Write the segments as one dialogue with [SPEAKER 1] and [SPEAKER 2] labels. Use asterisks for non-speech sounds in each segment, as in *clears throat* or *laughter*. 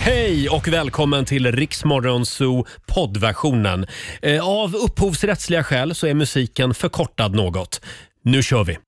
[SPEAKER 1] Hej och välkommen till Riksmorgonzoo poddversionen. Eh, Av upphovsrättsliga skäl så är musiken förkortad något. Nu kör vi!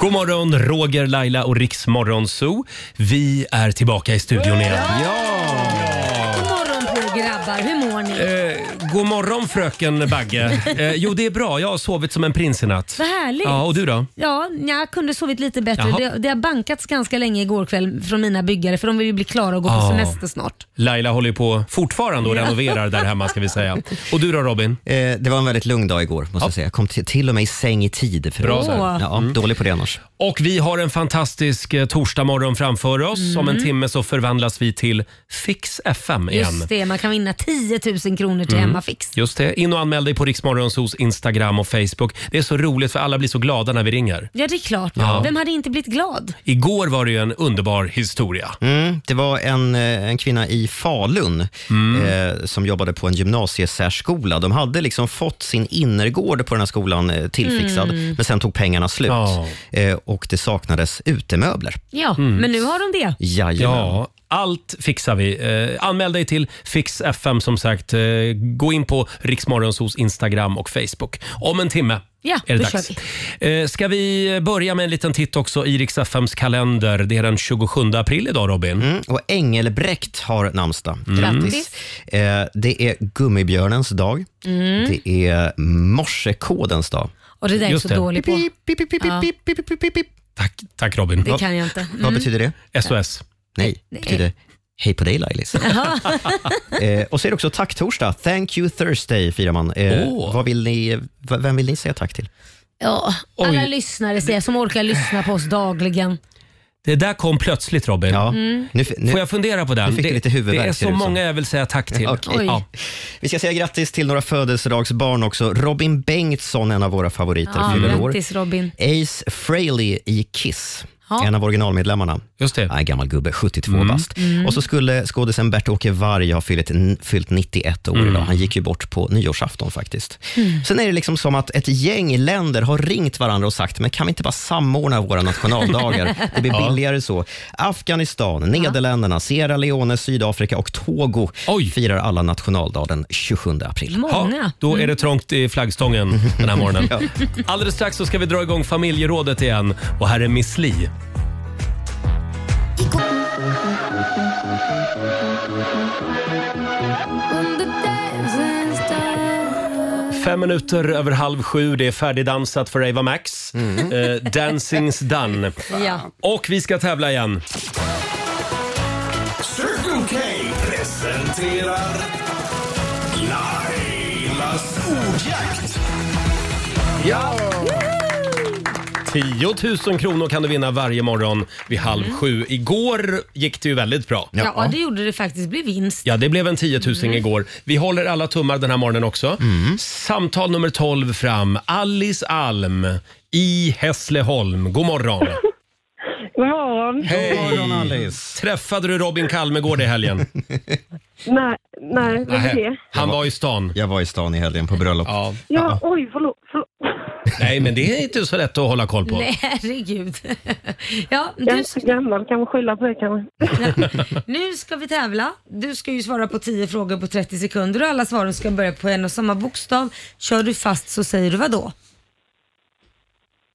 [SPEAKER 1] God morgon, Roger, Laila och Riksmorgonzoo. Vi är tillbaka i studion igen.
[SPEAKER 2] God morgon på er grabbar, hur mår ni?
[SPEAKER 1] Eh, god morgon fröken Bagge. Eh, jo det är bra, jag har sovit som en prins i natt.
[SPEAKER 2] Vad härligt.
[SPEAKER 1] Ja, och du då?
[SPEAKER 2] Ja, jag kunde sovit lite bättre.
[SPEAKER 1] Jaha.
[SPEAKER 2] Det, det har bankats ganska länge igår kväll från mina byggare för de vill ju bli klara och gå
[SPEAKER 1] Ja.
[SPEAKER 2] på semester snart.
[SPEAKER 1] Laila håller ju på fortfarande och renoverar där hemma ska vi säga. Och du då Robin?
[SPEAKER 3] Eh, det var en väldigt lugn dag igår måste jag säga. Jag kom till, till och med i säng i tid. För
[SPEAKER 1] Bra Mm.
[SPEAKER 3] övrigt.
[SPEAKER 2] där.
[SPEAKER 3] ja, Dålig på det annars.
[SPEAKER 1] Och vi har en fantastisk eh, torsdagmorgon framför oss. Om en timme så förvandlas vi till Fix FM igen.
[SPEAKER 2] Mm. Just det, man kan vinna 10 000 kronor till
[SPEAKER 1] Mm.
[SPEAKER 2] hemmafix.
[SPEAKER 1] Just det. In och anmäl dig på Riksmorgonsos Instagram och Facebook. Det är så roligt för alla blir så glada när vi ringer.
[SPEAKER 2] Ja, det är klart. Vem hade inte blivit glad?
[SPEAKER 1] Igår var det ju en underbar historia.
[SPEAKER 3] Mm, det var en, eh, en kvinna i Falun
[SPEAKER 1] Mm.
[SPEAKER 3] eh, som jobbade på en gymnasiesärskola. De hade liksom fått sin innergård på den här skolan eh, tillfixad, men sen tog pengarna slut
[SPEAKER 1] Ja.
[SPEAKER 3] eh, och det saknades utemöbler.
[SPEAKER 2] Ja,
[SPEAKER 1] Mm.
[SPEAKER 2] men nu har de det.
[SPEAKER 3] Jajamän.
[SPEAKER 1] Ja, allt fixar vi. Eh, anmäl dig till Fix FM som sagt. Eh, gå in på Riksmorgonsos Instagram och Facebook. Om en timme
[SPEAKER 2] Ja,
[SPEAKER 1] är det
[SPEAKER 2] då
[SPEAKER 1] dags. Eh, ska vi börja med en liten titt också i Rix FMs kalender. Det är den 27 april idag Robin. Mm.
[SPEAKER 3] Mm, och Engelbrekt har namnsdag. Grattis. Eh, det är gummibjörnens dag. Mm. Det är morsekodens dag.
[SPEAKER 2] Mm. Och det där är jag
[SPEAKER 1] Just
[SPEAKER 2] så
[SPEAKER 1] det.
[SPEAKER 2] dålig på.
[SPEAKER 3] Pip, pip, pip, pip,
[SPEAKER 2] Ja.
[SPEAKER 3] pip, pip, pip, pip, pip.
[SPEAKER 1] Tack, tack Robin.
[SPEAKER 2] Det kan jag inte. Mm.
[SPEAKER 3] Vad betyder det?
[SPEAKER 1] SOS.
[SPEAKER 3] Nej, det betyder Hej på dig
[SPEAKER 2] *laughs*
[SPEAKER 3] Lailis. eh, och så är det också tacktorsdag. Thank you Thursday firar man. Eh,
[SPEAKER 1] Åh.
[SPEAKER 3] vad vill ni, v- vem vill ni säga tack till?
[SPEAKER 2] Ja,
[SPEAKER 1] Oj.
[SPEAKER 2] alla lyssnare säger, som orkar lyssna på oss dagligen.
[SPEAKER 1] Det där kom plötsligt Robin.
[SPEAKER 3] Ja,
[SPEAKER 2] Mm.
[SPEAKER 3] nu, f- nu,
[SPEAKER 1] Får jag fundera på den?
[SPEAKER 3] Nu fick du lite huvudvärk,
[SPEAKER 1] det
[SPEAKER 3] ser
[SPEAKER 1] är så
[SPEAKER 3] det ut som.
[SPEAKER 1] många jag vill säga tack till.
[SPEAKER 3] Okej.
[SPEAKER 2] Oj.
[SPEAKER 1] Ja.
[SPEAKER 3] Vi ska säga grattis till några födelsedagsbarn också. Robin Bengtsson, en av våra favoriter,
[SPEAKER 2] Ja,
[SPEAKER 3] fyller år.
[SPEAKER 2] grattis Robin.
[SPEAKER 3] Ace Frehley i Kiss,
[SPEAKER 2] Ja.
[SPEAKER 3] en av originalmedlemmarna.
[SPEAKER 1] Just det. Mm.
[SPEAKER 3] Nej, gammal gubbe, 72 bast.
[SPEAKER 2] Mm.
[SPEAKER 3] Och så skulle skådisen Bert-Åke Varg ha fyllt, fyllt 91
[SPEAKER 1] Mm.
[SPEAKER 3] år idag. Han gick ju bort på nyårsafton faktiskt.
[SPEAKER 2] Mm.
[SPEAKER 3] Sen är det liksom som att ett gäng länder har ringt varandra och sagt, men kan vi inte bara samordna våra
[SPEAKER 2] *laughs*
[SPEAKER 3] nationaldagar? Det blir billigare så. Afghanistan, Nederländerna, Sierra Leone, Sydafrika och Togo
[SPEAKER 1] Oj.
[SPEAKER 3] firar alla nationaldagen 27 april.
[SPEAKER 2] Många.
[SPEAKER 1] då
[SPEAKER 3] Mm.
[SPEAKER 1] är det trångt i flaggstången den här morgonen. Alldeles strax så ska vi dra igång familjerådet igen. Och här är Miss Li. Fem minuter över halv sju. Det är färdigdansat för Ava Max. Eh, dancing's done.
[SPEAKER 2] Mm. *laughs* Ja.
[SPEAKER 1] Och vi ska tävla igen.
[SPEAKER 4] Circle K presenterar Lailas ordjakt.
[SPEAKER 1] 10 000 kronor kan du vinna varje morgon vid halv sju. Igår gick det ju väldigt bra.
[SPEAKER 2] Ja. det gjorde det faktiskt. blev vinst.
[SPEAKER 1] Ja, det blev en 10 000
[SPEAKER 5] Mm.
[SPEAKER 1] igår. Vi håller alla tummar den här morgonen också.
[SPEAKER 3] Mm.
[SPEAKER 1] Samtal nummer 12 fram. Alice Alm i Hässleholm. God morgon.
[SPEAKER 5] God morgon.
[SPEAKER 3] Morgon, Alice.
[SPEAKER 1] Träffade du Robin Kalmegård i helgen?
[SPEAKER 3] *laughs*
[SPEAKER 5] Nej, nej, vem är
[SPEAKER 1] Nej,
[SPEAKER 5] det?
[SPEAKER 1] han var i stan.
[SPEAKER 3] Jag var i stan i helgen på bröllop.
[SPEAKER 1] Ja.
[SPEAKER 5] Ja, oj, förlåt. förlåt.
[SPEAKER 1] Nej, men det är inte så lätt att hålla koll på.
[SPEAKER 2] Nej, *laughs* herregud. Ja,
[SPEAKER 5] Jag är
[SPEAKER 2] du,
[SPEAKER 5] inte så gammal, kan man skylla på det kanske.
[SPEAKER 2] nu ska vi tävla. Du ska ju svara på 10 frågor på 30 sekunder och alla svaren ska börja på en och samma bokstav. Kör du fast så säger du vad då?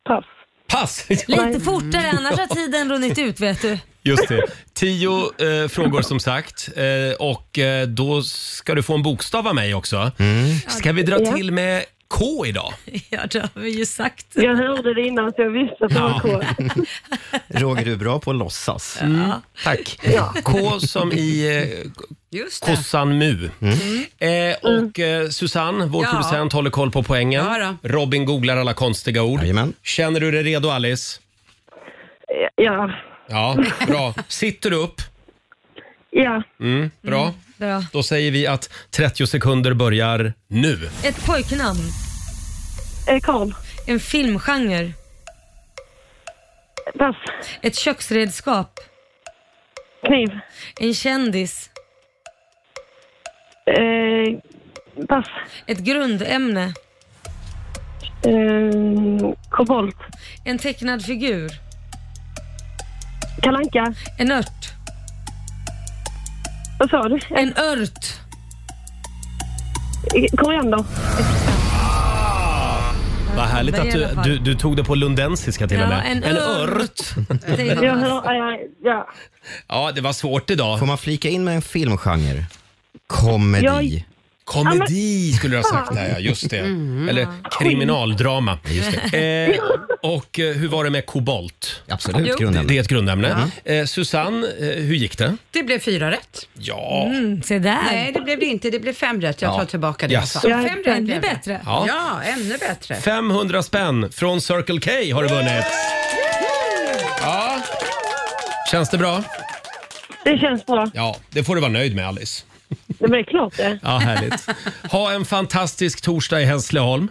[SPEAKER 5] Pass.
[SPEAKER 1] Pass! *laughs*
[SPEAKER 2] Lite fortare, annars har tiden runnit ut vet du. *laughs*
[SPEAKER 1] Just det. Tio eh, frågor som sagt. Eh, och eh, då ska du få en bokstav av mig också.
[SPEAKER 3] Mm.
[SPEAKER 1] Ska vi dra
[SPEAKER 5] Ja.
[SPEAKER 1] till med K idag?
[SPEAKER 2] Ja, det har vi ju sagt.
[SPEAKER 5] Jag hörde det innan så jag visste att det var kort.
[SPEAKER 2] *laughs*
[SPEAKER 3] Roger, du är bra på att låtsas.
[SPEAKER 1] Mm. Tack. K som i eh,
[SPEAKER 6] Just det.
[SPEAKER 1] kossan Mu. Eh, och eh, Susanne, vår
[SPEAKER 6] Ja.
[SPEAKER 1] producent, håller koll på poängen.
[SPEAKER 6] Ja då.
[SPEAKER 1] Robin googlar alla konstiga ord.
[SPEAKER 3] Jajamän.
[SPEAKER 1] Känner du dig redo Alice?
[SPEAKER 5] Ja,
[SPEAKER 1] Ja, bra. Sitter du upp?
[SPEAKER 5] ja.
[SPEAKER 1] Mm, bra.
[SPEAKER 2] Bra.
[SPEAKER 1] Då säger vi att 30 sekunder börjar nu.
[SPEAKER 2] Ett pojknamn,
[SPEAKER 5] Eh, Karl.
[SPEAKER 2] en filmgenre,
[SPEAKER 5] Pass.
[SPEAKER 2] ett köksredskap,
[SPEAKER 5] Kniv.
[SPEAKER 2] en kändis,
[SPEAKER 5] Eh, pass.
[SPEAKER 2] ett grundämne,
[SPEAKER 5] Eh, kobolt.
[SPEAKER 2] en tecknad figur,
[SPEAKER 5] Kalle Anka.
[SPEAKER 2] En ört.
[SPEAKER 5] Vad sa du?
[SPEAKER 2] En ört.
[SPEAKER 5] Eh, Koriander.
[SPEAKER 1] Vad härligt
[SPEAKER 2] Men i
[SPEAKER 1] att du,
[SPEAKER 2] alla fall.
[SPEAKER 1] du, du tog det på lundensiska till och
[SPEAKER 2] Ja,
[SPEAKER 1] med.
[SPEAKER 2] en ört. Det
[SPEAKER 5] Jag
[SPEAKER 2] är
[SPEAKER 5] hör... eh, Ja.
[SPEAKER 1] Ja, det var svårt idag.
[SPEAKER 3] Får man flika in med en filmgenre? Komedi.
[SPEAKER 5] Jag-
[SPEAKER 1] Komedi skulle du ha sagt
[SPEAKER 2] Ah.
[SPEAKER 1] där, ja. Just det.
[SPEAKER 2] Mm.
[SPEAKER 1] Eller kriminaldrama. Eh, och eh, hur var det med kobolt?
[SPEAKER 3] Absolut,
[SPEAKER 6] Jo.
[SPEAKER 1] Det,
[SPEAKER 3] grunden.
[SPEAKER 1] det är ett grundämne. Eh, Susanne, eh, hur gick det?
[SPEAKER 6] Det blev fyra rätt.
[SPEAKER 1] Ja,
[SPEAKER 2] Mm, se där.
[SPEAKER 6] Nej, det blev det inte. Det blev fem rätt. Jag tar tillbaka det
[SPEAKER 1] Jaså.
[SPEAKER 6] jag sa.
[SPEAKER 5] Ja,
[SPEAKER 6] Fem rätt
[SPEAKER 2] Ännu
[SPEAKER 6] blev det.
[SPEAKER 2] bättre.
[SPEAKER 1] Ja.
[SPEAKER 6] Ja. ännu bättre.
[SPEAKER 1] 500 spänn från Circle K har du vunnit. Ja. Känns det bra?
[SPEAKER 5] Det känns bra.
[SPEAKER 1] Ja, det får du vara nöjd med Alice.
[SPEAKER 5] Det blir klart det.
[SPEAKER 1] Ja, härligt. *laughs* Ha en fantastisk torsdag i Hässleholm.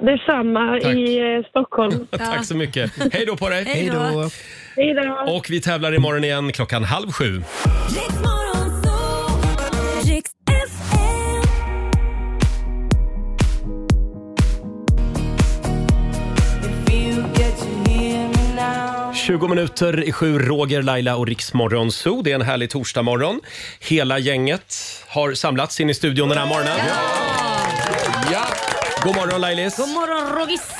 [SPEAKER 5] Detsamma
[SPEAKER 1] Tack.
[SPEAKER 5] i eh, Stockholm.
[SPEAKER 1] *laughs* Tack så mycket. Hej då på dig.
[SPEAKER 2] Hej då.
[SPEAKER 5] Hej då.
[SPEAKER 1] Och vi tävlar imorgon igen klockan halv sju.
[SPEAKER 7] Riksmorgon så, Riks FM.
[SPEAKER 8] If you get to hear me now.
[SPEAKER 1] 20 minuter i sju, Roger, Laila och Riksmorgon Zoo. Det är en härlig torsdagmorgon. Hela gänget har samlats in i studion den här morgonen. Ja. God morgon Lailis!
[SPEAKER 2] God morgon Rogis.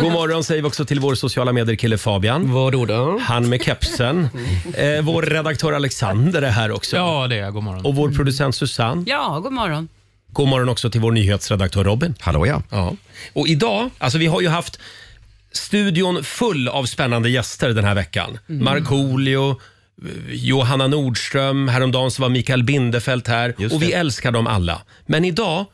[SPEAKER 1] *laughs* God morgon säger vi också till vår sociala medier-kille Fabian.
[SPEAKER 9] Vadå då?
[SPEAKER 1] Han med
[SPEAKER 9] *laughs*
[SPEAKER 1] kepsen. Eh, vår redaktör Alexander är här också.
[SPEAKER 9] Ja, det är jag. God morgon.
[SPEAKER 1] Och vår producent Susanne.
[SPEAKER 6] Ja, god morgon.
[SPEAKER 1] God morgon också till vår nyhetsredaktör Robin.
[SPEAKER 3] Hallå ja.
[SPEAKER 1] Ja. Och idag, alltså vi har ju haft studion full av spännande gäster den här veckan.
[SPEAKER 3] Mm.
[SPEAKER 1] Markoolio, eh, Johanna Nordström, häromdagen så var Mikael Bindefeld här.
[SPEAKER 3] Just
[SPEAKER 1] och vi
[SPEAKER 3] det.
[SPEAKER 1] älskar dem alla. Men idag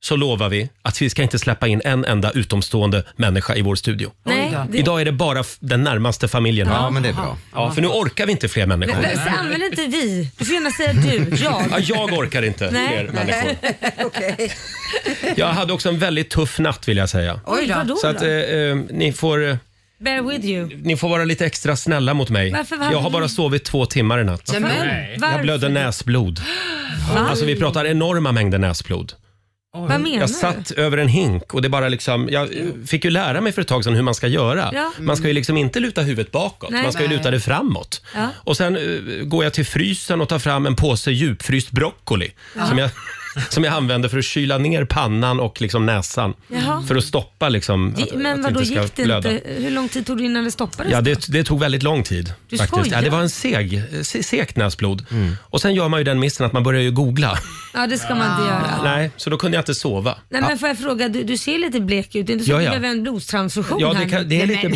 [SPEAKER 1] så lovar vi att vi ska inte släppa in en enda utomstående människa i vår studio.
[SPEAKER 2] Nej, det,
[SPEAKER 1] Idag är det bara f- den närmaste familjen här.
[SPEAKER 3] Ja, men det är bra.
[SPEAKER 1] Ja, för nu orkar vi inte fler människor.
[SPEAKER 2] Men så använd inte vi. Du får gärna
[SPEAKER 1] *laughs*
[SPEAKER 2] säga du,
[SPEAKER 1] Ja,
[SPEAKER 2] jag.
[SPEAKER 1] jag orkar inte
[SPEAKER 2] Nej.
[SPEAKER 1] fler människor. Jag hade också en väldigt tuff natt vill jag säga.
[SPEAKER 6] Oj då.
[SPEAKER 2] Vadå
[SPEAKER 1] Så att eh,
[SPEAKER 2] då?
[SPEAKER 1] eh, ni får... eh,
[SPEAKER 2] Bear with you.
[SPEAKER 1] Ni får vara lite extra snälla mot mig.
[SPEAKER 2] Varför var
[SPEAKER 1] jag har
[SPEAKER 2] ni-
[SPEAKER 1] bara sovit två timmar i natt.
[SPEAKER 6] Men,
[SPEAKER 1] Jag blödde näsblod. Alltså vi pratar enorma mängder näsblod.
[SPEAKER 2] Vad menar
[SPEAKER 1] Jag
[SPEAKER 2] du?
[SPEAKER 1] satt över en hink och det bara liksom, jag eh, fick ju lära mig för ett tag sedan hur man ska göra.
[SPEAKER 2] Ja.
[SPEAKER 1] Man ska ju liksom inte luta huvudet bakåt,
[SPEAKER 2] Nej.
[SPEAKER 1] man ska ju
[SPEAKER 6] Nej.
[SPEAKER 1] luta det framåt.
[SPEAKER 2] Ja.
[SPEAKER 1] Och sen eh, går jag till frysen och tar fram en påse djupfryst broccoli som, jag, *laughs* som jag använder för att kyla ner pannan och liksom näsan.
[SPEAKER 2] Jaha.
[SPEAKER 1] För att stoppa liksom
[SPEAKER 2] Ge-
[SPEAKER 1] att,
[SPEAKER 2] Men
[SPEAKER 1] att
[SPEAKER 2] vadå,
[SPEAKER 1] inte ska
[SPEAKER 2] gick det
[SPEAKER 1] blöda.
[SPEAKER 2] inte? Hur lång tid tog det innan det stoppades?
[SPEAKER 1] Ja, det, det tog väldigt lång tid.
[SPEAKER 2] Du
[SPEAKER 1] faktiskt.
[SPEAKER 2] skojar.
[SPEAKER 1] Ja, det var en seg, se, segt näsblod. Och sen gör man ju den missen att man börjar ju googla.
[SPEAKER 2] Ja, det ska man
[SPEAKER 1] Ah.
[SPEAKER 2] inte
[SPEAKER 1] *laughs*
[SPEAKER 2] göra.
[SPEAKER 1] Nej, så då kunde jag inte sova.
[SPEAKER 2] Nej, men får jag fråga, du, du ser lite blek ut. Det är inte så
[SPEAKER 1] Ja,
[SPEAKER 2] att du
[SPEAKER 1] ja.
[SPEAKER 2] behöver en blodstransfusion
[SPEAKER 1] Ja, det,
[SPEAKER 2] här
[SPEAKER 1] kan, det är lite...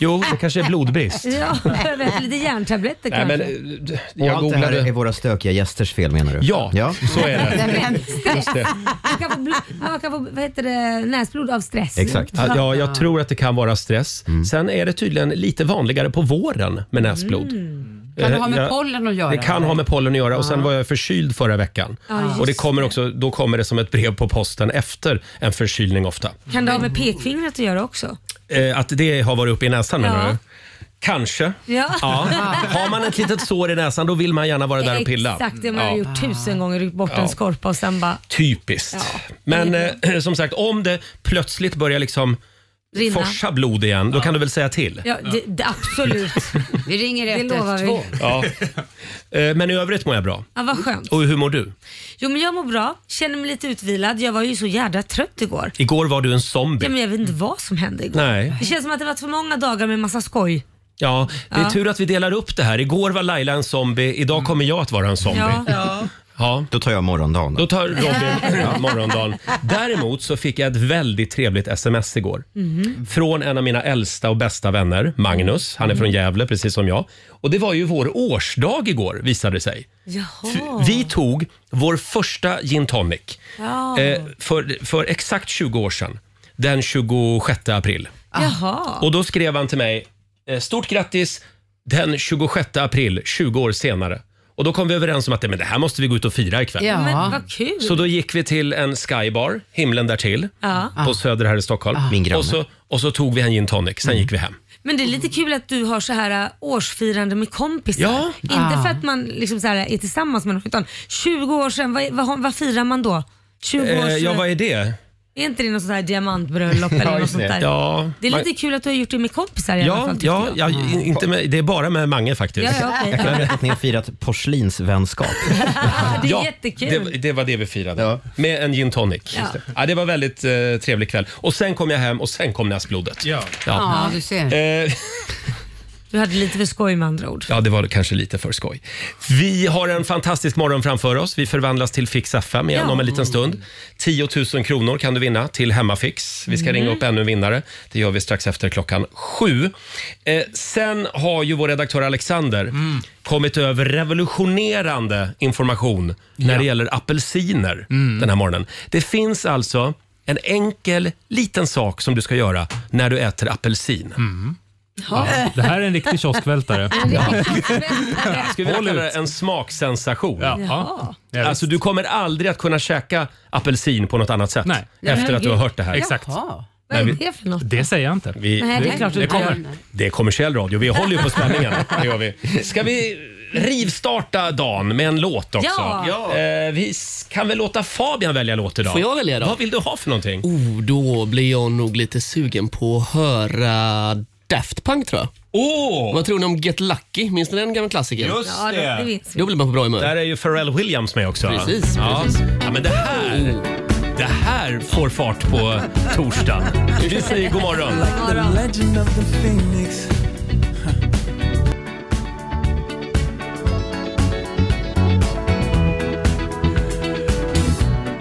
[SPEAKER 1] Jo,
[SPEAKER 2] Ah.
[SPEAKER 1] det kanske är blodbrist.
[SPEAKER 2] nu. *laughs* Ja, behöver lite järntabletter
[SPEAKER 1] Nej,
[SPEAKER 2] kanske.
[SPEAKER 1] men eh,
[SPEAKER 3] Och
[SPEAKER 1] jag
[SPEAKER 3] allt det här är
[SPEAKER 1] googlade.
[SPEAKER 3] våra stökiga gästers fel menar du?
[SPEAKER 1] Ja,
[SPEAKER 3] ja.
[SPEAKER 1] så är det. eh, Just det.
[SPEAKER 2] Man kan få, blod, ja, man kan få vad heter det, näsblod av stress.
[SPEAKER 3] Exakt.
[SPEAKER 1] Ja, Ja, jag tror att det kan vara stress. Sen är det tydligen lite vanligare på våren med näsblod.
[SPEAKER 2] Mm.
[SPEAKER 6] kan det ha
[SPEAKER 1] Eh,
[SPEAKER 6] med
[SPEAKER 1] jag-
[SPEAKER 6] pollen att göra?
[SPEAKER 1] Det kan ha med pollen att göra och sen var jag förkyld förra veckan.
[SPEAKER 2] Ja, just
[SPEAKER 1] och det kommer också, då kommer det som ett brev på posten efter en förkylning ofta.
[SPEAKER 2] Kan det ha med pekfingret att göra också?
[SPEAKER 1] Eh, att det har varit uppe i näsan
[SPEAKER 2] Ja.
[SPEAKER 1] menar du? Kanske.
[SPEAKER 2] Ja.
[SPEAKER 1] Har man ett litet sår i näsan då vill man gärna vara där och pilla.
[SPEAKER 2] Exakt, det man
[SPEAKER 1] Ja.
[SPEAKER 2] har gjort tusen gånger. Ryckt bort en skorpa och sen bara
[SPEAKER 1] Typiskt. Men eh, som sagt, om det plötsligt börjar liksom
[SPEAKER 2] rinna.
[SPEAKER 1] forsa blod igen, då kan du väl säga till?
[SPEAKER 2] Ja, det, det, absolut.
[SPEAKER 6] *laughs* Vi ringer
[SPEAKER 2] Det lovar vi.
[SPEAKER 6] 112.
[SPEAKER 1] Ja. *laughs* Eh, Men i övrigt mår jag bra.
[SPEAKER 2] Ja, vad skönt.
[SPEAKER 1] Och hur mår du?
[SPEAKER 2] Jo, men jag mår bra. Känner mig lite utvilad. Jag var ju så jävla trött igår.
[SPEAKER 1] Igår var du en
[SPEAKER 2] Ja,
[SPEAKER 1] zombie.
[SPEAKER 2] men jag vet inte vad som hände igår.
[SPEAKER 1] Mm. Nej.
[SPEAKER 2] Det känns som att det varit för många dagar med massa skoj.
[SPEAKER 1] Ja, det är
[SPEAKER 2] Ja.
[SPEAKER 1] tur att vi delar upp det här. Igår var Laila en zombie, idag kommer jag att vara en zombie.
[SPEAKER 2] Ja.
[SPEAKER 1] Ja,
[SPEAKER 3] Då tar jag morgondagen.
[SPEAKER 1] Då
[SPEAKER 3] Då.
[SPEAKER 1] tar Robin
[SPEAKER 2] *laughs*
[SPEAKER 1] *laughs* morgondagen. Däremot så fick jag ett väldigt trevligt sms igår.
[SPEAKER 2] Mm-hmm.
[SPEAKER 1] Från en av mina äldsta och bästa vänner, Magnus. Han är
[SPEAKER 2] Mm.
[SPEAKER 1] från Gävle, precis som jag. Och det var ju vår årsdag igår, visade det sig.
[SPEAKER 2] Jaha.
[SPEAKER 1] Vi tog vår första gin tonic
[SPEAKER 2] Ja.
[SPEAKER 1] eh, för, för exakt 20 år sedan. Den 26 april.
[SPEAKER 2] Jaha.
[SPEAKER 1] Och då skrev han till mig, eh, stort grattis den 26 april, 20 år senare. Och då kom vi överens om att "Nej, men det här måste vi gå ut och fira ikväll.
[SPEAKER 6] Ja.
[SPEAKER 2] Men vad kul.
[SPEAKER 1] Så då gick vi till en skybar, himlen därtill,
[SPEAKER 2] Ja.
[SPEAKER 1] på Söder här i Stockholm.
[SPEAKER 2] Ah.
[SPEAKER 3] Min granne.
[SPEAKER 1] och, så, och så tog vi en gin tonic,
[SPEAKER 2] Mm.
[SPEAKER 1] sen gick vi hem.
[SPEAKER 2] Men det är lite kul att du har så här äh, årsfirande med kompisar.
[SPEAKER 1] Ja.
[SPEAKER 2] Inte
[SPEAKER 6] Ah.
[SPEAKER 2] för att man liksom så här är tillsammans med någon utan 20 år sedan, vad, vad, vad firar man då? 20 år
[SPEAKER 1] Eh,
[SPEAKER 2] sedan.
[SPEAKER 1] ja, vad är det?
[SPEAKER 2] Är inte det något sånt här diamantbröllop eller något
[SPEAKER 3] just
[SPEAKER 2] sånt
[SPEAKER 3] det.
[SPEAKER 2] där?
[SPEAKER 1] Ja,
[SPEAKER 2] Det är
[SPEAKER 1] man-
[SPEAKER 2] lite kul att du har gjort det med kompisar i alla fall. typ.
[SPEAKER 1] Ja,
[SPEAKER 2] tycker
[SPEAKER 1] ja,
[SPEAKER 2] jag.
[SPEAKER 1] ja i- inte med, det är bara med Mange faktiskt.
[SPEAKER 2] Ja, ja, okej.
[SPEAKER 3] Mm. Jag kan berätta att ni har firat porslinsvänskap.
[SPEAKER 2] ja, det är
[SPEAKER 1] Ja,
[SPEAKER 2] jättekul.
[SPEAKER 1] Det, det var det vi firade.
[SPEAKER 3] Ja.
[SPEAKER 1] Med en gin tonic.
[SPEAKER 2] Ja.
[SPEAKER 1] Ja. det var väldigt eh, trevlig kväll. Och sen kom jag hem och sen kom näsblodet.
[SPEAKER 4] Ja.
[SPEAKER 1] Ja.
[SPEAKER 6] Ja, du ser.
[SPEAKER 1] Eh,
[SPEAKER 2] *laughs* Du hade lite för skoj med andra ord.
[SPEAKER 1] ja, det var kanske lite för skoj. Vi har en fantastisk morgon framför oss. Vi förvandlas till Fix FM igen
[SPEAKER 2] Ja.
[SPEAKER 1] om en liten stund. 10 000 kronor kan du vinna till Hemmafix. Vi ska ringa upp ännu en vinnare. Det gör vi strax efter klockan sju. Eh, sen har ju vår redaktör Alexander kommit över revolutionerande information när det gäller apelsiner den här morgonen. Det finns alltså en enkel liten sak som du ska göra när du äter apelsin.
[SPEAKER 9] Det här är en riktig
[SPEAKER 2] *laughs*
[SPEAKER 7] *laughs*
[SPEAKER 9] kioskvältare.
[SPEAKER 1] Skulle vi
[SPEAKER 9] Håll
[SPEAKER 1] kalla det
[SPEAKER 9] ut.
[SPEAKER 1] en smaksensation?
[SPEAKER 9] Ja.
[SPEAKER 2] Jaha.
[SPEAKER 9] Ja, visst.
[SPEAKER 1] Alltså du kommer aldrig att kunna käka apelsin på något annat sätt
[SPEAKER 9] Nej.
[SPEAKER 1] efter att du har hört det här.
[SPEAKER 9] Exakt.
[SPEAKER 6] Jaha.
[SPEAKER 2] Vad är det för något?
[SPEAKER 9] Det säger jag inte.
[SPEAKER 1] Vi,
[SPEAKER 2] Nej, det är klart du
[SPEAKER 1] det,
[SPEAKER 2] inte
[SPEAKER 1] kommer,
[SPEAKER 6] gör.
[SPEAKER 1] det är kommersiell radio. Vi håller ju på spänningen. Det gör vi. Ska vi rivstarta dagen med en låt också?
[SPEAKER 2] Ja.
[SPEAKER 1] Eh, vi s- kan väl låta Fabian välja låt idag?
[SPEAKER 10] Får jag välja då?
[SPEAKER 1] Vad vill du ha för någonting?
[SPEAKER 10] Oh, då blir jag nog lite sugen på att höra Daft Punk tror jag.
[SPEAKER 1] Åh!
[SPEAKER 10] Vad tror ni om Get Lucky? Minns ni den gamla klassikern?
[SPEAKER 2] Ja, det, det minns vi.
[SPEAKER 10] Då blir man på bra humör.
[SPEAKER 1] Där är ju Pharrell Williams med också.
[SPEAKER 10] Precis,
[SPEAKER 1] ja.
[SPEAKER 10] precis.
[SPEAKER 1] Ja, men det här, det här får fart på torsdagen. Vi säger god morgon.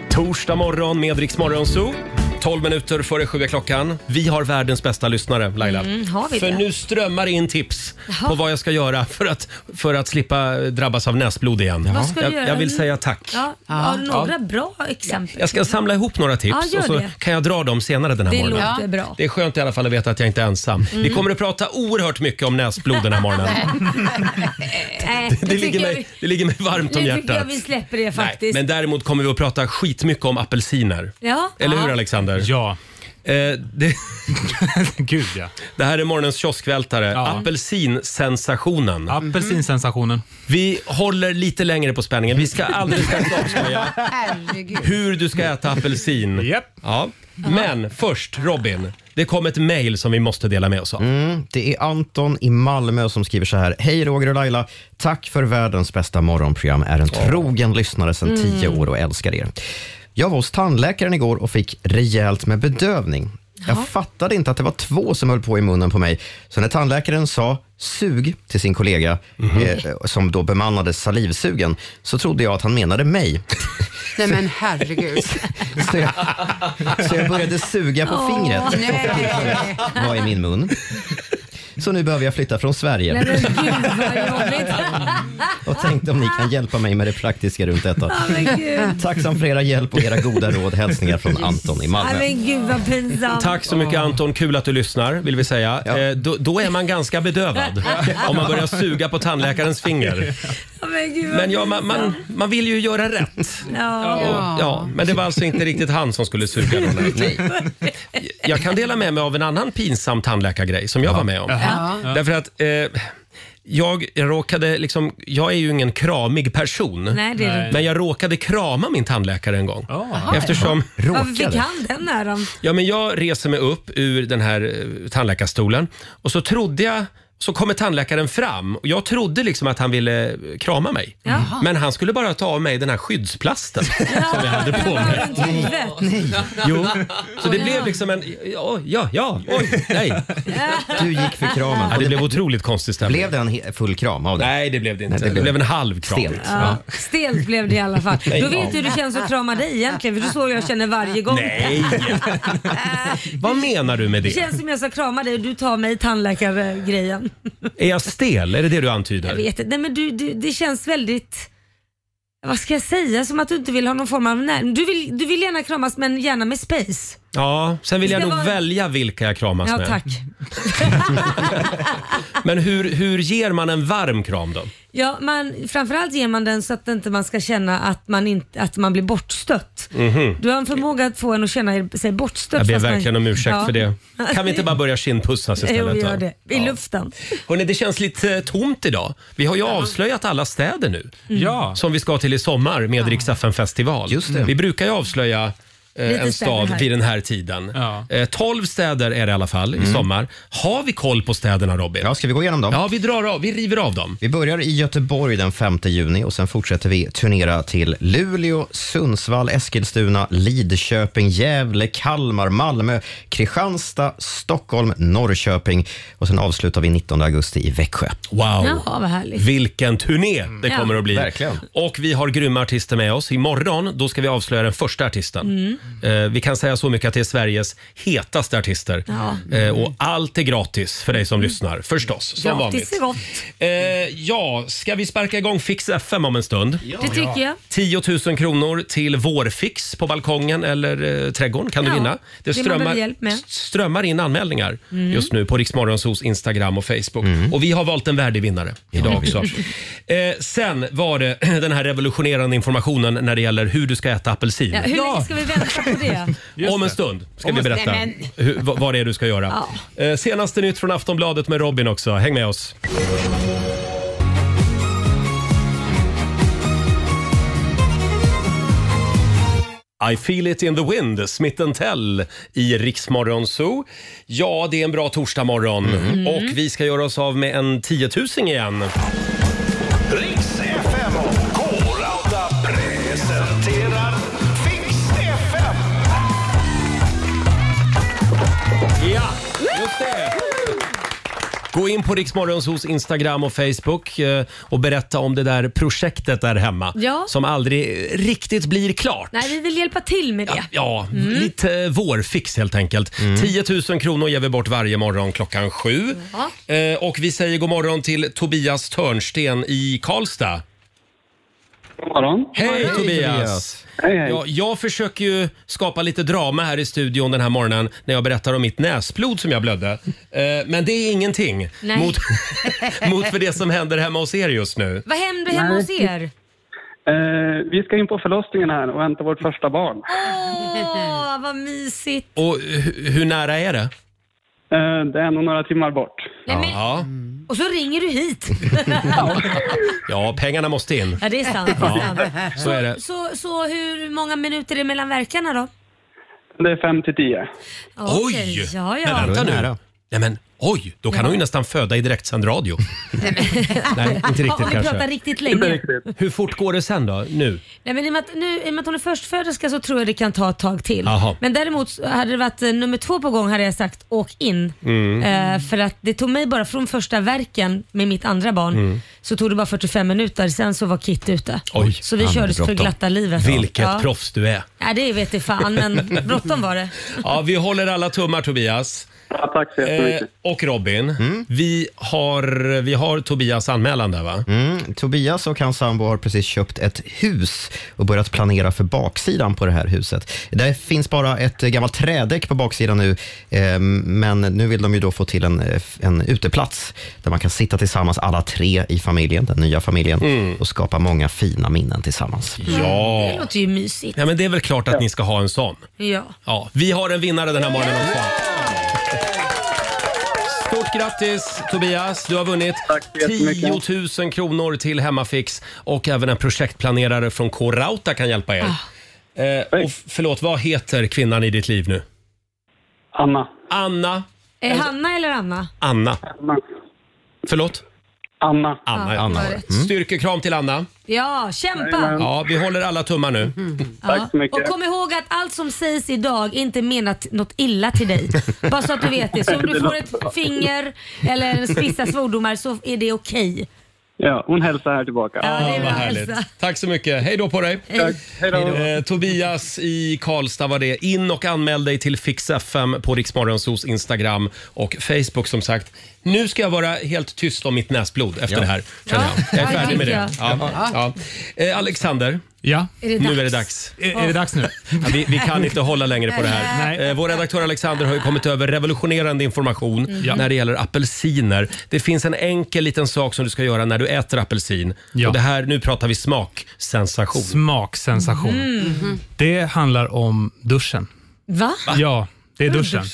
[SPEAKER 1] Torsdag morgon med Rix Morgon Zoo. 12 minuter före sju är klockan. Vi har världens bästa lyssnare, Laila.
[SPEAKER 2] Mm, har vi
[SPEAKER 1] för
[SPEAKER 2] det?
[SPEAKER 1] nu strömmar det in tips på vad jag ska göra för att, för att slippa drabbas av näsblod igen.
[SPEAKER 2] Vad ska du
[SPEAKER 1] jag,
[SPEAKER 2] göra
[SPEAKER 1] jag vill
[SPEAKER 2] nu?
[SPEAKER 1] säga tack.
[SPEAKER 2] Ja, har du några bra exempel?
[SPEAKER 1] Jag ska samla ihop några tips
[SPEAKER 2] Ja, gör
[SPEAKER 1] och så
[SPEAKER 2] det.
[SPEAKER 1] kan jag dra dem senare den här
[SPEAKER 2] det
[SPEAKER 1] morgonen.
[SPEAKER 2] låter bra. Mm.
[SPEAKER 1] Det är skönt i alla fall att veta att jag inte är ensam. Vi kommer att prata oerhört mycket om näsblod
[SPEAKER 2] *laughs*
[SPEAKER 1] den här morgonen. *laughs*
[SPEAKER 2] Nej,
[SPEAKER 1] Det, ligger, mig, det ligger mig varmt om
[SPEAKER 2] nu tycker jag
[SPEAKER 1] hjärtat.
[SPEAKER 2] vi släpper det
[SPEAKER 1] Nej,
[SPEAKER 2] faktiskt.
[SPEAKER 1] men däremot kommer vi att prata skitmycket om apelsiner.
[SPEAKER 2] ja.
[SPEAKER 1] Eller hur
[SPEAKER 2] ja.
[SPEAKER 1] Alexander?
[SPEAKER 9] Ja,
[SPEAKER 1] Eh, det, *laughs*
[SPEAKER 9] gud ja.
[SPEAKER 1] det här är morgonens kioskvältare,
[SPEAKER 9] Ja.
[SPEAKER 1] apelsinsensationen.
[SPEAKER 9] Apelsinsensationen.
[SPEAKER 1] Vi håller lite längre på spänningen. Vi ska alldeles strax avslöja
[SPEAKER 6] Herregud.
[SPEAKER 1] hur du ska äta apelsin.
[SPEAKER 9] Japp.
[SPEAKER 1] Ja. Men först Robin, det kom ett mejl som vi måste dela med oss av.
[SPEAKER 3] Mm, Det är Anton i Malmö som skriver så här. Hej Roger och Laila. Tack för världens bästa morgonprogram. Är en trogen lyssnare sedan tio år och älskar er. Jag var hos tandläkaren igår och fick rejält med bedövning. Jag fattade inte att det var två som höll på i munnen på mig. Så när tandläkaren sa sug till sin kollega,
[SPEAKER 1] Mhm.
[SPEAKER 3] eh, som då bemannade salivsugen, så trodde jag att han menade mig.
[SPEAKER 6] Nej men
[SPEAKER 2] *laughs*
[SPEAKER 6] herregud.
[SPEAKER 3] Så jag, så jag började suga på fingret
[SPEAKER 6] Nej.
[SPEAKER 3] var i min mun. Så nu behöver jag flytta från
[SPEAKER 2] Nej,
[SPEAKER 3] Sverige
[SPEAKER 2] men gud vad jobbigt.
[SPEAKER 3] och tänkte om ni kan hjälpa mig med det praktiska runt detta.
[SPEAKER 2] Men gud.
[SPEAKER 3] Tacksam för era hjälp och era goda råd. Hälsningar från Anton i
[SPEAKER 2] Nej,
[SPEAKER 3] Malmö.
[SPEAKER 2] men gud vad pinsamt.
[SPEAKER 1] Tack så mycket Anton, kul att du lyssnar vill vi säga.
[SPEAKER 3] Ja.
[SPEAKER 1] Eh, då, då är man ganska bedövad om man börjar suga på tandläkarens finger.
[SPEAKER 2] Ja, Men gud vad
[SPEAKER 1] Men ja, man, man, man vill ju göra rätt.
[SPEAKER 2] Ja.
[SPEAKER 1] Och, ja, men det var alltså inte riktigt han som skulle suga den här. Jag kan dela med mig av en annan pinsam tandläkargrej som jag var med om. Därför att eh, jag råkade liksom, jag är ju ingen kramig person.
[SPEAKER 2] Nej, det är det.
[SPEAKER 1] Men jag råkade krama min tandläkare en gång.
[SPEAKER 9] Ja.
[SPEAKER 1] Eftersom...
[SPEAKER 2] Varför fick
[SPEAKER 3] Råkade.
[SPEAKER 2] han den äran?
[SPEAKER 1] Ja, men jag reser mig upp ur den här eh, tandläkarstolen och så trodde jag så kommer tandläkaren fram och jag trodde liksom att han ville eh, krama mig.
[SPEAKER 2] Mm.
[SPEAKER 1] Men han skulle bara ta av mig den här
[SPEAKER 2] *laughs*
[SPEAKER 1] skyddsplasten som jag hade på mig.
[SPEAKER 2] Runt huvudet.
[SPEAKER 1] Jo. Så det blev liksom en... Ja, ja, ja oj, nej.
[SPEAKER 3] Du gick för kramen.
[SPEAKER 1] Ja,
[SPEAKER 3] Och
[SPEAKER 1] det
[SPEAKER 3] det
[SPEAKER 1] blev otroligt konstig stämning.
[SPEAKER 3] blev det en he- full kram av det?
[SPEAKER 1] Nej, det blev det inte.
[SPEAKER 3] Nej, det
[SPEAKER 1] det, blev...
[SPEAKER 3] blev-
[SPEAKER 1] en halv kram.
[SPEAKER 3] Stelt.
[SPEAKER 2] Ja, stelt blev det i alla fall. Då vet du hur det känns att krama dig egentligen. För det är så jag känner varje gång.
[SPEAKER 1] Nej! Vad menar du med
[SPEAKER 2] Det
[SPEAKER 1] det?
[SPEAKER 2] känns som jag ska krama dig och du tar mig i tandläkargrejen.
[SPEAKER 1] Är jag stel? Är det det du
[SPEAKER 2] Jag
[SPEAKER 1] antyder?
[SPEAKER 2] vet inte. Nej, men du, du, det känns väldigt... Vad ska jag säga? Som att du inte vill ha någon form av närmare. Du vill, du vill gärna kramas men gärna med space.
[SPEAKER 1] Ja, sen vill
[SPEAKER 2] Det
[SPEAKER 1] jag
[SPEAKER 2] ska
[SPEAKER 1] nog
[SPEAKER 2] vara-
[SPEAKER 1] välja vilka jag kramas
[SPEAKER 2] Ja
[SPEAKER 1] med.
[SPEAKER 2] tack.
[SPEAKER 1] Men hur, hur ger man en varm kram då?
[SPEAKER 2] Ja, man, framförallt ger man den så att inte man ska känna att man, inte, att man blir bortstött.
[SPEAKER 1] Mhm.
[SPEAKER 2] Du har en förmåga att få en att känna sig bortstött.
[SPEAKER 1] Jag ber
[SPEAKER 2] fast man-
[SPEAKER 1] verkligen om ursäkt
[SPEAKER 2] Ja.
[SPEAKER 1] för det. Kan vi
[SPEAKER 2] *laughs*
[SPEAKER 1] inte bara börja kindpussas
[SPEAKER 2] Jo,
[SPEAKER 1] istället?
[SPEAKER 2] vi gör
[SPEAKER 1] då?
[SPEAKER 2] det. I luften.
[SPEAKER 1] Hörrni, det känns lite eh, tomt idag. Vi har ju avslöjat alla städer nu
[SPEAKER 9] Ja.
[SPEAKER 2] Mm.
[SPEAKER 1] som vi ska till i sommar med Rix festival
[SPEAKER 3] Just det.
[SPEAKER 1] Vi brukar ju avslöja eh,
[SPEAKER 2] Lite
[SPEAKER 1] en
[SPEAKER 2] städer
[SPEAKER 1] stad
[SPEAKER 2] här.
[SPEAKER 1] vid den här tiden. Eh, 12 städer är det i alla fall
[SPEAKER 9] Mm.
[SPEAKER 1] i sommar. Har vi koll på städerna Robin?
[SPEAKER 3] Ja, ska vi gå igenom dem?
[SPEAKER 1] Ja, vi drar av, vi river av dem.
[SPEAKER 3] Vi börjar i Göteborg den 5 juni och sen fortsätter vi turnera till Luleå, Sundsvall, Eskilstuna, Lidköping, Gävle, Kalmar, Malmö, Kristianstad, Stockholm, Norrköping och sen avslutar vi 19 augusti i Växjö.
[SPEAKER 1] Wow!
[SPEAKER 2] Jaha, vad härligt.
[SPEAKER 1] Vilken turné det
[SPEAKER 2] Ja.
[SPEAKER 1] kommer att bli.
[SPEAKER 3] Mm. Verkligen.
[SPEAKER 1] Och vi har grymma artister med oss. Imorgon då ska vi avslöja den första
[SPEAKER 2] Mm.
[SPEAKER 1] artisten. Eh, vi kan säga så mycket att det är Sveriges hetaste artister.
[SPEAKER 2] Ja.
[SPEAKER 1] Eh, och allt är gratis för dig som lyssnar, förstås. Som
[SPEAKER 2] Mm. Gratis är
[SPEAKER 1] vanligt.
[SPEAKER 2] gott.
[SPEAKER 1] Eh, ja, ska vi sparka igång Fix FM om en stund?
[SPEAKER 2] Det tycker jag.
[SPEAKER 1] 10 000 kronor till vårfix på balkongen eller eh, trädgården kan
[SPEAKER 2] Ja,
[SPEAKER 1] du vinna.
[SPEAKER 2] det man behöver hjälp med. Mm.
[SPEAKER 1] s- strömmar in anmälningar just nu på Riksmorgonsos Instagram och Facebook. Och vi har valt en värdig vinnare idag också. eh, sen var det *clears throat* den här revolutionerande informationen när det gäller hur du ska äta apelsin.
[SPEAKER 2] Ja, hur länge ska vi vänta på det?
[SPEAKER 1] Om en stund ska vi berätta
[SPEAKER 6] Nej,
[SPEAKER 1] hur, vad, vad det är du ska göra. Eh, senaste nytt från Aftonbladet med Robin också. Häng med oss. I feel it in the wind, Smith Tell i Riksmorgon Zoo. Ja, det är en bra torsdagmorgon och vi ska göra oss av med en tiotusing igen.
[SPEAKER 4] Riks FM och K-Rauta presenterar Fix FM.
[SPEAKER 1] Ja, just det. Gå in på Riksmorgonsos Instagram och Facebook eh, och berätta om det där projektet där hemma
[SPEAKER 2] Ja.
[SPEAKER 1] som aldrig riktigt blir klart.
[SPEAKER 2] Nej, vi vill hjälpa till med det.
[SPEAKER 1] Ja, lite eh, vårfix helt enkelt. 10 000 kronor ger vi bort varje morgon klockan sju. Eh, och vi säger god morgon till Tobias Törnsten i Karlstad.
[SPEAKER 11] God morgon.
[SPEAKER 1] Hej, Tobias!
[SPEAKER 3] Tobias.
[SPEAKER 11] Hej, hej.
[SPEAKER 1] Ja, jag försöker ju skapa lite drama här i studion den här morgonen när jag berättar om mitt näsblod som jag blödde. Eh, Men det är ingenting
[SPEAKER 2] Nej. *laughs*
[SPEAKER 1] mot, *laughs* mot för det som händer hemma hos er just nu.
[SPEAKER 2] Vad händer hemma hos er?
[SPEAKER 11] Eh, vi ska in på förlossningen här och vänta vårt första barn.
[SPEAKER 2] Åh, vad mysigt.
[SPEAKER 1] Och hu- hur nära är det?
[SPEAKER 11] Eh, det är nog några timmar bort.
[SPEAKER 2] Nej, men,
[SPEAKER 1] Ja,
[SPEAKER 2] och så ringer du
[SPEAKER 1] *laughs*
[SPEAKER 2] hit.
[SPEAKER 1] ja pengarna måste in.
[SPEAKER 2] Ja, det är sant. Det är sant.
[SPEAKER 1] Så är det.
[SPEAKER 2] Så, så hur många minuter är det mellan verkarna då?
[SPEAKER 11] Det är fem till tio.
[SPEAKER 2] Ja,
[SPEAKER 1] Oj!
[SPEAKER 2] okej. Ja, ja.
[SPEAKER 1] Men vänta
[SPEAKER 3] Det är
[SPEAKER 1] nu.
[SPEAKER 3] nära.
[SPEAKER 1] Nej, men, oj, då kan hon ju nästan föda i direktsänd radio. Nej, inte
[SPEAKER 2] *laughs* Ja,
[SPEAKER 1] riktigt
[SPEAKER 2] om vi pratar
[SPEAKER 1] kanske.
[SPEAKER 2] riktigt länge.
[SPEAKER 1] Hur fort går det sen då? Nu?
[SPEAKER 2] Nej, men i, och med att, nu, I och med att hon är förstföderska så tror jag det kan ta ett tag till.
[SPEAKER 1] Jaha.
[SPEAKER 2] Men däremot så hade det varit eh, nummer två på gång hade jag sagt åk in.
[SPEAKER 1] Mm.
[SPEAKER 2] Eh, för att det tog mig bara från första verken med mitt andra barn så tog det bara 45 minuter. Sen så var Kit ute.
[SPEAKER 1] Mm. Oj,
[SPEAKER 2] så vi
[SPEAKER 3] han
[SPEAKER 2] kördes för
[SPEAKER 3] bråttom.
[SPEAKER 2] glatta livet.
[SPEAKER 1] Vilket
[SPEAKER 2] ja.
[SPEAKER 1] proffs du är.
[SPEAKER 2] Ja, det vet jag fan men bråttom var det.
[SPEAKER 1] Ja, vi håller alla tummar Tobias.
[SPEAKER 11] Ja, tack så
[SPEAKER 1] Eh,
[SPEAKER 11] jättemycket.
[SPEAKER 1] och Robin, vi, har, vi har Tobias anmälan där va?
[SPEAKER 3] Mm. Tobias och hans sambo har precis köpt ett hus och börjat planera för baksidan på det här huset. Det finns bara ett eh, gammalt trädäck på baksidan nu, eh, men nu vill de ju då få till en, eh, f- en uteplats där man kan sitta tillsammans alla tre i familjen, den nya familjen, och skapa många fina minnen tillsammans.
[SPEAKER 2] Det
[SPEAKER 1] Mm. Ja.
[SPEAKER 2] låter ju mysigt.
[SPEAKER 1] ja, men det är väl klart att ni ska ha en sån.
[SPEAKER 2] Ja.
[SPEAKER 1] Ja, vi har en vinnare den här morgonen också. Stort grattis Tobias, du har vunnit
[SPEAKER 11] Tack så jättemycket.
[SPEAKER 1] 10 000 kronor till Hemmafix och även en projektplanerare från K-Rauta kan hjälpa er.
[SPEAKER 2] Ah.
[SPEAKER 1] Eh, och förlåt, vad heter kvinnan i ditt liv nu?
[SPEAKER 11] Anna.
[SPEAKER 1] Anna.
[SPEAKER 2] Är det Hanna eller Anna?
[SPEAKER 1] Anna.
[SPEAKER 11] Anna.
[SPEAKER 1] Förlåt?
[SPEAKER 11] Anna.
[SPEAKER 1] Anna, ja. Mm.
[SPEAKER 3] Anna.
[SPEAKER 1] Styrkekram till Anna.
[SPEAKER 2] Ja, Ah, kämpa! Mm.
[SPEAKER 1] Ja, vi håller alla tummar nu.
[SPEAKER 11] Tack så mycket.
[SPEAKER 2] Och kom ihåg att allt som sägs idag inte menat något illa till dig. Bara så att du vet det. Så om du får ett finger eller vissa svordomar så är det okej.
[SPEAKER 11] Ja, hon hälsar här tillbaka.
[SPEAKER 2] Ja, det är
[SPEAKER 1] Ja,
[SPEAKER 2] bra,
[SPEAKER 1] vad härligt.
[SPEAKER 2] Elsa.
[SPEAKER 1] Tack så mycket. Hej då på dig.
[SPEAKER 11] Tack. Hej då.
[SPEAKER 1] Eh, Tobias i Karlstad var det. In och anmäl dig till Fix FM på Riksmorgonsos Instagram och Facebook som sagt. Nu ska jag vara helt tyst om mitt näsblod efter det här. känner
[SPEAKER 2] Ja,
[SPEAKER 1] Jag. jag är
[SPEAKER 2] ja,
[SPEAKER 1] färdig med
[SPEAKER 2] tycker
[SPEAKER 1] det. Ja, ja. Eh, Alexander,
[SPEAKER 9] Ja.
[SPEAKER 2] Är
[SPEAKER 1] nu
[SPEAKER 2] det dags?
[SPEAKER 1] är det dags.
[SPEAKER 9] Är, är det dags nu?
[SPEAKER 1] Ja, vi, vi
[SPEAKER 9] *laughs*
[SPEAKER 1] kan inte hålla längre på det här.
[SPEAKER 9] Nej.
[SPEAKER 1] Eh, vår redaktör Alexander har ju kommit över revolutionerande information
[SPEAKER 9] Ja.
[SPEAKER 1] när det gäller apelsiner. Det finns en enkel liten sak som du ska göra när du äter apelsin.
[SPEAKER 9] Ja.
[SPEAKER 1] Och det här, nu pratar vi smaksensation.
[SPEAKER 9] Smaksensation.
[SPEAKER 2] Mm.
[SPEAKER 9] Det handlar om duschen.
[SPEAKER 2] Va?
[SPEAKER 9] Ja,
[SPEAKER 2] *laughs*
[SPEAKER 9] det är
[SPEAKER 2] Vadå
[SPEAKER 9] duschen.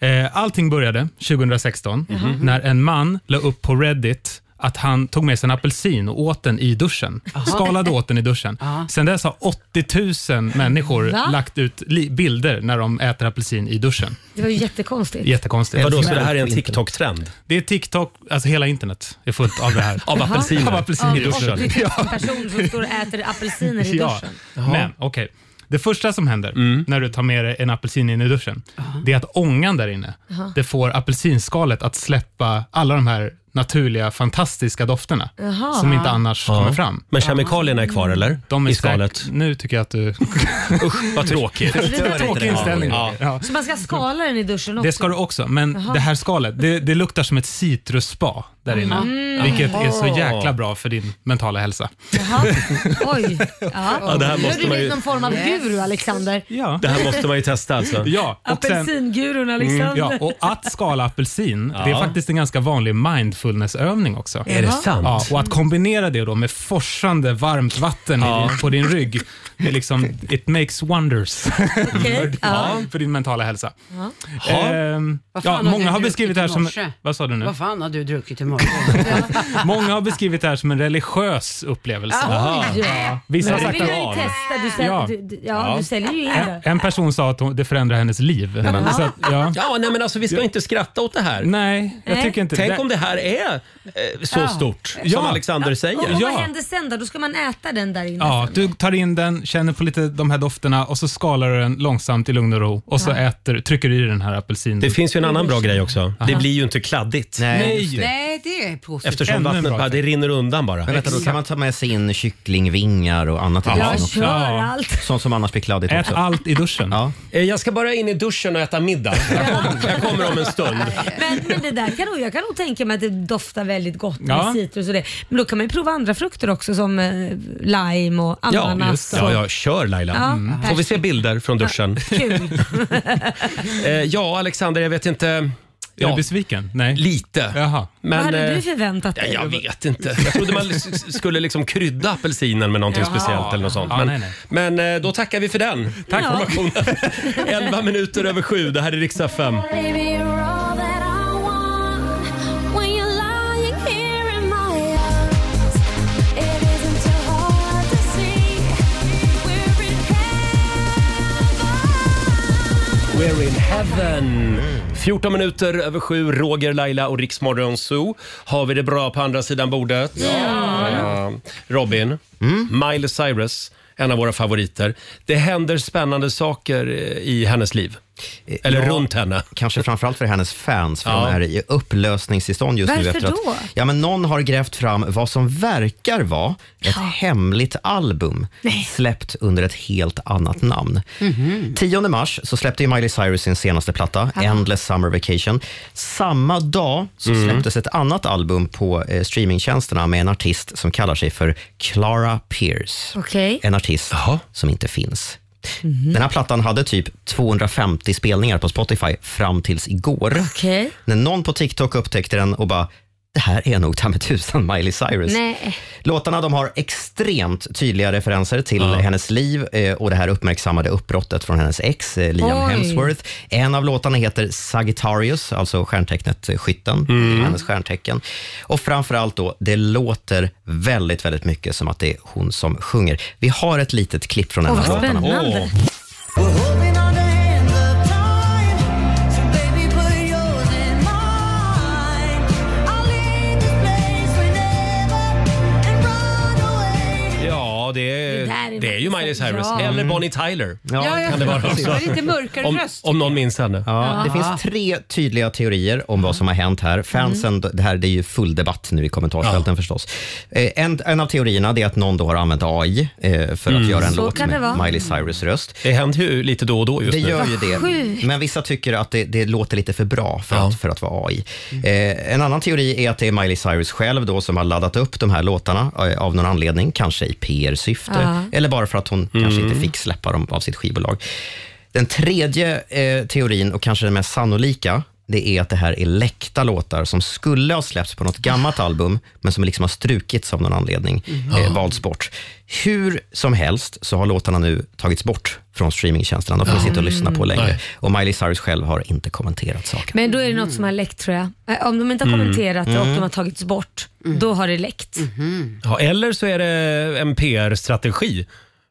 [SPEAKER 1] Mhm.
[SPEAKER 9] Eh, Allting började 2016 när en man la upp på Reddit att han tog med sig en apelsin och åt den i duschen.
[SPEAKER 12] Aha.
[SPEAKER 9] Skalade åt den i duschen.
[SPEAKER 12] Ja.
[SPEAKER 9] Sen dess har 80 000 människor
[SPEAKER 2] Va?
[SPEAKER 9] lagt ut li- bilder när de äter apelsin i duschen.
[SPEAKER 2] Det var ju jättekonstigt.
[SPEAKER 9] Jättekonstigt.
[SPEAKER 1] Vadå, så det här är en TikTok-trend?
[SPEAKER 9] Det är TikTok, alltså hela internet är fullt av det här.
[SPEAKER 1] *laughs* Av
[SPEAKER 2] Jaha.
[SPEAKER 1] apelsiner.
[SPEAKER 9] Av apelsin i
[SPEAKER 2] Av
[SPEAKER 9] duschen.
[SPEAKER 2] 80 000 person som står och äter apelsiner
[SPEAKER 9] *laughs*
[SPEAKER 2] i
[SPEAKER 9] Ja.
[SPEAKER 2] duschen.
[SPEAKER 9] Men okej. Det första som händer
[SPEAKER 1] Mm.
[SPEAKER 9] när du tar med dig en apelsin in i duschen, det är att ångan där inne,
[SPEAKER 2] Aha.
[SPEAKER 9] det får apelsinskalet att släppa alla de här naturliga, fantastiska dofterna
[SPEAKER 2] Jaha.
[SPEAKER 9] som inte annars
[SPEAKER 1] Ja.
[SPEAKER 9] kommer fram.
[SPEAKER 1] Men kemikalierna är kvar eller?
[SPEAKER 9] De är
[SPEAKER 1] I
[SPEAKER 9] I
[SPEAKER 1] skalet?
[SPEAKER 9] Nu tycker jag att du...
[SPEAKER 1] Usch, vad
[SPEAKER 9] *laughs*
[SPEAKER 1] tråkigt.
[SPEAKER 9] Tråkig inställning.
[SPEAKER 1] Ja.
[SPEAKER 9] Ja.
[SPEAKER 2] Så man ska skala den i duschen också?
[SPEAKER 9] Det ska du också, men
[SPEAKER 2] Jaha.
[SPEAKER 9] det här skalet, det, det luktar som ett citrusspa där inne.
[SPEAKER 2] Mm.
[SPEAKER 9] Vilket är så
[SPEAKER 2] Jaha.
[SPEAKER 9] jäkla bra för din mentala hälsa.
[SPEAKER 2] Jaha. *laughs* Oj. Ja.
[SPEAKER 9] Ja, det här
[SPEAKER 2] Nu
[SPEAKER 9] måste
[SPEAKER 2] har
[SPEAKER 9] man
[SPEAKER 2] du blivit
[SPEAKER 9] ju-
[SPEAKER 2] någon form av guru, Alexander.
[SPEAKER 9] Ja.
[SPEAKER 1] Det här måste man ju testa alltså.
[SPEAKER 9] *laughs* Ja, och sen-
[SPEAKER 2] Apelsingurun
[SPEAKER 6] liksom.
[SPEAKER 2] Alexander.
[SPEAKER 9] Mm, ja, och att skala apelsin, det är
[SPEAKER 1] Ja.
[SPEAKER 9] faktiskt en ganska vanlig mindfulnessövning också.
[SPEAKER 1] Är det sant?
[SPEAKER 9] Ja, och att kombinera det då med forsande varmt vatten i
[SPEAKER 1] Ja.
[SPEAKER 9] din, på din rygg, det är liksom, it makes
[SPEAKER 6] *laughs*
[SPEAKER 9] wonders *laughs* för, din-
[SPEAKER 6] ja.
[SPEAKER 9] för din mentala hälsa.
[SPEAKER 6] Ja.
[SPEAKER 9] Ehm,
[SPEAKER 6] Vad fan
[SPEAKER 9] ja,
[SPEAKER 6] har du
[SPEAKER 9] många har
[SPEAKER 6] druckit
[SPEAKER 9] beskrivit det här
[SPEAKER 6] i
[SPEAKER 9] som...
[SPEAKER 6] morse?
[SPEAKER 9] Vad sa du nu?
[SPEAKER 6] Vad fan har du druckit i morse?
[SPEAKER 9] Många har beskrivit det här som en religiös upplevelse.
[SPEAKER 6] Jaha. Oj.
[SPEAKER 9] Ja. Vissa har
[SPEAKER 2] Men
[SPEAKER 9] sagt
[SPEAKER 2] vill jag ju
[SPEAKER 9] att...
[SPEAKER 2] testa. Du, säl-
[SPEAKER 9] Ja.
[SPEAKER 2] du, du, ja,
[SPEAKER 9] Ja.
[SPEAKER 2] du säljer ju in
[SPEAKER 9] En,
[SPEAKER 2] det.
[SPEAKER 9] en person sa att hon- det förändrar hennes liv.
[SPEAKER 1] Nej, men.
[SPEAKER 9] Så att, ja.
[SPEAKER 1] Ja, nej men alltså vi ska inte skratta åt det här.
[SPEAKER 9] Nej,
[SPEAKER 2] jag Nej. tycker inte
[SPEAKER 1] Tänk
[SPEAKER 2] det.
[SPEAKER 1] om det här är eh, så
[SPEAKER 2] Ja.
[SPEAKER 1] stort som
[SPEAKER 9] Ja.
[SPEAKER 1] Alexander
[SPEAKER 2] Och,
[SPEAKER 1] säger.
[SPEAKER 2] och vad händer sen då? Då ska man äta den där inne.
[SPEAKER 9] Ja, du tar in den, känner på lite de här dofterna och så skalar du den långsamt i lugn och ro och så
[SPEAKER 2] Ja. Mm.
[SPEAKER 9] äter, trycker du i den här apelsinen.
[SPEAKER 1] Det finns ju en annan bra grej också. Det blir ju inte kladdigt.
[SPEAKER 6] Nej, det är positivt.
[SPEAKER 1] Eftersom vattnet bara, det rinner undan bara.
[SPEAKER 3] Men vänta, då kan man ta med sig in kycklingvingar och annat i
[SPEAKER 1] Ja.
[SPEAKER 3] duschen
[SPEAKER 1] Jag
[SPEAKER 3] också.
[SPEAKER 1] kör Ja. allt.
[SPEAKER 3] Sånt som annars blir kladdigt
[SPEAKER 1] Ät
[SPEAKER 3] också.
[SPEAKER 9] allt i duschen.
[SPEAKER 3] Ja.
[SPEAKER 1] Eh, Jag ska bara in i duschen och äta middag. Jag kommer, jag kommer om en stund.
[SPEAKER 2] Men, men det där kan nog, jag kan nog tänka mig att det doftar väldigt gott
[SPEAKER 1] Ja.
[SPEAKER 2] med citrus och det. Men då kan man ju prova andra frukter också som eh, lime och ananas.
[SPEAKER 1] Ja,
[SPEAKER 2] och-
[SPEAKER 1] ja, kör Laila.
[SPEAKER 2] Ja,
[SPEAKER 1] Mm. Får vi se bilder från duschen?
[SPEAKER 2] Kul.
[SPEAKER 1] *laughs*
[SPEAKER 2] *laughs*
[SPEAKER 1] Eh, ja, Alexander, jag vet inte. Är
[SPEAKER 9] du besviken? Nej.
[SPEAKER 1] Lite.
[SPEAKER 2] Vad hade
[SPEAKER 1] eh,
[SPEAKER 2] du förväntat
[SPEAKER 1] ja,
[SPEAKER 2] dig?
[SPEAKER 1] jag vet inte. Jag trodde man s- skulle liksom krydda apelsinen med någonting
[SPEAKER 2] Jaha.
[SPEAKER 1] speciellt eller något sånt.
[SPEAKER 9] Ja,
[SPEAKER 1] Men,
[SPEAKER 9] nej,
[SPEAKER 1] men eh, då tackar vi för den. Tack
[SPEAKER 2] Ja.
[SPEAKER 1] för *laughs* informationen. 11 minuter över sju. Det här är riksdag 5.
[SPEAKER 7] Baby, you're all that I want. When you're lying here in my arms, it isn't too hard to see. We're in
[SPEAKER 1] We're in heaven. 14 minuter över sju. Roger, Laila och Riksmorgon Zoo. Har vi det bra på andra sidan bordet? Ja. Robin, Miley Cyrus, en av våra favoriter. Det händer spännande saker eh, i hennes liv. Eller
[SPEAKER 3] Eh, Ja,
[SPEAKER 1] runt henne.
[SPEAKER 3] *laughs* Kanske framförallt för hennes fans, för
[SPEAKER 1] Ja.
[SPEAKER 3] de är i upplösningstillstånd just nu.
[SPEAKER 1] Varför
[SPEAKER 3] Efter
[SPEAKER 1] då?
[SPEAKER 3] Att, ja, men någon har grävt fram vad som verkar vara ett hemligt album
[SPEAKER 12] Nej.
[SPEAKER 3] släppt under ett helt annat namn.
[SPEAKER 1] Mm-hmm.
[SPEAKER 3] 10 mars så släppte ju Miley Cyrus sin senaste platta,
[SPEAKER 12] Ja.
[SPEAKER 3] Endless Summer Vacation. Samma dag så
[SPEAKER 12] Mm.
[SPEAKER 3] släpptes ett annat album på eh, streamingtjänsterna med en artist som kallar sig för Clara Pierce.
[SPEAKER 2] Okej.
[SPEAKER 3] En artist som inte finns.
[SPEAKER 1] Mm-hmm.
[SPEAKER 12] Mm-hmm.
[SPEAKER 3] Den här plattan hade typ 250 spelningar på Spotify fram tills igår.
[SPEAKER 2] Okej.
[SPEAKER 3] När någon på TikTok upptäckte den och bara, det här är nog ta mig tusan Miley Cyrus.
[SPEAKER 2] Nej.
[SPEAKER 3] Låtarna de har extremt tydliga referenser till hennes liv eh, och det här uppmärksammade uppbrottet från hennes ex, eh, Liam
[SPEAKER 12] Oj.
[SPEAKER 3] Hemsworth. En av låtarna heter Sagittarius, alltså stjärntecknet eh, skytten, hennes stjärntecken. Och framförallt då, det låter väldigt, väldigt mycket som att det är hon som sjunger. Vi har ett litet klipp från en
[SPEAKER 12] Åh,
[SPEAKER 3] av
[SPEAKER 12] vad
[SPEAKER 3] låtarna.
[SPEAKER 12] spännande.
[SPEAKER 3] Åh.
[SPEAKER 1] Ja, det är,
[SPEAKER 2] Det där är
[SPEAKER 1] det är ju Miley Cyrus.
[SPEAKER 2] Ja.
[SPEAKER 1] Eller Bonnie Tyler.
[SPEAKER 3] Ja,
[SPEAKER 1] kan det vara
[SPEAKER 3] precis.
[SPEAKER 1] också.
[SPEAKER 3] Det är lite mörkare
[SPEAKER 1] om,
[SPEAKER 3] röst.
[SPEAKER 1] om någon minns henne.
[SPEAKER 3] Ja, det finns tre tydliga teorier om vad som har hänt här. Fansen, det här det är ju full debatt nu i kommentarsfälten förstås. Eh, En, en av teorierna det är att någon då har använt AI eh, för att
[SPEAKER 1] Mm.
[SPEAKER 3] göra en
[SPEAKER 2] Så
[SPEAKER 3] låt
[SPEAKER 2] kan
[SPEAKER 3] med
[SPEAKER 2] det vara.
[SPEAKER 3] Miley Cyrus röst.
[SPEAKER 1] Det händer ju lite då och då just
[SPEAKER 3] det
[SPEAKER 1] nu.
[SPEAKER 3] gör ju
[SPEAKER 1] Vad
[SPEAKER 3] det.
[SPEAKER 1] sjukt.
[SPEAKER 3] Men vissa tycker att det, det låter lite för bra för, att, för att vara AI. Eh, en annan teori är att det är Miley Cyrus själv då som har laddat upp de här låtarna eh, av någon anledning, kanske i PR-syfte
[SPEAKER 12] Ja.
[SPEAKER 3] eller bara för att hon kanske
[SPEAKER 2] Mm.
[SPEAKER 3] inte fick släppa dem av sitt skivbolag. Den tredje eh, teorin och kanske den mest sannolika det är att det här är läckta låtar som skulle ha släppts på något gammalt album, men som liksom har strukits av någon anledning,
[SPEAKER 2] Mm.
[SPEAKER 12] Mhm.
[SPEAKER 3] eh, valts bort. Hur som helst så har låtarna nu tagits bort från streamingtjänsterna. De finns
[SPEAKER 2] Ja.
[SPEAKER 3] inte att lyssna på
[SPEAKER 2] Mm.
[SPEAKER 3] längre.
[SPEAKER 2] Nej.
[SPEAKER 3] Och Miley Cyrus själv har inte kommenterat saken.
[SPEAKER 2] Men då är det något som har läckt tror jag. Eh, Om de inte har
[SPEAKER 3] Mm.
[SPEAKER 2] kommenterat det och
[SPEAKER 3] Mm.
[SPEAKER 2] de har tagits bort,
[SPEAKER 1] Mm.
[SPEAKER 2] då har det läckt.
[SPEAKER 1] Mm-hmm.
[SPEAKER 2] Mm.
[SPEAKER 1] Ja, eller så är det en PR-strategi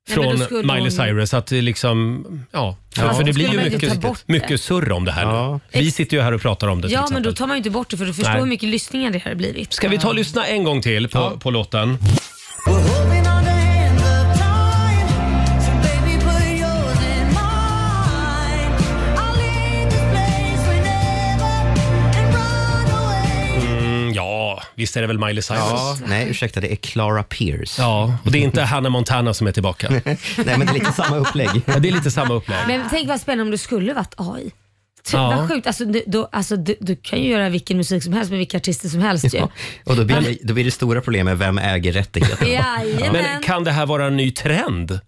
[SPEAKER 2] Nej, men då
[SPEAKER 1] från
[SPEAKER 2] skulle
[SPEAKER 1] Miley
[SPEAKER 2] hon-
[SPEAKER 1] Cyrus att det liksom, ja.
[SPEAKER 2] Ja.
[SPEAKER 1] För det blir ju
[SPEAKER 2] Skulle man inte ta
[SPEAKER 1] mycket,
[SPEAKER 2] bort det?
[SPEAKER 1] mycket surr om det här nu. Vi sitter ju här och pratar om det till
[SPEAKER 2] Ja, men
[SPEAKER 1] exempel.
[SPEAKER 2] då tar man ju inte bort det för du förstår
[SPEAKER 1] Nej.
[SPEAKER 2] hur mycket lyssningar det här har blivit.
[SPEAKER 1] Ska vi ta och lyssna en gång till på, på låten? Mm, Mm, ja, visst är det väl Miley Cyrus?
[SPEAKER 3] Ja, nej, ursäkta, det är Clara Pierce.
[SPEAKER 1] Ja, och det är inte Hannah Montana som
[SPEAKER 3] *laughs*
[SPEAKER 1] är tillbaka. nej,
[SPEAKER 3] men det är lite samma upplägg.
[SPEAKER 1] Ja, det är lite samma upplägg.
[SPEAKER 2] Men tänk vad spännande om det skulle varit AI. Ty,
[SPEAKER 1] Ja.
[SPEAKER 2] Vad sjukt. Alltså, du, då, alltså, du, du kan ju göra vilken musik som helst med vilka artister som helst ju.
[SPEAKER 3] Ja. Och då blir, det, då blir det stora problemet, vem äger rättigheterna?
[SPEAKER 2] Jajamän.
[SPEAKER 1] Men kan det här vara en ny trend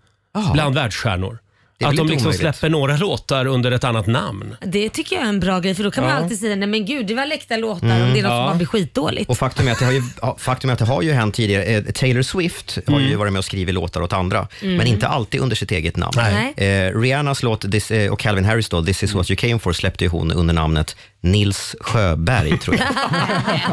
[SPEAKER 1] bland världsstjärnor?
[SPEAKER 3] Det är väl
[SPEAKER 1] Att
[SPEAKER 3] inte
[SPEAKER 1] de liksom
[SPEAKER 3] omöjligt.
[SPEAKER 1] släpper några låtar under ett annat namn.
[SPEAKER 2] Det tycker jag är en bra grej för då kan man
[SPEAKER 3] Ja.
[SPEAKER 2] alltid säga nej men gud det var läckta låtar om
[SPEAKER 3] Mm,
[SPEAKER 2] det är något
[SPEAKER 3] ja.
[SPEAKER 2] som bara blir skitdåligt.
[SPEAKER 3] Och faktum är, att det har ju, ja, faktum är att det har ju hänt tidigare. Eh, Taylor Swift har ju varit med och skrivit låtar åt andra,
[SPEAKER 2] Mm.
[SPEAKER 3] men inte alltid under sitt eget namn.
[SPEAKER 2] Nej.
[SPEAKER 3] Eh, Rihannas låt This, eh, och Calvin Harris då, This is what you came for, släppte ju hon under namnet Nils Sjöberg, tror jag.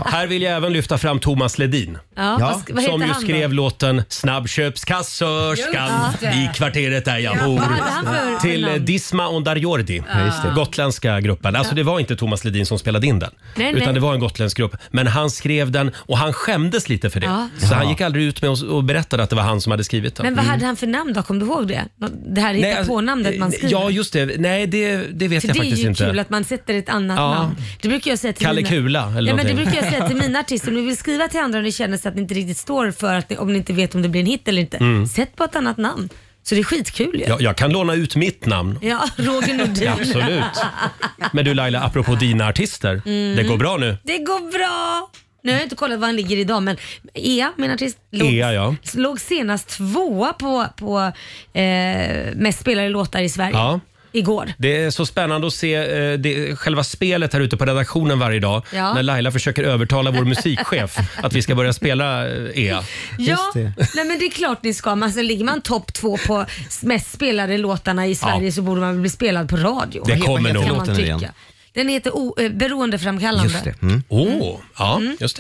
[SPEAKER 1] *laughs* Här vill jag även lyfta fram Thomas Ledin.
[SPEAKER 2] Ja, vad sk- vad heter
[SPEAKER 1] som ju
[SPEAKER 2] han då?
[SPEAKER 1] skrev låten “Snabbköpskassörskan
[SPEAKER 2] Just det.
[SPEAKER 1] i kvarteret där jag
[SPEAKER 2] Ja,
[SPEAKER 1] bor”
[SPEAKER 2] vad hade han för
[SPEAKER 1] till eh,
[SPEAKER 2] namn?
[SPEAKER 1] Disma Ondarjordi,
[SPEAKER 2] Ja, just det.
[SPEAKER 1] gotländska gruppen. Alltså det var inte Thomas Ledin som spelade in den,
[SPEAKER 2] Nej,
[SPEAKER 1] utan
[SPEAKER 2] nej.
[SPEAKER 1] det var en gotländsk grupp. Men han skrev den och han skämdes lite för det.
[SPEAKER 2] Ja.
[SPEAKER 1] Så han
[SPEAKER 2] Ja.
[SPEAKER 1] gick aldrig ut med oss och berättade att det var han som hade skrivit den.
[SPEAKER 2] Men vad hade han för namn då? Kommer du ihåg det? Nå- Det här
[SPEAKER 1] Nej, alltså, eh,
[SPEAKER 2] hitta på namnet man skriver.
[SPEAKER 1] Ja, just det. Nej, det, det vet
[SPEAKER 2] För
[SPEAKER 1] jag
[SPEAKER 2] det är
[SPEAKER 1] faktiskt
[SPEAKER 2] ju
[SPEAKER 1] inte.
[SPEAKER 2] kul att man sätter ett annat
[SPEAKER 1] Ja.
[SPEAKER 2] namn. Det brukar jag säga till
[SPEAKER 1] Kalle
[SPEAKER 2] mina...
[SPEAKER 1] Kula eller
[SPEAKER 2] ja, men Det
[SPEAKER 1] någonting.
[SPEAKER 2] brukar jag
[SPEAKER 1] *laughs*
[SPEAKER 2] säga till mina artister. Om ni vill skriva till andra och ni känner så att ni inte riktigt står för att ni, om ni inte vet om det blir en hit eller inte.
[SPEAKER 1] Mm.
[SPEAKER 2] Sätt på ett annat namn. Så det är skitkul ju. Ja,
[SPEAKER 1] Jag, jag kan låna ut mitt namn. *laughs*
[SPEAKER 2] Roger Nordin.
[SPEAKER 1] Absolut. Men du Laila, apropå dina artister.
[SPEAKER 2] Mm.
[SPEAKER 1] Det går bra nu.
[SPEAKER 2] Det går bra. Nu har jag inte kollat var han ligger idag men Ea, min artist, låg,
[SPEAKER 1] Ea, ja.
[SPEAKER 2] låg senast tvåa på, på eh, mest spelade låtar i Sverige
[SPEAKER 1] Ja.
[SPEAKER 2] igår.
[SPEAKER 1] Det är så spännande att se eh, det, själva spelet här ute på redaktionen varje dag
[SPEAKER 2] Ja.
[SPEAKER 1] när Laila försöker övertala vår
[SPEAKER 2] *laughs*
[SPEAKER 1] musikchef att vi ska börja spela eh, EA.
[SPEAKER 2] Ja, nej men det är klart ni ska. Men alltså, ligger man topp två på mest spelade låtarna i Sverige så borde man väl bli spelad på radio.
[SPEAKER 1] Det kommer nog.
[SPEAKER 2] Kan man
[SPEAKER 1] Låten nu igen.
[SPEAKER 2] tycka. Den heter o, eh, Beroendeframkallande.
[SPEAKER 1] Mm. Åh, ja,
[SPEAKER 2] Mm.
[SPEAKER 1] just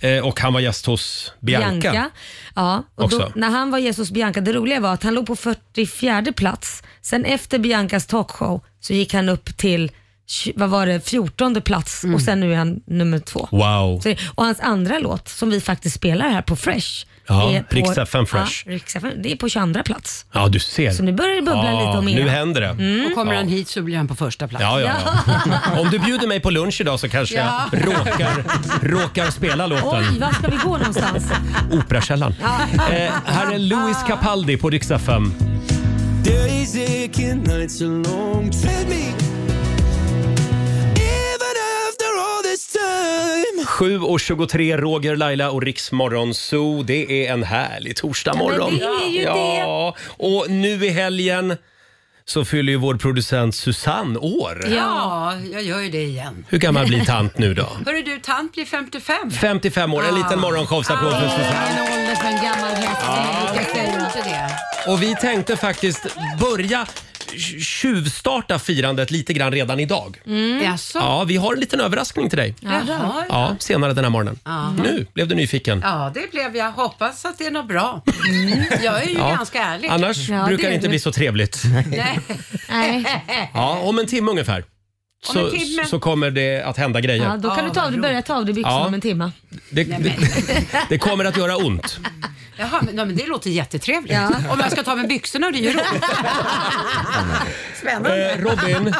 [SPEAKER 1] det. Eh, och han var gäst hos Bianca.
[SPEAKER 2] Ja, och då,
[SPEAKER 1] Också.
[SPEAKER 2] när han var gäst hos Bianca, det roliga var att han låg på 44 plats. Sen efter Biancas talkshow så gick han upp till tj- vad var det, 14 plats och sen nu är han nummer två.
[SPEAKER 1] Mm. Wow.
[SPEAKER 2] Så det, och hans andra låt som vi faktiskt spelar här på Fresh.
[SPEAKER 1] Ja,
[SPEAKER 2] är på-
[SPEAKER 1] Rix FM Fresh.
[SPEAKER 2] Ja, Rix FM, det är på 22 plats.
[SPEAKER 1] Ja, du ser.
[SPEAKER 2] Så nu börjar det bubbla
[SPEAKER 1] Ja,
[SPEAKER 2] lite om Mm. er.
[SPEAKER 1] Nu händer det.
[SPEAKER 6] Och kommer
[SPEAKER 1] ja.
[SPEAKER 6] han hit så blir han på första plats.
[SPEAKER 1] Ja, ja, ja. Om du bjuder mig på lunch idag så kanske
[SPEAKER 6] Ja.
[SPEAKER 1] jag råkar, råkar spela låten.
[SPEAKER 2] Oj, var ska vi gå
[SPEAKER 1] *laughs*
[SPEAKER 2] någonstans?
[SPEAKER 1] Operakällaren. Eh, här är Louis Capaldi på Rix FM.
[SPEAKER 4] Days ache and nights are long. Tread me. Even after all this time.
[SPEAKER 1] 7.23, Roger, Laila och Riks Morgonzoo. Det är en härlig torsdagmorgon.
[SPEAKER 4] Ja, men det är ju
[SPEAKER 1] ja. Och nu i helgen så fyller ju vår producent Susanne år.
[SPEAKER 6] Ja, jag gör ju det igen.
[SPEAKER 1] Hur gammal blir tant nu då?
[SPEAKER 6] Hörru du, tant blir 55.
[SPEAKER 1] 55 år. En
[SPEAKER 4] Ah.
[SPEAKER 1] liten morgonshowsapplåd för Susanne.
[SPEAKER 6] En ålder för en gammal häst.
[SPEAKER 2] Ja.
[SPEAKER 6] Jag säger inte det.
[SPEAKER 1] Och vi tänkte faktiskt börja tj- tjuvstarta firandet lite grann redan idag.
[SPEAKER 6] Mm. Jaså?
[SPEAKER 1] Ja, vi har en liten överraskning till dig.
[SPEAKER 6] Jaha.
[SPEAKER 1] Ja, senare den här morgonen.
[SPEAKER 6] Ja.
[SPEAKER 1] Nu blev du nyfiken.
[SPEAKER 6] Ja, det blev jag. Hoppas att det är något bra.
[SPEAKER 2] Mm.
[SPEAKER 6] Jag är ju
[SPEAKER 1] Ja.
[SPEAKER 6] ganska ärlig.
[SPEAKER 1] Annars brukar det inte bli så trevligt.
[SPEAKER 6] Nej.
[SPEAKER 1] Ja, om en timme ungefär.
[SPEAKER 2] Om
[SPEAKER 1] så,
[SPEAKER 2] en timme.
[SPEAKER 1] så kommer det att hända grejer.
[SPEAKER 2] Ja, då kan du ta av dig, börja ta av dig byxorna
[SPEAKER 1] Ja.
[SPEAKER 2] om en timme.
[SPEAKER 1] det, det, *laughs* det kommer att göra ont.
[SPEAKER 6] Jaha, men, nej, men det låter jättetrevligt. Om jag ska ta med byxorna och det gör ont.
[SPEAKER 2] *laughs*
[SPEAKER 6] Spännande.
[SPEAKER 1] Eh,
[SPEAKER 3] *laughs*
[SPEAKER 1] Robin,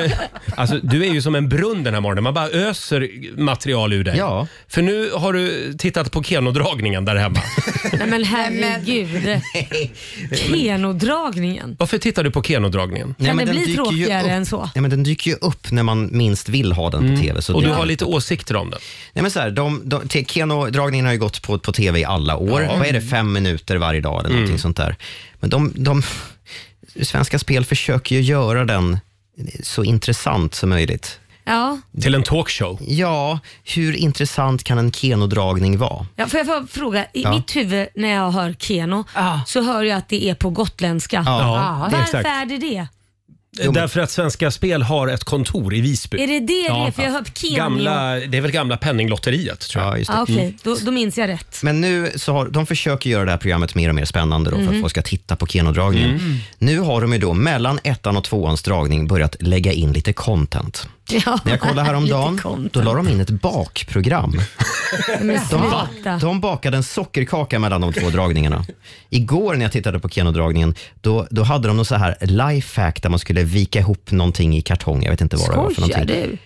[SPEAKER 1] eh, alltså, du är ju som en brunn den här morgonen. Man bara öser material ur dig.
[SPEAKER 3] Ja.
[SPEAKER 1] För nu har du tittat på Keno-dragningen
[SPEAKER 3] *laughs*
[SPEAKER 1] där hemma.
[SPEAKER 2] Nej men *laughs* herregud. Kenodragningen.
[SPEAKER 1] Varför tittar du på Keno-dragningen?
[SPEAKER 2] Kan det
[SPEAKER 3] den
[SPEAKER 2] bli
[SPEAKER 3] dyker ju
[SPEAKER 2] tråkigare
[SPEAKER 3] upp.
[SPEAKER 2] än så?
[SPEAKER 3] Ja, men den dyker ju upp när man minst vill ha den på tv. Så
[SPEAKER 1] Mm. Och
[SPEAKER 3] det-
[SPEAKER 1] du har lite åsikter om den?
[SPEAKER 3] Nej, men så här, de, de, te- Keno-dragningen har ju gått på, på tv i alla år.
[SPEAKER 1] Ja. Mm.
[SPEAKER 3] Vad är det, fem minuter varje dag eller någonting sånt där. Men de, de, Svenska Spel försöker ju göra den så intressant som möjligt.
[SPEAKER 2] Ja.
[SPEAKER 1] Till en talkshow?
[SPEAKER 3] Ja, hur intressant kan en kenodragning vara?
[SPEAKER 2] Ja, får jag bara fråga, i
[SPEAKER 3] Ja.
[SPEAKER 2] mitt huvud när jag hör Keno så hör jag att det är på gotländska.
[SPEAKER 1] Ja, det är
[SPEAKER 2] Varför
[SPEAKER 1] exakt.
[SPEAKER 2] är det det?
[SPEAKER 1] Därför att Svenska Spel har ett kontor i Visby.
[SPEAKER 2] Är det det det är? För jag har hört Keno.
[SPEAKER 1] Gamla, det är väl gamla Penninglotteriet tror jag.
[SPEAKER 3] Ja, just Mm.
[SPEAKER 2] Ah, Okej, då, då minns jag rätt. *laughs*
[SPEAKER 3] Men nu så har, de försöker göra det här programmet mer och mer spännande då, för
[SPEAKER 2] Mhm.
[SPEAKER 3] att folk ska titta på kenodragningen.
[SPEAKER 2] Mm.
[SPEAKER 3] Nu har de ju då mellan ettan och tvåans dragning börjat lägga in lite content.
[SPEAKER 2] Ja.
[SPEAKER 3] När jag
[SPEAKER 2] *laughs*
[SPEAKER 3] kollade häromdagen, då la de in ett bakprogram.
[SPEAKER 2] Men
[SPEAKER 3] De,
[SPEAKER 2] sluta.
[SPEAKER 3] de bakade en sockerkaka mellan de två dragningarna. Igår när jag tittade på Keno-dragningen, då, då hade de någon så här lifehack där man skulle vika ihop någonting i kartong. Jag vet inte vad det var för
[SPEAKER 1] Skojar
[SPEAKER 3] någonting.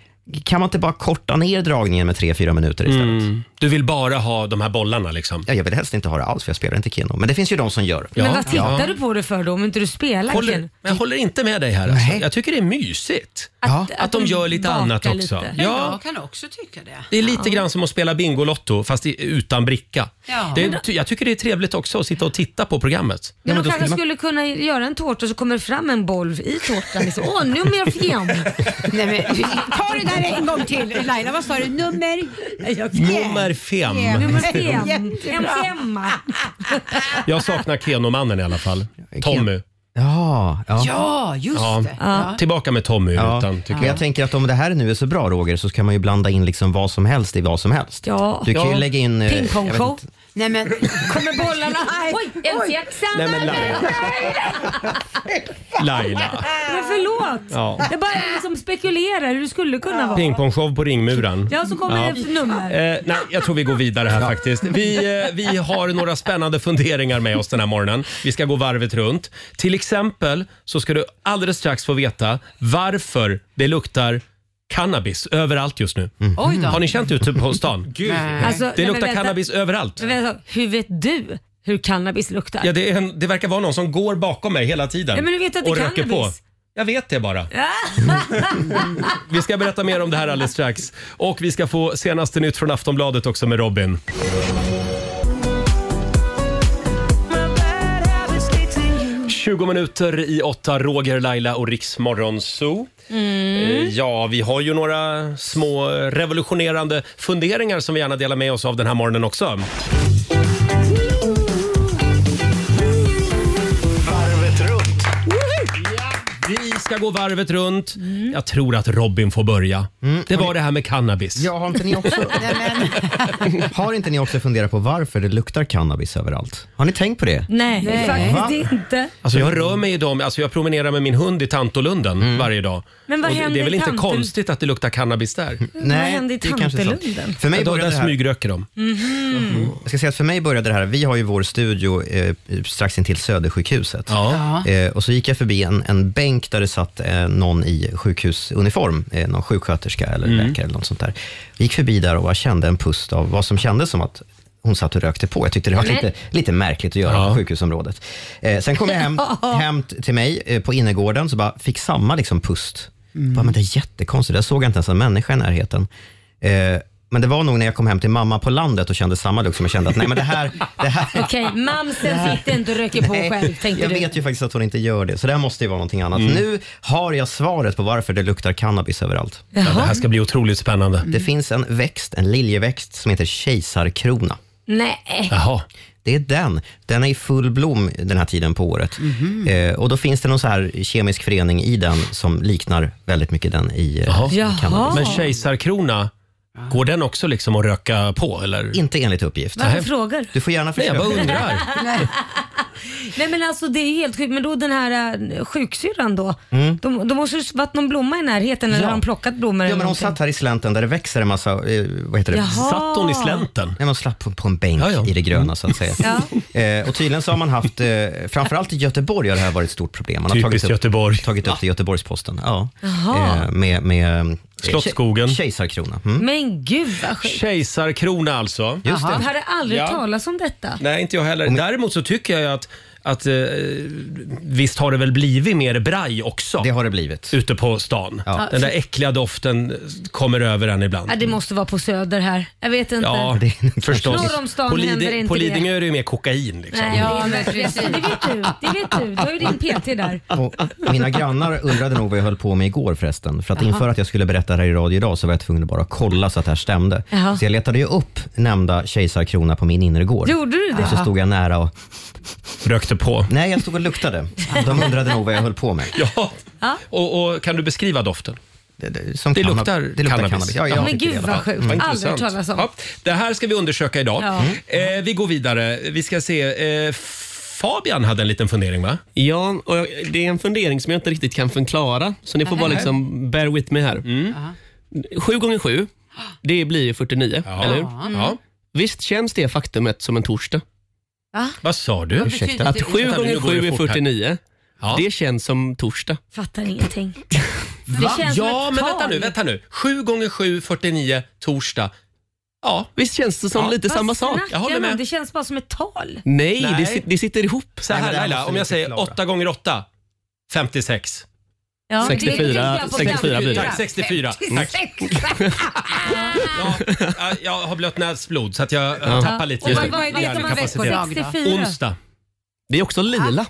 [SPEAKER 3] Kan man inte bara korta ner dragningen med tre fyra minuter
[SPEAKER 2] Mm.
[SPEAKER 3] istället?
[SPEAKER 1] Du vill bara ha de här bollarna liksom?
[SPEAKER 3] Ja, jag vill helst inte ha det alls för jag spelar inte Keno. Men det finns ju de som gör.
[SPEAKER 2] Men vad tittar du på det för då om inte du spelar
[SPEAKER 1] Håller,
[SPEAKER 2] Keno?
[SPEAKER 1] men jag håller inte med dig här. Alltså. Jag tycker det är mysigt.
[SPEAKER 2] Att-
[SPEAKER 1] Att,
[SPEAKER 2] att
[SPEAKER 1] de
[SPEAKER 2] de
[SPEAKER 1] gör lite
[SPEAKER 2] bakar
[SPEAKER 1] annat
[SPEAKER 2] lite.
[SPEAKER 1] också.
[SPEAKER 6] Ja.
[SPEAKER 1] Ja,
[SPEAKER 6] Jag kan också tycka det.
[SPEAKER 1] det är lite grann som att spela Bingolotto fast i, utan bricka.
[SPEAKER 2] Ja.
[SPEAKER 1] Det
[SPEAKER 2] Men
[SPEAKER 1] är,
[SPEAKER 2] då-
[SPEAKER 1] ty- jag tycker det är trevligt också att sitta och titta på programmet.
[SPEAKER 2] Men de kanske skulle kunna göra en tårta och så kommer det fram en boll i tårtan. Liksom. Åh, nu mer fjäm.
[SPEAKER 6] Nej, men, ta det där en gång till. Laila, vad sa du? Nummer?
[SPEAKER 1] Nummer fem.
[SPEAKER 2] Nummer
[SPEAKER 1] *laughs*
[SPEAKER 2] fem. En
[SPEAKER 6] Jättebra.
[SPEAKER 2] femma.
[SPEAKER 1] Jag saknar Kenomannen i alla fall. Tommy.
[SPEAKER 3] Ja, ja.
[SPEAKER 6] Ja, just det. Ja.
[SPEAKER 1] Tillbaka med Tommy i
[SPEAKER 3] Ja,
[SPEAKER 1] rutan tycker
[SPEAKER 3] men jag tänker att om det här nu är så bra Roger så kan man ju blanda in liksom vad som helst i vad som helst.
[SPEAKER 2] Ja.
[SPEAKER 3] Du kan ju
[SPEAKER 2] Ja.
[SPEAKER 3] lägga in... eh, jag vet inte.
[SPEAKER 6] Nej men,
[SPEAKER 2] kommer bollarna? *laughs* Oj, en fjäxa.
[SPEAKER 1] Nej, men
[SPEAKER 4] *laughs*
[SPEAKER 1] Laila. Laila.
[SPEAKER 2] Men förlåt.
[SPEAKER 1] Ja.
[SPEAKER 2] Jag bara liksom spekulerar hur det skulle kunna vara.
[SPEAKER 1] Pingpongshow på ringmuren.
[SPEAKER 2] Ja, så kommer
[SPEAKER 1] Ja.
[SPEAKER 2] det ett nummer.
[SPEAKER 1] Eh, nej, jag tror vi går vidare här faktiskt. Vi, eh, vi har några spännande funderingar med oss den här morgonen. Vi ska gå varvet runt. Till exempel så ska du alldeles strax få veta varför det luktar cannabis överallt just nu.
[SPEAKER 2] Oj då.
[SPEAKER 1] Har ni känt ute på stan?
[SPEAKER 2] Nej. Alltså,
[SPEAKER 1] det
[SPEAKER 2] nej, men
[SPEAKER 1] luktar
[SPEAKER 2] vänta.
[SPEAKER 1] cannabis överallt.
[SPEAKER 2] Men vänta, hur vet du hur cannabis luktar?
[SPEAKER 1] Ja, det, är en, det verkar vara någon som går bakom mig hela tiden
[SPEAKER 2] Ja, men du vet att det
[SPEAKER 1] och
[SPEAKER 2] är
[SPEAKER 1] röker på.
[SPEAKER 2] cannabis.
[SPEAKER 1] Jag vet det bara. Vi ska berätta mer om det här alldeles strax. Och vi ska få senaste nytt från Aftonbladet också med Robin.
[SPEAKER 8] Mm.
[SPEAKER 1] 20 minuter i åtta, Roger, Laila och Riksmorgon Zoo.
[SPEAKER 2] Mm.
[SPEAKER 3] Mm.
[SPEAKER 1] Eh, Ja, vi har ju några små revolutionerande funderingar som vi gärna delar med oss av den här morgonen också.
[SPEAKER 8] Varvet runt.
[SPEAKER 1] Vi ska gå varvet runt.
[SPEAKER 3] Mm.
[SPEAKER 1] Jag tror att Robin får börja. Det var det här med cannabis.
[SPEAKER 3] Ja, har inte ni
[SPEAKER 1] *laughs*
[SPEAKER 3] också? Har inte ni också funderat på varför det luktar cannabis överallt? Har ni tänkt på det?
[SPEAKER 2] *laughs* Nej,
[SPEAKER 3] Nej.
[SPEAKER 2] faktiskt inte.
[SPEAKER 1] Alltså jag rör mig i dem, alltså jag promenerar med min hund i Tantolunden
[SPEAKER 3] Mm.
[SPEAKER 1] varje dag.
[SPEAKER 2] Men vad
[SPEAKER 1] Och det, det
[SPEAKER 2] händer
[SPEAKER 1] är
[SPEAKER 2] i
[SPEAKER 1] väl inte
[SPEAKER 2] Tantel-
[SPEAKER 1] konstigt att det luktar cannabis där?
[SPEAKER 3] Nej, händer i det är kanske sant. Tantelunden? För mig
[SPEAKER 1] Ja, då-
[SPEAKER 3] började
[SPEAKER 1] där
[SPEAKER 3] det här-
[SPEAKER 1] smygröker de.
[SPEAKER 2] Mm-hmm.
[SPEAKER 3] Jag ska säga att för mig började det här, vi har ju vår studio eh, strax intill Södersjukhuset.
[SPEAKER 1] Ja.
[SPEAKER 3] Eh, och så gick jag förbi en, en bänk där det satt eh, någon i sjukhusuniform, eh, någon sjuksköterska eller
[SPEAKER 1] Mm.
[SPEAKER 3] läkare eller något sånt där. Jag gick förbi där och jag kände en pust av vad som kändes som att hon satt och rökte på. Jag tyckte det var
[SPEAKER 2] Nej.
[SPEAKER 3] lite, lite märkligt att göra på sjukhusområdet. Eh, sen kom jag hem, hem t- till mig eh, på innergården så bara fick samma liksom pust.
[SPEAKER 8] Mm.
[SPEAKER 3] Bara, men det är jättekonstigt, jag såg inte ens en människa i närheten. Eh, men det var nog när jag kom hem till mamma på landet och kände samma lukt som jag kände att nej men det här, det
[SPEAKER 2] *laughs*
[SPEAKER 3] här, *laughs*
[SPEAKER 2] Okej, mamsen sitter inte och röker på själv tänkte
[SPEAKER 3] jag
[SPEAKER 2] du.
[SPEAKER 3] vet ju faktiskt att hon inte gör det, så det här måste ju vara någonting annat.
[SPEAKER 1] Mm.
[SPEAKER 3] Nu har jag svaret på varför det luktar cannabis överallt.
[SPEAKER 2] Ja, det här
[SPEAKER 1] ska bli otroligt spännande.
[SPEAKER 3] Det finns en växt, en liljeväxt, som heter kejsarkrona.
[SPEAKER 2] Nej.
[SPEAKER 3] Det är den. Den är i full blom den här tiden på året.
[SPEAKER 2] Mhm.
[SPEAKER 1] Mm.
[SPEAKER 3] Eh, och Då finns det någon så här kemisk förening i den som liknar väldigt mycket den i eh,
[SPEAKER 1] Jaha.
[SPEAKER 3] cannabis.
[SPEAKER 1] Men kejsarkrona, går den också liksom att röka på eller?
[SPEAKER 3] Inte enligt uppgift.
[SPEAKER 2] Varför frågar
[SPEAKER 3] Du får gärna
[SPEAKER 1] Nej, jag
[SPEAKER 3] försöka.
[SPEAKER 1] bara undrar.
[SPEAKER 2] *laughs* Nej men alltså det är ju helt sjukt. Men då den här äh, sjuksyrran då?
[SPEAKER 3] Mm.
[SPEAKER 2] De, de måste ju varit någon blomma i närheten eller
[SPEAKER 3] Ja.
[SPEAKER 2] har de plockat blommor
[SPEAKER 3] Ja,
[SPEAKER 2] eller
[SPEAKER 3] men hon
[SPEAKER 2] någonting?
[SPEAKER 3] satt här i slänten där det växer en massa... eh, Vad heter det?
[SPEAKER 2] Jaha. Satt hon i slänten?
[SPEAKER 3] Nej, man slapp på, på en bänk i det
[SPEAKER 1] Mm.
[SPEAKER 3] gröna så att
[SPEAKER 2] *laughs*
[SPEAKER 3] säga. Eh, och tydligen så har man haft, eh, framförallt i Göteborg har det här varit ett stort problem. Man har
[SPEAKER 1] Typiskt
[SPEAKER 3] tagit upp,
[SPEAKER 1] Göteborg.
[SPEAKER 3] Tagit upp det i Göteborgs-Posten. Ja.
[SPEAKER 2] Jaha.
[SPEAKER 3] Eh, med, med eh,
[SPEAKER 1] Slottsskogen.
[SPEAKER 3] ke- Kejsarkrona. Mm.
[SPEAKER 2] Men gud
[SPEAKER 3] *laughs*
[SPEAKER 2] vad sjukt.
[SPEAKER 1] Kejsarkrona alltså.
[SPEAKER 2] Jag hade aldrig
[SPEAKER 1] Ja.
[SPEAKER 2] talat om detta.
[SPEAKER 1] Nej, inte jag heller. Däremot så tycker jag ju att att eh, visst har det väl blivit mer braj också? Det
[SPEAKER 3] har det blivit.
[SPEAKER 1] Ute på stan.
[SPEAKER 2] Ja.
[SPEAKER 1] Den där äckliga doften kommer över en ibland.
[SPEAKER 2] Ja, det måste vara på Söder här. Jag vet
[SPEAKER 3] *laughs*
[SPEAKER 2] inte.
[SPEAKER 1] Ja, förstås.
[SPEAKER 2] Norr om stan
[SPEAKER 1] på, Lidi-
[SPEAKER 2] händer inte
[SPEAKER 1] på
[SPEAKER 2] det.
[SPEAKER 1] Lidingö är det ju mer kokain. Liksom.
[SPEAKER 2] Nej,
[SPEAKER 6] Ja,
[SPEAKER 2] det är
[SPEAKER 6] men
[SPEAKER 2] precis.
[SPEAKER 6] precis.
[SPEAKER 2] Det vet du. Det vet du. Du har ju din PT där.
[SPEAKER 3] Och mina grannar undrade nog vad jag höll på med igår förresten. För att
[SPEAKER 2] Jaha.
[SPEAKER 3] inför att jag skulle berätta det här i radio idag så var jag tvungen att bara kolla så att det här stämde.
[SPEAKER 2] Jaha.
[SPEAKER 3] Så jag letade ju upp nämnda kejsarkrona på min innergård.
[SPEAKER 2] Gjorde du det?
[SPEAKER 3] Och så stod jag nära och...
[SPEAKER 1] Rökte på?
[SPEAKER 3] Nej, jag stod och luktade. De undrade nog vad jag höll på med.
[SPEAKER 1] Ja. Och, och kan du beskriva doften?
[SPEAKER 3] som
[SPEAKER 1] det,
[SPEAKER 3] cannab-
[SPEAKER 1] luktar
[SPEAKER 3] det luktar
[SPEAKER 1] cannabis.
[SPEAKER 3] cannabis. Ja, jag Men tycker
[SPEAKER 2] gud det i alla vad fall. sjukt. Aldrig
[SPEAKER 1] intressant.
[SPEAKER 2] hört talas om.
[SPEAKER 1] Ja, det här ska vi undersöka idag.
[SPEAKER 2] Ja.
[SPEAKER 1] Eh, vi går vidare. Vi ska se. Eh, Fabian hade en liten fundering va?
[SPEAKER 10] Ja, och jag, det är en fundering som jag inte riktigt kan förklara, så ni får bara
[SPEAKER 1] Nej.
[SPEAKER 10] liksom bear with me här.
[SPEAKER 1] Mm.
[SPEAKER 10] Sju gånger sju, det blir ju 49, eller
[SPEAKER 1] Ja.
[SPEAKER 10] hur?
[SPEAKER 1] Ja.
[SPEAKER 10] Visst känns det faktumet som en torsdag?
[SPEAKER 1] Vad sa du? Vad betyder Ursäkta. det?
[SPEAKER 10] Att sju
[SPEAKER 1] Vänta, nu
[SPEAKER 10] gånger
[SPEAKER 1] går det
[SPEAKER 10] sju är
[SPEAKER 1] fort här.
[SPEAKER 10] 49, det känns som torsdag.
[SPEAKER 2] Fattar ingenting.
[SPEAKER 1] Va?
[SPEAKER 2] känns som
[SPEAKER 1] ja,
[SPEAKER 2] ett
[SPEAKER 1] men
[SPEAKER 2] tal.
[SPEAKER 1] vänta nu, vänta nu. 7 gånger 7, 49, torsdag. Ja,
[SPEAKER 10] visst känns det som lite
[SPEAKER 2] Vad
[SPEAKER 10] samma sak?
[SPEAKER 2] snackar
[SPEAKER 1] Jag håller
[SPEAKER 2] du om?
[SPEAKER 1] med.
[SPEAKER 2] Det känns bara som ett tal.
[SPEAKER 10] Nej, Det, sit- det sitter ihop.
[SPEAKER 1] Så här Laila, om jag säger 8 gånger 8, 56.
[SPEAKER 2] Ja, det
[SPEAKER 10] 64,
[SPEAKER 2] tänker jag på
[SPEAKER 10] 64 blir det.
[SPEAKER 1] Tack, 64. Tack. Ja, jag har blött näsblod så att jag
[SPEAKER 10] Ja.
[SPEAKER 1] ja. tappar lite
[SPEAKER 10] Och
[SPEAKER 1] just
[SPEAKER 10] vad-
[SPEAKER 1] nu.
[SPEAKER 10] vad heter man väcker
[SPEAKER 1] Hjärnkapacitet.
[SPEAKER 10] på dagen då?
[SPEAKER 1] Onsdag.
[SPEAKER 10] Det är också lila.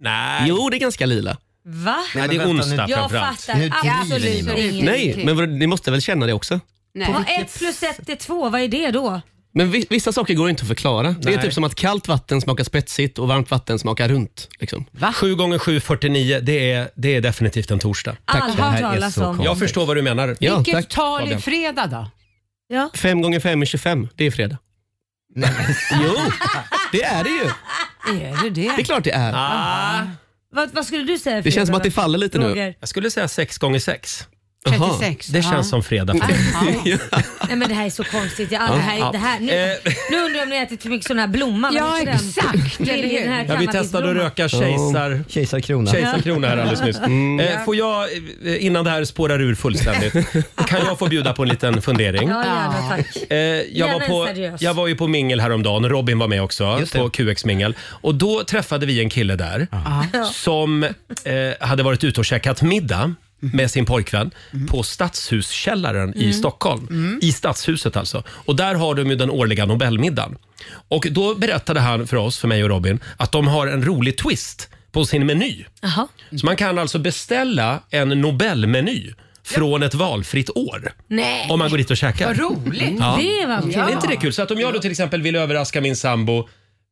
[SPEAKER 1] Nej.
[SPEAKER 10] Jo, det är ganska lila.
[SPEAKER 2] Va?
[SPEAKER 10] Nej, det är onsdag
[SPEAKER 2] Jag
[SPEAKER 10] framförallt.
[SPEAKER 2] fattar absolut ingenting.
[SPEAKER 10] Nej, men vad- ni måste väl känna det också?
[SPEAKER 2] Nej. Vad ett plus ett är två, vad är det då?
[SPEAKER 10] Men vi- vissa saker går inte att förklara. Det är
[SPEAKER 1] Nej.
[SPEAKER 10] typ som att kallt vatten smakar spetsigt och varmt vatten smakar runt. Liksom.
[SPEAKER 1] 7 gånger 7, 49. Det är, det är definitivt en torsdag.
[SPEAKER 10] Tack. Aldrig Det här hört är talas så om. konstigt.
[SPEAKER 1] Jag förstår vad du menar.
[SPEAKER 6] Vilket tal är fredag då?
[SPEAKER 2] Ja.
[SPEAKER 10] Fem gånger fem är 25. Det är fredag. jo, det är det ju.
[SPEAKER 2] Är det
[SPEAKER 10] Det är klart det är.
[SPEAKER 2] Vad, vad skulle du säga?
[SPEAKER 10] Det känns som att det faller lite nu.
[SPEAKER 2] Roger?
[SPEAKER 1] Ah. Jag skulle säga 6 gånger 6.
[SPEAKER 2] 36,
[SPEAKER 1] Det känns
[SPEAKER 2] ja.
[SPEAKER 1] som fredag. för mig.
[SPEAKER 2] Nej men det här är så konstigt. Jag, det här,
[SPEAKER 1] Ja.
[SPEAKER 2] det här, nu, nu undrar jag om ni har ätit för mycket sån här blomma.
[SPEAKER 6] Ja, exakt.
[SPEAKER 2] Den, den, den här
[SPEAKER 1] Ja, vi testade att
[SPEAKER 2] cannabisblomman.
[SPEAKER 1] röka kejsar...
[SPEAKER 3] Kejsarkrona.
[SPEAKER 1] Kejsarkrona här
[SPEAKER 12] *laughs*
[SPEAKER 1] alldeles nyss.
[SPEAKER 10] Mm.
[SPEAKER 1] Eh, får jag, eh, innan det här spårar
[SPEAKER 12] *laughs*
[SPEAKER 1] ur fullständigt, kan jag få bjuda på en liten fundering?
[SPEAKER 2] Ja, gärna tack.
[SPEAKER 1] Eh, jag,
[SPEAKER 2] Gärna
[SPEAKER 1] var
[SPEAKER 2] en
[SPEAKER 1] på,
[SPEAKER 2] seriös.
[SPEAKER 1] jag var ju på mingel häromdagen, Robin var med också, på QX-mingel. Och då träffade vi en kille där som eh, hade varit ute och käkat middag med sin pojkvän på Stadshuskällaren i
[SPEAKER 12] Mm.
[SPEAKER 1] Stockholm.
[SPEAKER 12] Mm.
[SPEAKER 1] I Stadshuset alltså. Och där har de ju den årliga Nobelmiddagen. Och då berättade han för oss, för mig och Robin, att de har en rolig twist på sin meny.
[SPEAKER 2] Jaha.
[SPEAKER 1] Så man kan alltså beställa en Nobelmeny från ett valfritt år.
[SPEAKER 2] Nej.
[SPEAKER 1] Om man går dit och käkar.
[SPEAKER 2] Vad roligt. Det var kul.
[SPEAKER 1] Är inte det kul? Så att om jag då till exempel vill överraska min sambo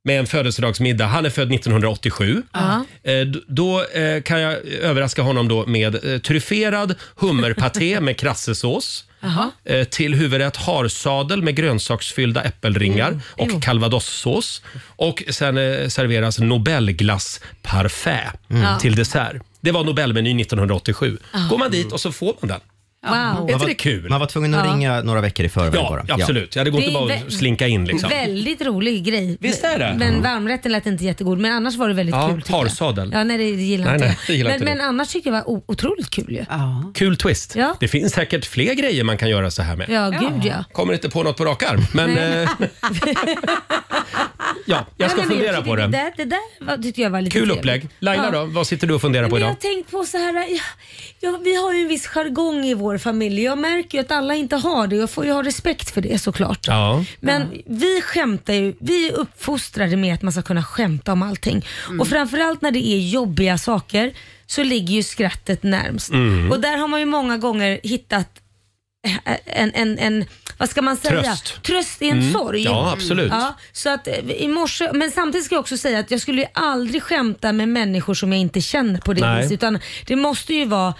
[SPEAKER 1] med en födelsedagsmiddag, han är född 1987.
[SPEAKER 2] Ja.
[SPEAKER 1] Eh, d- Då eh, kan jag överraska honom då med eh, tryfferad hummerpaté med krassesås.
[SPEAKER 2] Jaha.
[SPEAKER 1] Eh, Till huvudrätt harsadel med grönsaksfyllda äppelringar
[SPEAKER 2] Mm.
[SPEAKER 1] och calvadossås. Och sen eh, serveras Nobelglass parfait
[SPEAKER 2] Mm. Ja.
[SPEAKER 1] till dessert. Det var Nobelmenyn 1987.
[SPEAKER 2] Ah.
[SPEAKER 1] Går man dit och så får man den.
[SPEAKER 2] Wow.
[SPEAKER 1] Är inte det kul?
[SPEAKER 3] Man var tvungen att
[SPEAKER 2] Ja.
[SPEAKER 3] ringa några veckor i förväg
[SPEAKER 1] Ja,
[SPEAKER 3] bara.
[SPEAKER 1] absolut. Ja, det går
[SPEAKER 2] Det
[SPEAKER 1] inte
[SPEAKER 2] är
[SPEAKER 1] bara
[SPEAKER 2] vä-
[SPEAKER 1] att slinka in liksom.
[SPEAKER 2] Väldigt rolig grej.
[SPEAKER 1] Visst är det?
[SPEAKER 2] Men
[SPEAKER 1] Ja.
[SPEAKER 2] varmrätten lät inte jättegod, men annars var det väldigt
[SPEAKER 1] Ja,
[SPEAKER 2] kul. tycker jag.
[SPEAKER 1] harsadel.
[SPEAKER 2] Ja, nej det gillar
[SPEAKER 1] Nej,
[SPEAKER 2] inte
[SPEAKER 1] nej, det
[SPEAKER 2] jag.
[SPEAKER 1] gillar
[SPEAKER 2] Men,
[SPEAKER 1] inte
[SPEAKER 2] men
[SPEAKER 1] du.
[SPEAKER 2] annars tycker jag det var o- otroligt kul ju. Ja,
[SPEAKER 1] Kul twist.
[SPEAKER 2] Ja.
[SPEAKER 1] Det finns säkert fler grejer man kan göra så här med.
[SPEAKER 2] gud ja.
[SPEAKER 1] Kommer inte på något på rak arm, men
[SPEAKER 2] *laughs*
[SPEAKER 1] eh, ja, jag ska
[SPEAKER 2] Nej, men
[SPEAKER 1] fundera
[SPEAKER 2] tycker
[SPEAKER 1] på
[SPEAKER 2] det.
[SPEAKER 1] det.
[SPEAKER 2] där- Det där var- tyckte jag var lite
[SPEAKER 1] Kul
[SPEAKER 2] trevligt.
[SPEAKER 1] upplägg. Laila
[SPEAKER 2] Ja.
[SPEAKER 1] då, vad sitter du och funderar på
[SPEAKER 2] Men jag
[SPEAKER 1] idag?
[SPEAKER 2] har tänkt på så här, ja, ja, vi har ju en viss jargong i vår familj. Jag märker ju att alla inte har det. Jag får ju ha respekt för det såklart.
[SPEAKER 1] Ja.
[SPEAKER 2] Men vi skämtar ju, vi är uppfostrade med att man ska kunna skämta om allting.
[SPEAKER 7] Mm.
[SPEAKER 2] Och framförallt när det är jobbiga saker så ligger ju skrattet närmst.
[SPEAKER 7] Mm.
[SPEAKER 2] Och där har man ju många gånger hittat eh, en, en, en vad ska man säga?
[SPEAKER 7] Tröst.
[SPEAKER 2] Tröst i en
[SPEAKER 7] Mm.
[SPEAKER 2] sorg.
[SPEAKER 7] Ja, absolut.
[SPEAKER 2] Ja, så att eh, i morse, men samtidigt ska jag också säga att jag skulle ju aldrig skämta med människor som jag inte känner på det
[SPEAKER 7] Nej.
[SPEAKER 2] viset. Utan det måste ju vara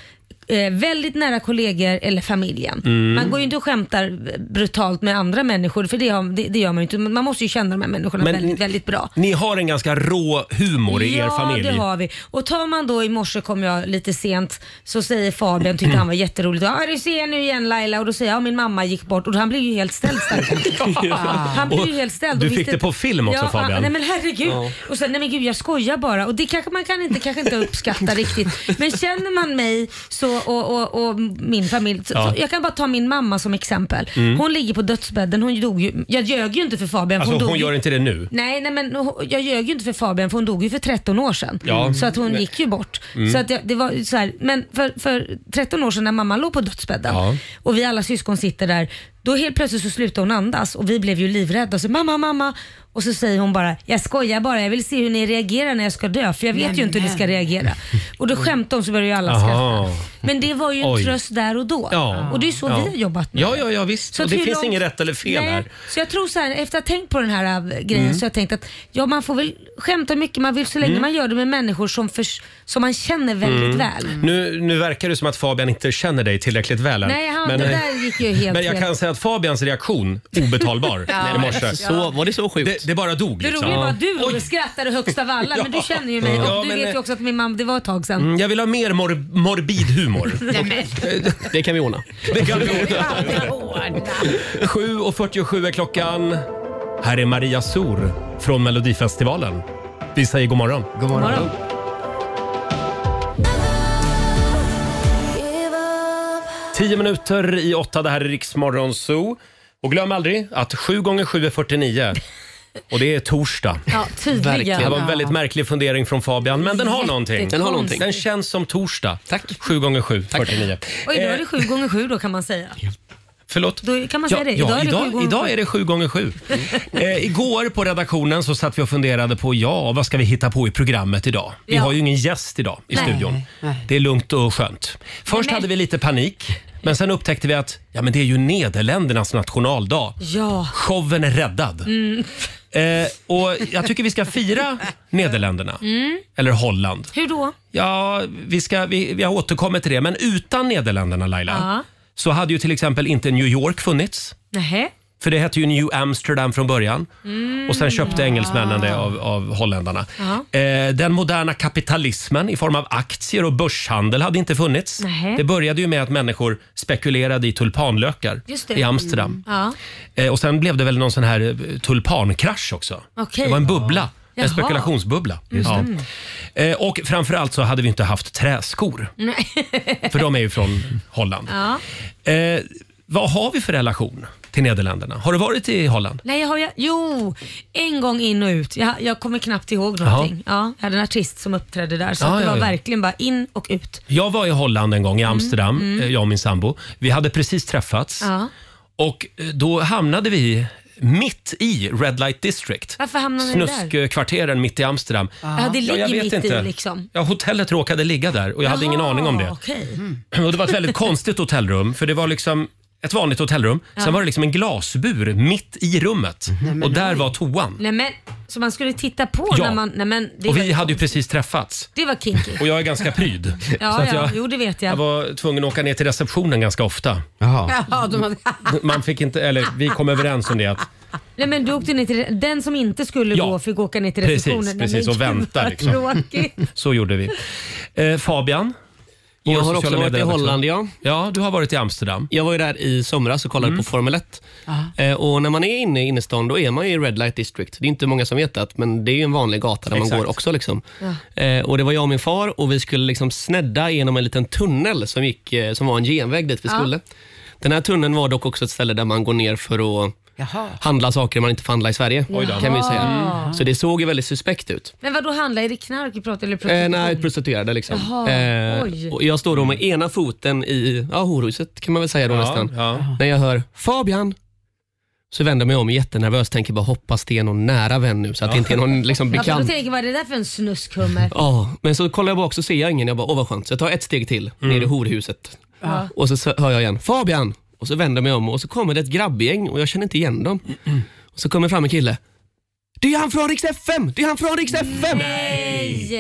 [SPEAKER 2] eh, väldigt nära kollegor eller familjen.
[SPEAKER 7] Mm.
[SPEAKER 2] Man går ju inte och skämtar brutalt med andra människor för det, har, det, det gör man ju inte. Man måste ju känna de här människorna
[SPEAKER 1] Men-
[SPEAKER 2] väldigt, väldigt bra
[SPEAKER 1] Ni har en ganska rå humor i er familj.
[SPEAKER 2] ja, det har vi. Och tar man då i morse kom jag lite sent, så säger Fabian, tyckte han var jätteroligt. Ja, du ser nu igen Laila. Och då säger jag, ja, min mamma gick bort. Och han blev ju helt ställd stackaren.
[SPEAKER 1] *laughs* Ja.
[SPEAKER 2] Han blev ju helt ställd. och
[SPEAKER 1] Du
[SPEAKER 2] visste
[SPEAKER 1] fick det
[SPEAKER 2] inte-
[SPEAKER 1] på film också,
[SPEAKER 2] ja,
[SPEAKER 1] Fabian.
[SPEAKER 2] han- Nej men herregud.
[SPEAKER 1] Ja.
[SPEAKER 2] Och sen,
[SPEAKER 1] *laughs*
[SPEAKER 2] nej men gud jag skojar bara. Och det kanske man kan inte, kanske inte uppskatta riktigt. Men känner man mig så och, och, och, och min familj. Så-
[SPEAKER 1] Ja.
[SPEAKER 2] Så jag kan bara ta min mamma som exempel.
[SPEAKER 1] Mm.
[SPEAKER 2] Hon ligger på dödsbädden. Hon dog ju, jag ljög ju inte för Fabian. för
[SPEAKER 1] Alltså
[SPEAKER 2] dog
[SPEAKER 1] hon
[SPEAKER 2] ju-
[SPEAKER 1] gör inte det nu.
[SPEAKER 2] Nej, nej men hon- jag ljög ju inte för Fabian för hon dog ju för 13 år sedan. Mm.
[SPEAKER 1] Ja.
[SPEAKER 2] Så att hon
[SPEAKER 1] Nej.
[SPEAKER 2] gick ju bort.
[SPEAKER 1] Mm.
[SPEAKER 2] Så att jag, det var ju så här, men för, för 13 år sedan när mamma låg på dödsbädden
[SPEAKER 1] Ja.
[SPEAKER 2] och vi alla syskon sitter där, då helt plötsligt så slutar hon andas och vi blev ju livrädda. Så mamma, mamma. Och så säger hon bara, jag skojar bara, jag vill se hur ni reagerar när jag ska dö för jag vet ju inte hur ni ska reagera. Och då skämtar hon så börjar ju alla
[SPEAKER 1] Aha.
[SPEAKER 2] skratta. Men det var ju en
[SPEAKER 1] Oj.
[SPEAKER 2] tröst där och då.
[SPEAKER 1] Ja.
[SPEAKER 2] Och det är så
[SPEAKER 1] ja.
[SPEAKER 2] vi har jobbat med
[SPEAKER 1] Ja, ja, ja visst.
[SPEAKER 2] Så
[SPEAKER 1] och det
[SPEAKER 2] hur
[SPEAKER 1] finns
[SPEAKER 2] långt-
[SPEAKER 1] inget rätt eller fel
[SPEAKER 2] Nej,
[SPEAKER 1] här.
[SPEAKER 2] Så jag tror så här, efter att ha tänkt på den här äh, grejen
[SPEAKER 1] Mm.
[SPEAKER 2] så har jag tänkt att ja, man får väl skämta hur mycket man vill så länge
[SPEAKER 1] Mm.
[SPEAKER 2] man gör det med människor som, förs- som man känner väldigt
[SPEAKER 1] Mm.
[SPEAKER 2] väl.
[SPEAKER 1] Nu, nu verkar det som att Fabian inte känner dig tillräckligt väl än.
[SPEAKER 2] Nej, han,
[SPEAKER 1] men, eh,
[SPEAKER 2] det där gick ju helt
[SPEAKER 1] men jag
[SPEAKER 2] fel.
[SPEAKER 1] kan säga att Fabians reaktion,
[SPEAKER 2] *laughs*
[SPEAKER 1] obetalbar
[SPEAKER 2] Ja. alltså,
[SPEAKER 1] i morse.
[SPEAKER 2] Så-
[SPEAKER 1] var det så sjukt? Det, bara dog
[SPEAKER 2] Det
[SPEAKER 1] liksom.
[SPEAKER 2] roliga var att du Roger, skrattade högst
[SPEAKER 1] *laughs*
[SPEAKER 2] av alla, men du känner ju mig och
[SPEAKER 1] Ja,
[SPEAKER 2] du
[SPEAKER 1] men,
[SPEAKER 2] vet ju också att min mamma, det var ett tag sedan.
[SPEAKER 1] Mm, jag vill ha mer mor- morbid humor.
[SPEAKER 2] *laughs* Nej,
[SPEAKER 1] det kan vi ordna. Det kan vi ordna. 7.47 är klockan. Här är Maria Sor från Melodifestivalen. Vi säger god morgon. God
[SPEAKER 2] morgon. God morgon.
[SPEAKER 1] Tio minuter i åtta, det här är Riksmorgon Zoo. Och glöm aldrig att 7 gånger 7 är
[SPEAKER 2] *laughs*
[SPEAKER 1] 49. Och det är torsdag.
[SPEAKER 2] Ja, tydligen.
[SPEAKER 1] Det var en väldigt märklig fundering från Fabian, men den har någonting.
[SPEAKER 2] Den har någonting.
[SPEAKER 1] Den känns som torsdag. Tack. 7 gånger 7 49.
[SPEAKER 2] Och idag är
[SPEAKER 1] Eh,
[SPEAKER 2] det sju gånger sju då kan man säga.
[SPEAKER 1] Förlåt?
[SPEAKER 2] Då kan man
[SPEAKER 1] Ja,
[SPEAKER 2] säga det.
[SPEAKER 1] ja,
[SPEAKER 2] Idag är det sju
[SPEAKER 1] idag,
[SPEAKER 2] gånger
[SPEAKER 1] idag
[SPEAKER 2] sju.
[SPEAKER 1] är
[SPEAKER 2] Mm.
[SPEAKER 1] det 7 gånger 7 eh, Igår på redaktionen så satt vi och funderade på ja, vad ska vi hitta på i programmet idag? Vi
[SPEAKER 10] Ja.
[SPEAKER 1] har ju ingen gäst idag i
[SPEAKER 10] Nej.
[SPEAKER 1] studion.
[SPEAKER 10] Nej.
[SPEAKER 1] Det är lugnt och skönt. Först hade vi lite panik, men sen upptäckte vi att ja, men det är ju Nederländernas nationaldag.
[SPEAKER 2] Ja.
[SPEAKER 1] Showen är räddad.
[SPEAKER 2] Mm.
[SPEAKER 1] Eh, och jag tycker vi ska fira Nederländerna.
[SPEAKER 2] Mm.
[SPEAKER 1] Eller Holland.
[SPEAKER 2] Hur då?
[SPEAKER 1] Ja, vi, ska, vi, vi har återkommit till det, men utan Nederländerna Laila
[SPEAKER 2] Ja.
[SPEAKER 1] så hade ju till exempel inte New York funnits.
[SPEAKER 2] Nähä.
[SPEAKER 1] För det hette ju New Amsterdam från början.
[SPEAKER 2] Mm.
[SPEAKER 1] Och sen köpte engelsmännen det av, av holländarna.
[SPEAKER 2] Ja.
[SPEAKER 1] Eh, den moderna kapitalismen i form av aktier och börshandel hade inte funnits.
[SPEAKER 2] Nähä.
[SPEAKER 1] Det började ju med att människor spekulerade i tulpanlökar
[SPEAKER 2] Just det. Mm.
[SPEAKER 1] i Amsterdam.
[SPEAKER 2] Ja.
[SPEAKER 1] Eh, och sen blev det väl någon sån här eh, tulpankrasch också.
[SPEAKER 2] Okej.
[SPEAKER 1] Det var en bubbla.
[SPEAKER 2] Jaha. Mm.
[SPEAKER 1] En spekulationsbubbla.
[SPEAKER 2] Just
[SPEAKER 1] Ja.
[SPEAKER 2] det.
[SPEAKER 1] Eh, Och framförallt så hade vi inte haft träskor,
[SPEAKER 2] Nej.
[SPEAKER 1] för de är ju från Holland.
[SPEAKER 2] *laughs* ja.
[SPEAKER 1] Eh, vad har vi för relation till Nederländerna? Har du varit i Holland?
[SPEAKER 2] Nej, jag har jag, jo, en gång in och ut. Jag, jag kommer knappt ihåg
[SPEAKER 1] Jaha.
[SPEAKER 2] någonting. Ja, jag hade en artist som uppträdde där, så
[SPEAKER 1] Ja,
[SPEAKER 2] att det
[SPEAKER 1] ja,
[SPEAKER 2] var
[SPEAKER 1] ja.
[SPEAKER 2] verkligen bara in och ut.
[SPEAKER 1] Jag var i Holland en gång, i Amsterdam,
[SPEAKER 2] mm.
[SPEAKER 1] eh, jag och min sambo. Vi hade precis träffats
[SPEAKER 2] Ja.
[SPEAKER 1] och eh, då hamnade vi mitt i Red Light District.
[SPEAKER 2] Varför hamnade ni där?
[SPEAKER 1] Snuskkvarteren mitt i Amsterdam.
[SPEAKER 2] Ja, det ligger
[SPEAKER 1] jag vet
[SPEAKER 2] mitt
[SPEAKER 1] inte.
[SPEAKER 2] i liksom.
[SPEAKER 1] Ja, hotellet råkade ligga där och jag hade ingen
[SPEAKER 2] Jaha,
[SPEAKER 1] aning om det.
[SPEAKER 2] Ah, Okej.
[SPEAKER 1] *clears throat* Och det var ett väldigt konstigt hotellrum för det var liksom ett vanligt hotellrum.
[SPEAKER 2] Ja.
[SPEAKER 1] Sen var det liksom en glasbur mitt i rummet och där var toan.
[SPEAKER 2] Mm-hmm. Nej men, så man skulle titta på
[SPEAKER 1] Ja.
[SPEAKER 2] när man... Nej men, det,
[SPEAKER 1] och
[SPEAKER 2] var,
[SPEAKER 1] vi hade ju precis träffats.
[SPEAKER 2] det var kinky.
[SPEAKER 1] Och jag är ganska pryd. så
[SPEAKER 2] *laughs* Ja,
[SPEAKER 1] att
[SPEAKER 2] ja,
[SPEAKER 1] jag,
[SPEAKER 2] jo det vet
[SPEAKER 1] jag
[SPEAKER 2] jag.
[SPEAKER 1] var tvungen att åka ner till receptionen ganska ofta.
[SPEAKER 2] *laughs* Ja, de hade,
[SPEAKER 1] Man fick inte, eller vi kom överens om det att
[SPEAKER 2] nej men du åkte ner till... Den som inte skulle
[SPEAKER 1] Ja.
[SPEAKER 2] gå fick åka ner till
[SPEAKER 1] Precis,
[SPEAKER 2] receptionen. Nej,
[SPEAKER 1] precis,
[SPEAKER 2] men
[SPEAKER 1] och
[SPEAKER 2] gud,
[SPEAKER 1] vänta,
[SPEAKER 2] vad
[SPEAKER 1] liksom.
[SPEAKER 2] Tråkigt.
[SPEAKER 1] *laughs* så gjorde vi. Eh, Fabian? vår
[SPEAKER 10] Jag har också
[SPEAKER 1] sociala
[SPEAKER 10] varit i
[SPEAKER 1] medieredaktör.
[SPEAKER 10] Holland, ja.
[SPEAKER 1] Ja, du har varit i Amsterdam. Mm.
[SPEAKER 10] Jag var ju där i somras och kollade på Formel 1.
[SPEAKER 6] Ja.
[SPEAKER 10] Eh, Och när man *clears throat* är inne i innerstan, då är man ju i Red Light District. Det är inte många som vet det, men det är ju en vanlig gata där
[SPEAKER 1] Exakt.
[SPEAKER 10] man går också. Liksom. Eh, Och Det var jag och min far och vi skulle liksom snedda genom en liten tunnel som, gick, eh, som var en genväg dit vi
[SPEAKER 6] Ja.
[SPEAKER 10] skulle. Den här tunneln var dock också ett ställe där man går ner för att handla saker man inte får handla i Sverige.
[SPEAKER 2] Oj då.
[SPEAKER 10] Kan vi säga.
[SPEAKER 2] Jaha.
[SPEAKER 10] Så det såg ju väldigt suspekt ut.
[SPEAKER 2] Men vadå handla? Är det knark vi pratar eller
[SPEAKER 10] Eh,
[SPEAKER 2] prostitution?
[SPEAKER 10] nej, prostituerade liksom.
[SPEAKER 2] Jaha, oj.
[SPEAKER 10] eh, och jag står då med ena foten i ja, horhuset kan man väl säga då
[SPEAKER 1] Ja,
[SPEAKER 10] nästan.
[SPEAKER 1] ja.
[SPEAKER 10] När jag hör Fabian så vänder jag mig om jättenervös tänker bara hoppas det är någon nära vän nu så att det inte är någon liksom,
[SPEAKER 2] ja, för då
[SPEAKER 10] bekant.
[SPEAKER 2] tänker jag, vad är det där för en snuskhummer?
[SPEAKER 10] Ja, men så kollar jag bak så ser jag ingen. Jag bara, åh vad skönt. Så jag tar ett steg till ner
[SPEAKER 1] Mm.
[SPEAKER 10] i horhuset.
[SPEAKER 2] Ja.
[SPEAKER 10] Och så s- hör jag igen, Fabian! Och så vänder jag mig om och så kommer det ett grabbgäng och jag känner inte igen dem. Och så kommer fram en kille. Det är han från Rix FM! Det är han från Rix FM!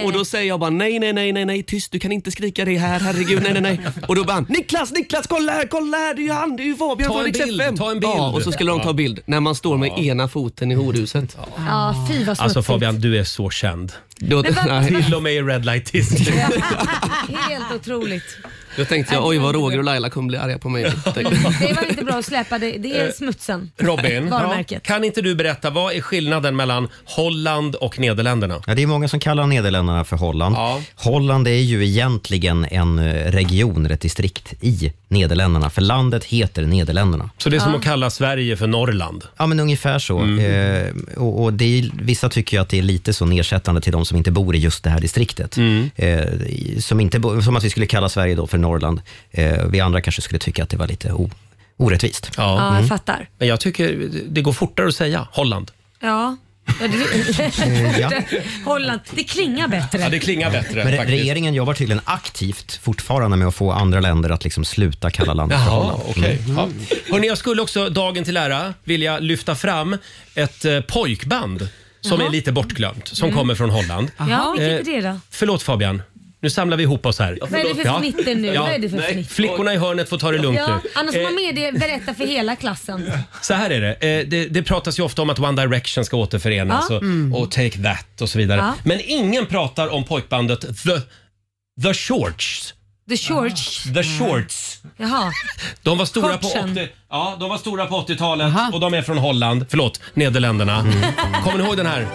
[SPEAKER 10] Och då säger jag bara nej, nej, nej, nej, nej, tyst, du kan inte skrika det här, herregud, nej, nej, nej. Och då bara han, Niklas, Niklas, kolla här, kolla här, det är ju han, det är ju Fabian
[SPEAKER 1] Ta
[SPEAKER 10] från
[SPEAKER 1] en
[SPEAKER 10] Rix
[SPEAKER 1] bild,
[SPEAKER 10] FM.
[SPEAKER 1] ta en bild.
[SPEAKER 10] Ja, och så skulle de ta bild när man står med ena foten i horhuset.
[SPEAKER 2] Ja, fy vad
[SPEAKER 1] Alltså
[SPEAKER 2] smutsigt. *laughs*
[SPEAKER 1] Fabian, du är så känd.
[SPEAKER 10] Då,
[SPEAKER 2] Men vad-
[SPEAKER 1] Till och med i Red Light District.
[SPEAKER 2] Helt otroligt.
[SPEAKER 10] Då tänkte jag, oj vad Roger och Laila kommer bli arga på mig.
[SPEAKER 2] Det var inte bra att släppa, det, det
[SPEAKER 10] Eh.
[SPEAKER 2] är smutsen.
[SPEAKER 1] Robin,
[SPEAKER 2] Varumärket.
[SPEAKER 1] kan inte du berätta vad är skillnaden mellan Holland och Nederländerna?
[SPEAKER 3] Ja, det är många som kallar Nederländerna för Holland. Holland är ju egentligen en eh, region, ett distrikt i Nederländerna, för landet heter Nederländerna.
[SPEAKER 1] Så det är som
[SPEAKER 3] Ja.
[SPEAKER 1] att kalla Sverige för Norrland?
[SPEAKER 3] Ja, men ungefär så.
[SPEAKER 1] Mm.
[SPEAKER 3] Eh, och, och det är, vissa tycker ju att det är lite så nedsättande till de som inte bor i just det här distriktet.
[SPEAKER 1] Mm.
[SPEAKER 3] Eh, i- som, inte bo, som att vi skulle kalla Sverige då för Norrland. Eh, vi andra kanske skulle tycka att det var lite o, orättvist. Mm.
[SPEAKER 2] Ja,
[SPEAKER 10] mm.
[SPEAKER 2] jag fattar.
[SPEAKER 1] Men jag tycker det går fortare att säga Holland.
[SPEAKER 2] Ja. Ja,
[SPEAKER 10] Eh,
[SPEAKER 2] det-
[SPEAKER 3] Ja.
[SPEAKER 2] *laughs* Holland, det klingar bättre.
[SPEAKER 1] Ja, det klingar bättre
[SPEAKER 3] Men re-
[SPEAKER 1] faktiskt.
[SPEAKER 3] regeringen jobbar tydligen aktivt fortfarande med att få andra länder att liksom sluta kalla landet för
[SPEAKER 1] Jaha,
[SPEAKER 3] Holland.
[SPEAKER 1] okej.
[SPEAKER 3] Mm.
[SPEAKER 1] Ja. Hörrni, jag skulle också dagen till ära vilja lyfta fram ett eh, pojkband som
[SPEAKER 2] Jaha.
[SPEAKER 1] är lite bortglömt, som
[SPEAKER 2] Mm.
[SPEAKER 1] kommer från Holland.
[SPEAKER 2] Ja, vilket
[SPEAKER 1] Eh,
[SPEAKER 2] är det då?
[SPEAKER 1] Förlåt Fabian, nu samlar vi ihop oss här.
[SPEAKER 2] Vad är det för fnitter nu? Vad är det för
[SPEAKER 1] nej.
[SPEAKER 2] fnitter?
[SPEAKER 1] Flickorna i hörnet får ta det lugnt
[SPEAKER 2] Ja,
[SPEAKER 1] nu.
[SPEAKER 2] annars får
[SPEAKER 1] Eh,
[SPEAKER 2] man med det berätta för hela klassen.
[SPEAKER 1] Så här är det. Eh, det. Det pratas ju ofta om att One Direction ska återförenas
[SPEAKER 2] Ja.
[SPEAKER 1] och,
[SPEAKER 2] Mm.
[SPEAKER 1] och Take That och så vidare.
[SPEAKER 2] Ja.
[SPEAKER 1] Men ingen pratar om pojkbandet The, The Shorts.
[SPEAKER 2] The Shorts.
[SPEAKER 1] The Shorts.
[SPEAKER 2] Jaha.
[SPEAKER 1] De var stora på
[SPEAKER 2] Shortsen.
[SPEAKER 1] 80, ja, de var stora på 80-talet och de är från Holland, förlåt, Nederländerna. Kommer ni ihåg den här?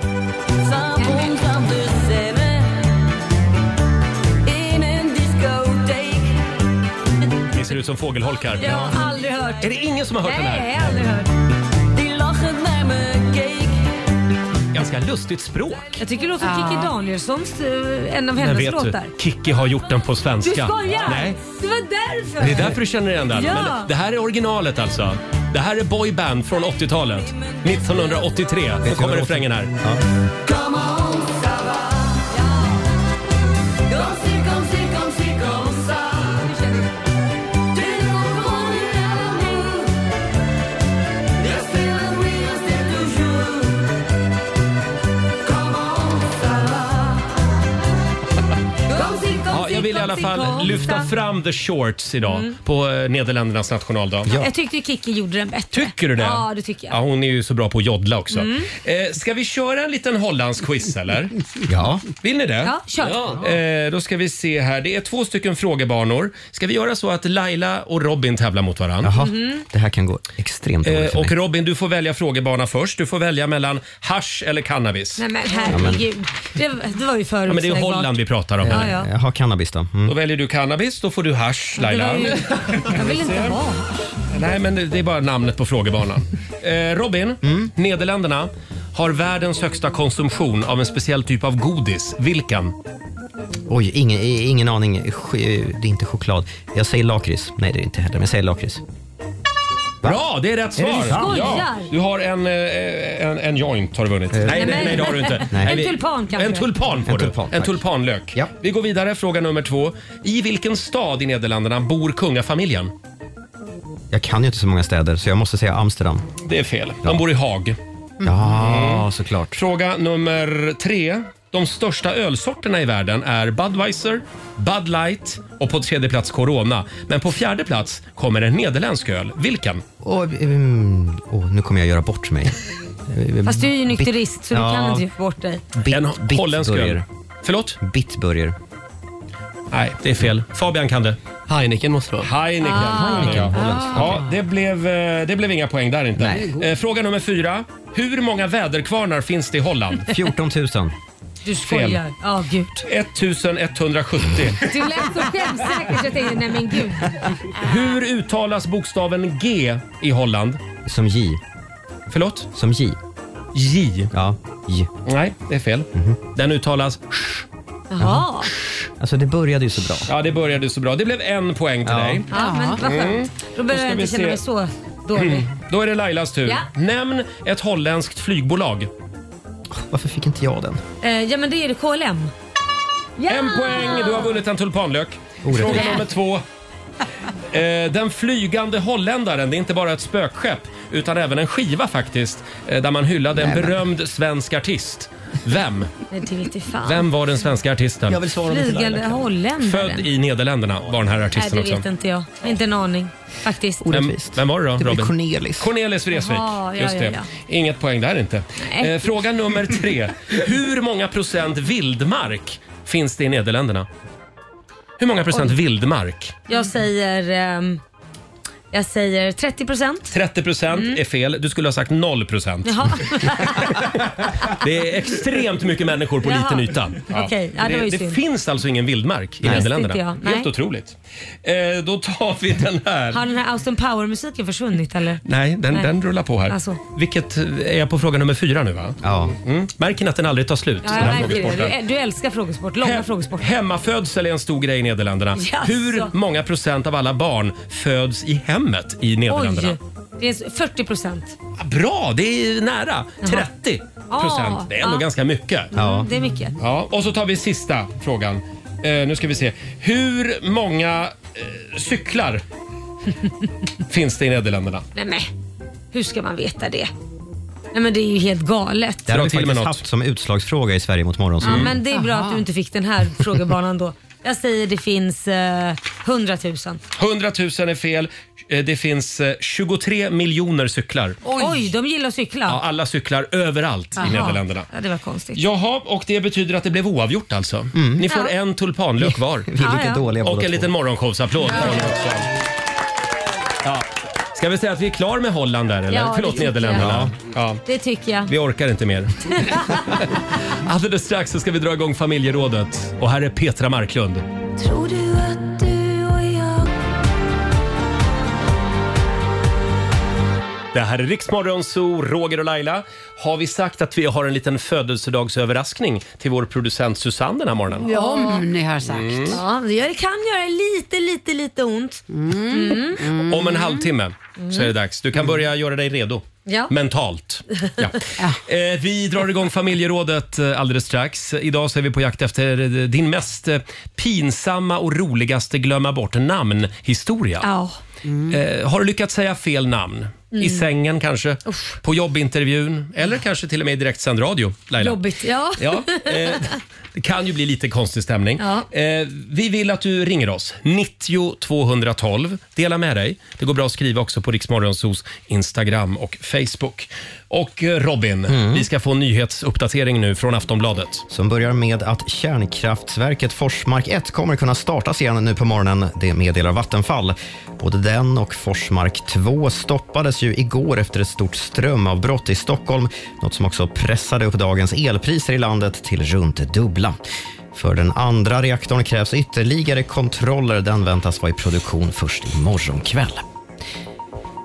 [SPEAKER 1] Ni ser ut som fågelholkar.
[SPEAKER 7] Jag har aldrig hört.
[SPEAKER 1] Är det ingen som har hört den här?
[SPEAKER 7] Nej, jag har aldrig hört. Die lachen naar me keek.
[SPEAKER 1] Ganska lustigt språk.
[SPEAKER 2] Jag tycker det låter som
[SPEAKER 7] Ja.
[SPEAKER 2] Kikki Danielssons, eh, en av
[SPEAKER 1] Men
[SPEAKER 2] hennes
[SPEAKER 1] vet du,
[SPEAKER 2] låtar.
[SPEAKER 1] Kikki har gjort den på
[SPEAKER 2] Du
[SPEAKER 1] svenska.
[SPEAKER 2] skojar!
[SPEAKER 1] Nej,
[SPEAKER 2] Det var därför!
[SPEAKER 1] Det är därför du känner igen den.
[SPEAKER 2] Ja.
[SPEAKER 1] Men det här är originalet alltså. Det här är boyband från 80-talet. 1983. Nu kommer refrängen här.
[SPEAKER 7] Kom on, ça va. Comme si, comme si, comme si, comme ça. Tu ne comprends rien à l'amour. Restez là, oui, restez toujours. Come on, ça va. Comme si, comme
[SPEAKER 1] Ja,
[SPEAKER 7] si,
[SPEAKER 1] jag vill i
[SPEAKER 7] comme
[SPEAKER 1] alla
[SPEAKER 7] si,
[SPEAKER 1] fall
[SPEAKER 7] comme
[SPEAKER 1] lyfta
[SPEAKER 7] ça.
[SPEAKER 1] fram the shorts idag
[SPEAKER 2] Mm.
[SPEAKER 1] på eh, Nederländernas nationaldag.
[SPEAKER 2] Jag tyckte ju Kikki gjorde den bättre.
[SPEAKER 1] Tycker du det?
[SPEAKER 2] Ja, det tycker jag.
[SPEAKER 1] Ja, hon är ju så bra på att joddla också.
[SPEAKER 2] Mm.
[SPEAKER 1] Eh, ska vi köra en liten Hollands quiz eller?
[SPEAKER 3] *laughs* ja.
[SPEAKER 1] Vill ni det?
[SPEAKER 2] Ja, kör. Ja.
[SPEAKER 1] Eh, då ska vi se här. Det är två stycken frågebanor. Ska vi göra så att Laila och Robin tävlar mot varandra?
[SPEAKER 3] Jaha, Mm-hmm. det här kan gå extremt dåligt
[SPEAKER 1] Eh,
[SPEAKER 3] för
[SPEAKER 1] och
[SPEAKER 3] mig.
[SPEAKER 1] Robin, du får välja frågebana först. Du får välja mellan hasch eller cannabis.
[SPEAKER 2] Nej men herregud. Det, det var ju
[SPEAKER 1] Ja,
[SPEAKER 2] förutsägbart.
[SPEAKER 1] men det är Holland vi pratar om. här.
[SPEAKER 2] Ja, ja.
[SPEAKER 3] Eh, Jag har cannabis då. Mm.
[SPEAKER 1] Då väljer du cannabis, då får du hasch Laila.
[SPEAKER 2] Det var ju- *laughs* Jag vill inte ha.
[SPEAKER 1] Nej, men det- det är bara namnet på frågebanan. Eh, Robin, Nederländerna har världens högsta konsumtion av en speciell typ av godis. Vilken?
[SPEAKER 3] Oj, ingen, i- ingen aning. Ch- Det är inte choklad. Jag säger lakrits. Nej, det är det inte heller, men jag säger lakrits. Va?
[SPEAKER 1] Bra, det är rätt
[SPEAKER 3] Är
[SPEAKER 1] svar!
[SPEAKER 3] det sant?
[SPEAKER 1] ja.
[SPEAKER 2] Skojar.
[SPEAKER 1] Du har en, eh, en, en joint har du vunnit. Nej, nej, nej, det har du inte.
[SPEAKER 2] En
[SPEAKER 1] vi-
[SPEAKER 2] tulpan kanske.
[SPEAKER 1] En tulpan får
[SPEAKER 3] En
[SPEAKER 1] du.
[SPEAKER 3] tulpan,
[SPEAKER 1] en
[SPEAKER 3] tack.
[SPEAKER 1] tulpanlök. Vi går vidare, fråga nummer två. I vilken stad i Nederländerna bor kungafamiljen?
[SPEAKER 3] Jag kan ju inte så många städer, så jag måste säga Amsterdam.
[SPEAKER 1] Det är fel. De bor i Haag.
[SPEAKER 3] Ja, såklart.
[SPEAKER 1] Fråga nummer tre. De största ölsorterna i världen är Budweiser, Bud Light och på tredje plats Corona. Men på fjärde plats kommer en nederländsk öl. Vilken?
[SPEAKER 3] Och, ehm, åh, nu kommer jag göra bort mig.
[SPEAKER 2] Fast du är ju nykterist så du
[SPEAKER 3] Ja.
[SPEAKER 2] kan inte göra bort dig.
[SPEAKER 3] Bit,
[SPEAKER 1] En holländsk öl.
[SPEAKER 3] Bitburger.
[SPEAKER 1] Förlåt?
[SPEAKER 3] Bitburger.
[SPEAKER 1] Nej, det är fel. Fabian kan det.
[SPEAKER 10] Heineken måste vara.
[SPEAKER 1] Heineken.
[SPEAKER 10] Ah. Heineken, holländsk.
[SPEAKER 1] Ja, det blev, eh, det blev inga poäng där inte. Eh, Fråga nummer fyra. Hur många väderkvarnar finns det
[SPEAKER 3] *laughs*
[SPEAKER 1] i Holland?
[SPEAKER 3] 14 000.
[SPEAKER 2] Du skojar. Ja, gud.
[SPEAKER 1] 1170.
[SPEAKER 2] Du lät så självsäker så jag tänkte nej men gud. Ah.
[SPEAKER 1] Hur uttalas bokstaven G i Holland?
[SPEAKER 3] Som J.
[SPEAKER 1] Förlåt?
[SPEAKER 3] Som J.
[SPEAKER 1] J?
[SPEAKER 3] Ja, J. Mhm.
[SPEAKER 1] Nej, det är fel. Den uttalas sh.
[SPEAKER 2] Jaha.
[SPEAKER 3] Alltså, det började ju så bra.
[SPEAKER 1] Ja, det började så bra. Det blev en poäng till
[SPEAKER 3] Ja.
[SPEAKER 1] dig.
[SPEAKER 2] Ja, men vad
[SPEAKER 1] Mm.
[SPEAKER 2] skönt. Då
[SPEAKER 1] ska
[SPEAKER 2] behöver jag
[SPEAKER 1] vi
[SPEAKER 2] inte känna
[SPEAKER 1] se.
[SPEAKER 2] mig så dålig.
[SPEAKER 1] *clears throat* Då är det Lailas tur.
[SPEAKER 2] Ja.
[SPEAKER 1] Nämn ett holländskt flygbolag.
[SPEAKER 3] Varför fick inte jag den?
[SPEAKER 2] Eh, ja men det är det KLM. Ja!
[SPEAKER 1] En poäng! Du har vunnit en tulpanlök.
[SPEAKER 3] Orättvist.
[SPEAKER 1] Fråga nummer två.
[SPEAKER 2] *laughs*
[SPEAKER 1] Eh, Den flygande holländaren, det är inte bara ett spökskepp utan även en skiva faktiskt, eh, där man hyllade en berömd svensk artist. Vem?
[SPEAKER 2] Nej det vete fan.
[SPEAKER 1] Vem var den svenska artisten?
[SPEAKER 2] Flygande holländare.
[SPEAKER 1] Född i Nederländerna var den här
[SPEAKER 2] Nej
[SPEAKER 1] artisten
[SPEAKER 2] det
[SPEAKER 1] också.
[SPEAKER 2] vet inte jag. Jag har Inte en aning faktiskt.
[SPEAKER 1] Vem, vem var det då?
[SPEAKER 3] Det blir
[SPEAKER 1] Robin?
[SPEAKER 3] Cornelis.
[SPEAKER 1] Cornelis Vreeswijk.
[SPEAKER 2] Jaha, ja,
[SPEAKER 1] Just
[SPEAKER 2] ja,
[SPEAKER 1] det.
[SPEAKER 2] ja.
[SPEAKER 1] Inget poäng där inte.
[SPEAKER 2] Nej.
[SPEAKER 1] Eh, fråga nummer tre. Hur många procent vildmark finns det i Nederländerna? Hur många procent
[SPEAKER 2] Oj.
[SPEAKER 1] vildmark?
[SPEAKER 2] Jag säger, ehm, jag säger 30 procent.
[SPEAKER 1] 30 procent
[SPEAKER 2] Mm.
[SPEAKER 1] är fel. Du skulle ha sagt 0 procent.
[SPEAKER 2] Jaha.
[SPEAKER 1] Det är extremt mycket människor på
[SPEAKER 2] Jaha.
[SPEAKER 1] liten yta.
[SPEAKER 2] Okej, ja, det var
[SPEAKER 1] det
[SPEAKER 2] ju
[SPEAKER 1] det,
[SPEAKER 2] synd.
[SPEAKER 1] finns alltså ingen vildmark i
[SPEAKER 2] Nej.
[SPEAKER 1] Nederländerna.
[SPEAKER 2] Visste inte jag.
[SPEAKER 1] Helt
[SPEAKER 2] Nej.
[SPEAKER 1] otroligt. Eh, då tar vi den här.
[SPEAKER 2] Har den här Austin Power-musiken försvunnit eller?
[SPEAKER 1] Nej, den,
[SPEAKER 2] Nej.
[SPEAKER 1] den rullar på här.
[SPEAKER 2] Alltså.
[SPEAKER 1] Vilket eh, är jag på fråga nummer fyra nu va? Ja. Mm. Märker ni att den aldrig tar slut?
[SPEAKER 2] Ja,
[SPEAKER 1] den här
[SPEAKER 2] jag märker
[SPEAKER 1] frågesporten?
[SPEAKER 2] det. Du, du älskar frågesport, långa frågesporter.
[SPEAKER 1] Hemmafödsel är en stor grej i Nederländerna.
[SPEAKER 2] Jaså.
[SPEAKER 1] Hur många procent av alla barn föds i hemmet i Nederländerna?
[SPEAKER 2] Oj, det är 40 procent.
[SPEAKER 1] Bra, det är nära.
[SPEAKER 2] Jaha.
[SPEAKER 1] 30 procent.
[SPEAKER 2] Ah,
[SPEAKER 1] det är ändå
[SPEAKER 2] ah.
[SPEAKER 1] ganska mycket.
[SPEAKER 2] Ja. Det är mycket.
[SPEAKER 1] Ja, och så tar vi sista frågan. Eh, nu ska vi se. Hur många eh, cyklar *laughs* finns det i Nederländerna?
[SPEAKER 2] Nej, men hur ska man veta det? Nej men det är ju helt galet.
[SPEAKER 3] Det har vi faktiskt haft som utslagsfråga i Sverige mot
[SPEAKER 2] Ja,
[SPEAKER 3] morgon.
[SPEAKER 2] men det är bra
[SPEAKER 6] Aha.
[SPEAKER 2] att du inte fick den här frågebanan då. Jag säger det finns eh, 100 000.
[SPEAKER 1] 100 000 är fel. Eh, Det finns eh, 23 miljoner cyklar.
[SPEAKER 2] Oj, de gillar att cykla.
[SPEAKER 1] Ja, alla cyklar överallt
[SPEAKER 2] Aha.
[SPEAKER 1] i Nederländerna.
[SPEAKER 2] Ja, det var konstigt.
[SPEAKER 1] Jaha, och det betyder att det blev oavgjort alltså. Ni får
[SPEAKER 2] Ja.
[SPEAKER 1] en tulpanlök
[SPEAKER 2] *laughs*
[SPEAKER 1] var.
[SPEAKER 2] vilka Ja, ja. dåliga
[SPEAKER 1] och
[SPEAKER 2] båda
[SPEAKER 1] en
[SPEAKER 2] två.
[SPEAKER 1] liten morgonshowsapplåd från Roxanne. Ja. Ska vi säga att vi är klar med Holland där eller?
[SPEAKER 2] Ja, det
[SPEAKER 1] Förlåt
[SPEAKER 2] tycker jag.
[SPEAKER 1] Nederländerna. Ja.
[SPEAKER 2] Det tycker jag.
[SPEAKER 1] Vi orkar inte mer.
[SPEAKER 2] *laughs*
[SPEAKER 1] Alldeles strax så ska vi dra igång familjerådet. Och här är Petra Marklund.
[SPEAKER 7] Tror du att du och jag
[SPEAKER 1] Det här är Riksmorgon Zoo, Roger och Laila. Har vi sagt att vi har en liten födelsedagsöverraskning till vår producent Susanne den här morgonen?
[SPEAKER 6] Ja. Om ni har sagt.
[SPEAKER 1] Mm.
[SPEAKER 2] Ja, det gör- det kan göra lite, lite, lite ont. Mm.
[SPEAKER 1] Om en halvtimme så är det dags. Du kan börja göra dig redo.
[SPEAKER 2] Ja.
[SPEAKER 1] Mentalt. Ja. Eh, vi drar igång familjerådet eh, alldeles strax. Idag så är vi på jakt efter eh, din mest eh, pinsamma och roligaste glömma bort namnhistoria.
[SPEAKER 2] Ja.
[SPEAKER 1] Eh, har du lyckats säga fel namn? I
[SPEAKER 2] Mm. Ah.
[SPEAKER 1] sängen kanske? På jobbintervjun? Eller kanske till och med i direktsänd radio? Laila?
[SPEAKER 2] Jobbigt. Ja.
[SPEAKER 1] Ja, eh, det kan ju bli lite konstig stämning.
[SPEAKER 2] Ja.
[SPEAKER 1] Eh, vi vill att du ringer oss. 90 212. Dela med dig. Det går bra att skriva också på Riksmorgonsos Instagram och Facebook. Och eh, Robin, vi ska få en nyhetsuppdatering nu från Aftonbladet.
[SPEAKER 3] Som börjar med att kärnkraftverket Forsmark 1 kommer kunna startas igen nu på morgonen. Det meddelar Vattenfall. Både den och Forsmark 2 stoppades ju igår efter ett stort strömavbrott i Stockholm. Något som också pressade upp dagens elpriser i landet till runt det dubbla. För den andra reaktorn krävs ytterligare kontroller. Den väntas vara i produktion först imorgon kväll.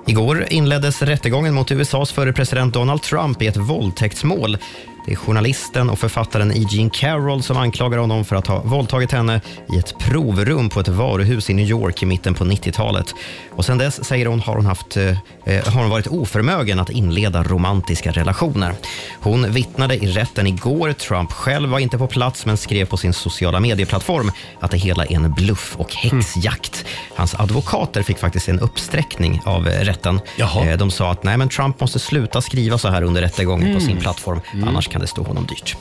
[SPEAKER 3] Igår inleddes rättegången mot USAs förre president Donald Trump i ett våldtäktsmål. Det är journalisten och författaren E. Jean Carroll som anklagar honom för att ha våldtagit henne i ett provrum på ett varuhus i New York i mitten på 90-talet. Och Sen dess, säger hon, har hon, haft, eh, har hon varit oförmögen att inleda romantiska relationer. Hon vittnade i rätten igår. Trump själv var inte på plats men skrev på sin sociala medieplattform att det hela är en bluff och häxjakt. Hans advokater fick faktiskt en uppsträckning av eh, rätten. Eh, De sa att nej, men Trump måste sluta skriva så här under rättegången på sin
[SPEAKER 12] Mm.
[SPEAKER 3] plattform, annars kan det stå honom dyrt.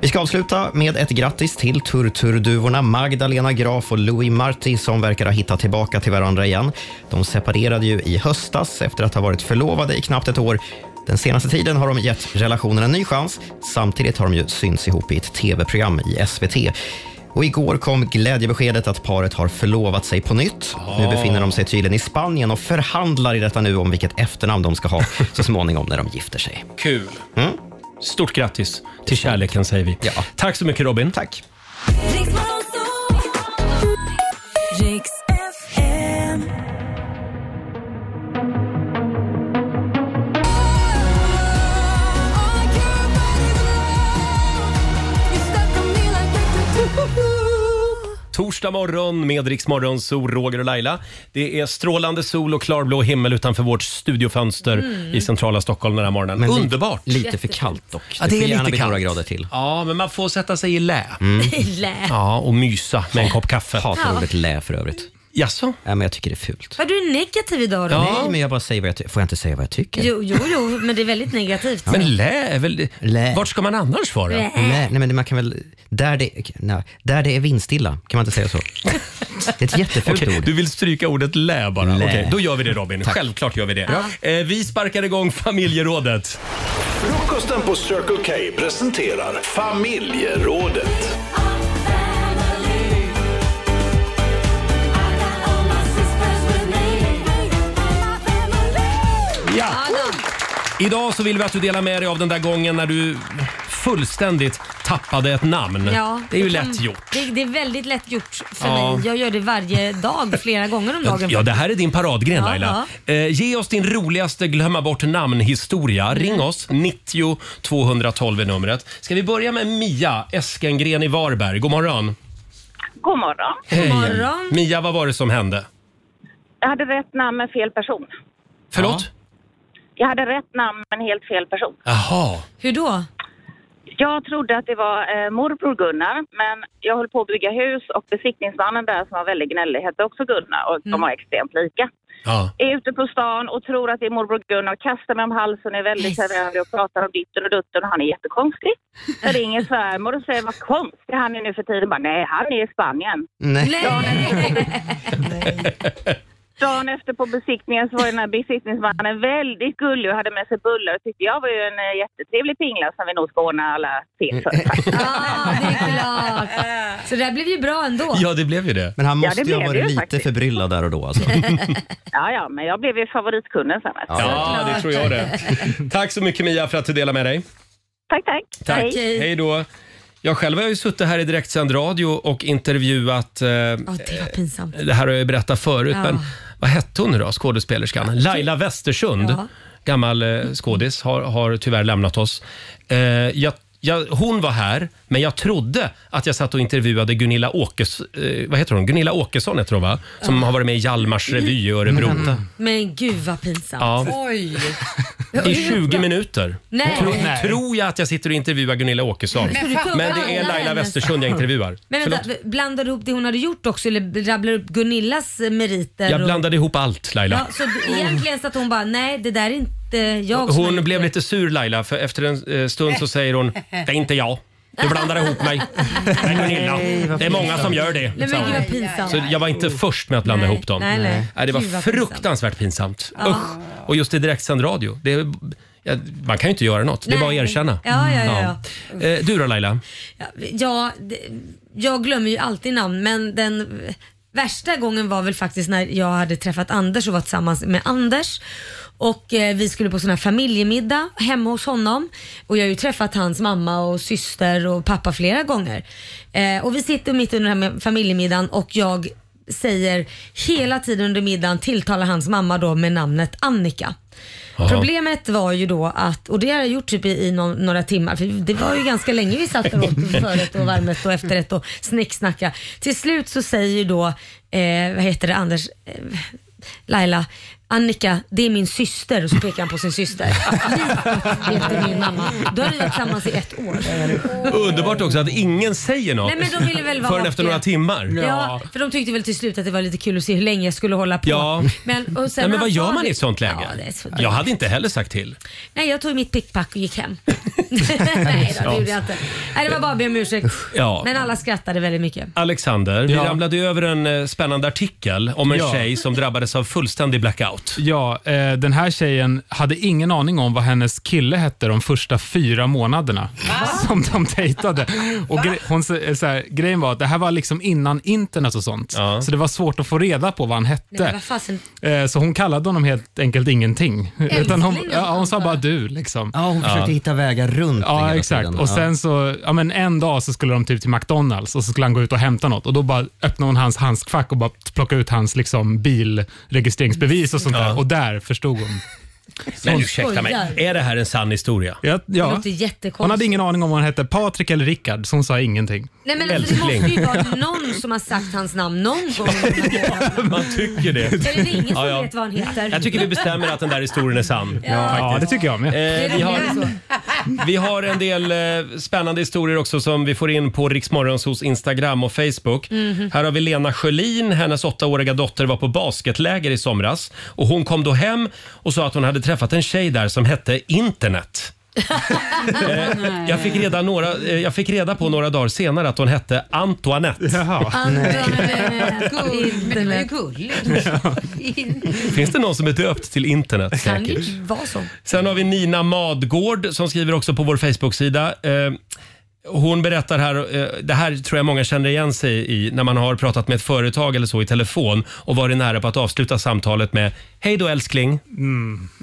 [SPEAKER 3] Vi ska avsluta med ett grattis till turturduvorna Magdalena Graf och Louis Marti som verkar ha hittat tillbaka till varandra igen. De separerade ju i höstas efter att ha varit förlovade i knappt ett år. Den senaste tiden har de gett relationen en ny chans. Samtidigt har de ju synts ihop i ett tv-program i SVT. Och igår kom glädjebeskedet att paret har förlovat sig på nytt. Nu befinner de sig tydligen i Spanien och förhandlar i detta nu om vilket efternamn de ska ha så småningom när de gifter sig. Mm?
[SPEAKER 1] Kul! Stort grattis till kärleken säger vi. Tack så mycket Robin.
[SPEAKER 3] Tack.
[SPEAKER 1] Torsdag morgon med Rix Morgon, Sol, Roger och Laila. Det är strålande sol och klarblå himmel utanför vårt studiofönster
[SPEAKER 3] Mm.
[SPEAKER 1] i centrala Stockholm den här morgonen.
[SPEAKER 3] Men li-
[SPEAKER 1] Underbart!
[SPEAKER 3] lite för kallt dock.
[SPEAKER 1] Ja,
[SPEAKER 3] Det
[SPEAKER 1] det
[SPEAKER 3] får
[SPEAKER 1] är
[SPEAKER 3] gärna
[SPEAKER 1] lite
[SPEAKER 3] bli
[SPEAKER 1] kallt.
[SPEAKER 3] några grader till.
[SPEAKER 1] Ja, men man får sätta sig i lä.
[SPEAKER 2] *laughs*
[SPEAKER 3] Mm.
[SPEAKER 2] *laughs* Lä.
[SPEAKER 1] Ja, och mysa med en kopp kaffe.
[SPEAKER 3] Hatar
[SPEAKER 2] Ja.
[SPEAKER 3] ordet lä för övrigt.
[SPEAKER 1] Jaså?
[SPEAKER 3] Nej, men jag tycker det är fult.
[SPEAKER 2] Vad du är negativ idag då?
[SPEAKER 3] Nej, men jag bara säger vad jag ty- Får jag inte säga vad jag tycker?
[SPEAKER 2] Jo, jo, jo, men det är väldigt negativt.
[SPEAKER 1] Men lä är väl...
[SPEAKER 3] Lä.
[SPEAKER 1] Vart ska man annars vara?
[SPEAKER 2] Lä.
[SPEAKER 3] Nej, nej, men man kan väl... Där det, nej, där det är vindstilla, kan man inte
[SPEAKER 12] *laughs*
[SPEAKER 3] säga så? Det är ett jättefult
[SPEAKER 1] Okej,
[SPEAKER 3] ord.
[SPEAKER 1] Du vill stryka ordet lä bara.
[SPEAKER 3] Lä.
[SPEAKER 1] Okej, då gör vi det Robin.
[SPEAKER 3] Tack.
[SPEAKER 1] Självklart gör vi det.
[SPEAKER 13] Ja.
[SPEAKER 1] Eh, vi sparkar igång familjerådet.
[SPEAKER 13] Frukosten på Circle K presenterar familjerådet.
[SPEAKER 1] Ja. Idag så vill vi att du delar med dig av den där gången när du fullständigt tappade ett namn. det är ju
[SPEAKER 2] kan-
[SPEAKER 1] lätt gjort.
[SPEAKER 2] Det, det är väldigt lätt gjort för
[SPEAKER 1] Ja.
[SPEAKER 2] mig. Jag gör det varje dag, flera gånger om
[SPEAKER 1] Ja,
[SPEAKER 2] dagen.
[SPEAKER 1] ja, det här är din paradgren
[SPEAKER 2] Ja,
[SPEAKER 1] Laila. Eh, ge oss din roligaste glömma bort
[SPEAKER 2] Mm.
[SPEAKER 1] namn-historia. Ring oss, 90 212 är numret. Ska vi börja med Mia Eskengren i Varberg? God morgon.
[SPEAKER 12] God morgon.
[SPEAKER 1] Hej. Mia, vad var det som hände?
[SPEAKER 12] Jag hade rätt namn men fel person.
[SPEAKER 1] Förlåt?
[SPEAKER 12] Jag hade rätt namn men helt fel person.
[SPEAKER 1] Jaha.
[SPEAKER 2] Hur då?
[SPEAKER 12] Jag trodde att det var eh, morbror Gunnar, men jag höll på att bygga hus och besiktningsmannen där som var väldigt gnällig hette också Gunnar och
[SPEAKER 2] Mm.
[SPEAKER 12] de var extremt lika.
[SPEAKER 1] Ja.
[SPEAKER 12] Är ute på stan och tror att det är morbror Gunnar, kastar mig om halsen, är väldigt kärvänlig och pratar om ditten och dutten och han är jättekonstig. Jag ringer svärmor och säger vad konstig han är nu för tiden. Bara, Nej, han är i Spanien.
[SPEAKER 3] Nej.
[SPEAKER 12] Dagen efter- Dagen efter på besiktningen så var ju den här besiktningsmannen väldigt gullig och hade med sig bullar och tyckte jag var ju en eh, jättetrevlig pingla som vi nog ska ordna alla
[SPEAKER 2] *laughs*
[SPEAKER 12] fel för.
[SPEAKER 2] Klart. Så det här blev ju bra ändå.
[SPEAKER 1] Ja, det blev ju det.
[SPEAKER 3] Men han
[SPEAKER 12] Ja,
[SPEAKER 3] måste
[SPEAKER 12] det
[SPEAKER 3] ju ha
[SPEAKER 12] blev
[SPEAKER 3] varit
[SPEAKER 12] det ju
[SPEAKER 3] lite
[SPEAKER 12] faktiskt.
[SPEAKER 3] förbryllad där och då. Alltså.
[SPEAKER 12] Ja, ja, men jag blev ju favoritkunden sen. alltså.
[SPEAKER 1] Ja, det tror jag det. *clears throat* Tack så mycket Mia för att du delade med dig.
[SPEAKER 12] Tack, tack.
[SPEAKER 1] Tack. Hej. då. Jag själv har ju suttit här i direktsänd radio och intervjuat... Eh,
[SPEAKER 2] det var pinsamt.
[SPEAKER 1] Det här har jag ju berättat förut,
[SPEAKER 2] Ja.
[SPEAKER 1] men vad hette hon nu då, skådespelerskan? Laila Westersund,
[SPEAKER 2] Ja. Mm.
[SPEAKER 1] gammal eh, skådis, har, har tyvärr lämnat oss. Eh, jag, jag, hon var här, men jag trodde att jag satt och intervjuade Gunilla, Åkes, eh, vad heter hon? Gunilla Åkesson, heter hon, va? som har varit med i Hjalmars revy i Örebro.
[SPEAKER 2] Men gud vad pinsamt.
[SPEAKER 1] Ja.
[SPEAKER 2] Oj.
[SPEAKER 1] I 20 minuter.
[SPEAKER 2] Nej.
[SPEAKER 1] Tror,
[SPEAKER 2] Nej.
[SPEAKER 1] tror jag att jag sitter och intervjuar Gunilla Åkesson.
[SPEAKER 2] Men för fan,
[SPEAKER 1] Men det är
[SPEAKER 2] alla
[SPEAKER 1] Laila
[SPEAKER 2] hennes-
[SPEAKER 1] Westersund jag intervjuar.
[SPEAKER 2] Men vänta,
[SPEAKER 1] Förlåt.
[SPEAKER 2] blandar du ihop det hon hade gjort också eller rabblar du upp Gunillas meriter?
[SPEAKER 1] Jag
[SPEAKER 2] och-
[SPEAKER 1] blandade ihop allt Laila.
[SPEAKER 2] Ja, så d- egentligen så att hon bara, nej det där är inte jag som har
[SPEAKER 1] Hon
[SPEAKER 2] gjort
[SPEAKER 1] blev
[SPEAKER 2] det."
[SPEAKER 1] lite sur Laila för efter en eh, stund så säger hon Det är inte jag. Du blandar ihop mig. Det är Gunilla. Det är många som gör det.
[SPEAKER 2] Nej,
[SPEAKER 1] sa
[SPEAKER 2] men
[SPEAKER 1] hon.
[SPEAKER 2] gud vad pinsamt.
[SPEAKER 1] Så eh, jag var inte först med att blanda
[SPEAKER 2] Nej,
[SPEAKER 1] ihop dem.
[SPEAKER 2] nej, nej.
[SPEAKER 1] det var
[SPEAKER 2] Gud, vad Ah.
[SPEAKER 1] fruktansvärt pinsamt.
[SPEAKER 2] Ja.
[SPEAKER 1] Usch. Och just i direktsänd radio. Det, är- ja, man kan ju inte göra något. Det är bara att erkänna.
[SPEAKER 2] Ja, ja, ja,
[SPEAKER 1] Ja. Eh, Du då Laila?
[SPEAKER 2] Ja, det- jag glömmer ju alltid namn men den värsta gången var väl faktiskt när jag hade träffat Anders och var tillsammans med Anders. Och eh, vi skulle på sån här familjemiddag hemma hos honom. Och jag har ju träffat hans mamma och syster och pappa flera gånger. Eh, och vi sitter mitt under den här familjemiddagen och jag säger hela tiden under middagen tilltalar hans mamma då med namnet Annika.
[SPEAKER 7] Jaha.
[SPEAKER 2] Problemet var ju då att, och det har jag gjort typ i, i nå- några timmar, för det var ju ganska länge vi satt och åt förrätt och varmrätt och efterrätt och snicksnacka. Till slut så säger ju då, eh, vad heter det, Anders, eh, Laila, Annika, det är min syster. Och så pekar han på sin syster. *laughs* Livet heter min mamma. Då har vi varit tillsammans i ett år.
[SPEAKER 1] Underbart också att ingen säger något
[SPEAKER 2] Nej, men de ville väl vara
[SPEAKER 1] förrän efter
[SPEAKER 2] artiga.
[SPEAKER 1] några timmar.
[SPEAKER 2] Ja, för de tyckte väl till slut att det var lite kul att se hur länge jag skulle hålla på.
[SPEAKER 1] Ja.
[SPEAKER 2] Men, och sen
[SPEAKER 1] Nej,
[SPEAKER 2] när
[SPEAKER 1] men vad
[SPEAKER 2] han sa
[SPEAKER 1] gör man
[SPEAKER 2] det-
[SPEAKER 1] i ett sånt läge?
[SPEAKER 2] Ja, det är så dumt.
[SPEAKER 1] jag hade inte heller sagt till.
[SPEAKER 2] Nej, jag tog mitt pickpack och
[SPEAKER 1] *laughs*
[SPEAKER 2] gick hem. Nej, då, det gjorde jag inte. Nej, det var bara att be om ursäkt.
[SPEAKER 1] Ja.
[SPEAKER 2] Men alla skrattade väldigt mycket.
[SPEAKER 1] Alexander, vi ramlade ju över en eh, spännande artikel om en
[SPEAKER 9] Ja.
[SPEAKER 1] tjej som drabbades av fullständig blackout.
[SPEAKER 9] Ja, eh, den här tjejen hade ingen aning om vad hennes kille hette de första fyra månaderna som de dejtade. Och gre- hon, sä- så här, grejen var att det här var liksom innan internet och sånt, så det var svårt att få reda på vad han
[SPEAKER 2] Nej, men
[SPEAKER 9] hette.
[SPEAKER 2] vad fasen.
[SPEAKER 9] Eh, Så hon kallade honom helt enkelt ingenting.
[SPEAKER 2] Älskling,
[SPEAKER 9] Utan hon,
[SPEAKER 2] eller
[SPEAKER 9] ja, hon sa bara du. Liksom.
[SPEAKER 3] Ja, hon försökte hitta vägar runt det
[SPEAKER 9] Ja,
[SPEAKER 3] hela
[SPEAKER 9] exakt.
[SPEAKER 3] tiden.
[SPEAKER 9] Och
[SPEAKER 3] Ja.
[SPEAKER 9] sen så, ja, men en dag så skulle de typ till McDonalds och så skulle han gå ut och hämta något och då bara öppnade hon hans handskfack och bara plockade ut hans liksom, bilregistreringsbevis och sånt där. Och där förstod hon.
[SPEAKER 1] Men
[SPEAKER 9] Hon-
[SPEAKER 1] ursäkta mig,
[SPEAKER 2] skojar.
[SPEAKER 1] är det här en sann historia?
[SPEAKER 9] Ja,
[SPEAKER 2] Det
[SPEAKER 9] ja.
[SPEAKER 2] låter
[SPEAKER 9] Hon hade
[SPEAKER 2] jättekonstigt.
[SPEAKER 9] ingen aning om vad han hette, Patrik eller Rickard, så hon sa ingenting.
[SPEAKER 2] Nej, men alltså, det måste ju vara någon som har sagt hans namn någon
[SPEAKER 1] *laughs*
[SPEAKER 2] gång.
[SPEAKER 1] Man tycker det.
[SPEAKER 2] Eller det är ingen som
[SPEAKER 1] Ja, ja.
[SPEAKER 2] vet vad han heter.
[SPEAKER 1] Jag tycker vi bestämmer att den där historien är sann.
[SPEAKER 2] Ja.
[SPEAKER 9] Ja, det tycker jag med.
[SPEAKER 1] Eh, vi, har, vi har en del eh, spännande historier också som vi får in på Riksmorgonsos Instagram och Facebook.
[SPEAKER 10] Mhm.
[SPEAKER 1] Här har vi Lena Sjölin. Hennes åttaåriga dotter var på basketläger i somras. Och Hon kom då hem och sa att hon hade träffat en tjej där som hette internet. Eh, jag, fick reda några, eh, jag fick reda på några dagar senare att hon hette Antoinette.
[SPEAKER 2] Eh,
[SPEAKER 1] *laughs*
[SPEAKER 6] Gull, men det var ju gulligt.
[SPEAKER 1] Finns det någon som är döpt till internet?
[SPEAKER 2] Kan det
[SPEAKER 1] Säkert.
[SPEAKER 2] ju vara så.
[SPEAKER 1] Sen har vi Nina Madgård som skriver också på vår Facebook-sida. Eh, Hon berättar här, eh, det här tror jag många känner igen sig i när man har pratat med ett företag eller så i telefon och varit nära på att avsluta samtalet med Hej då älskling.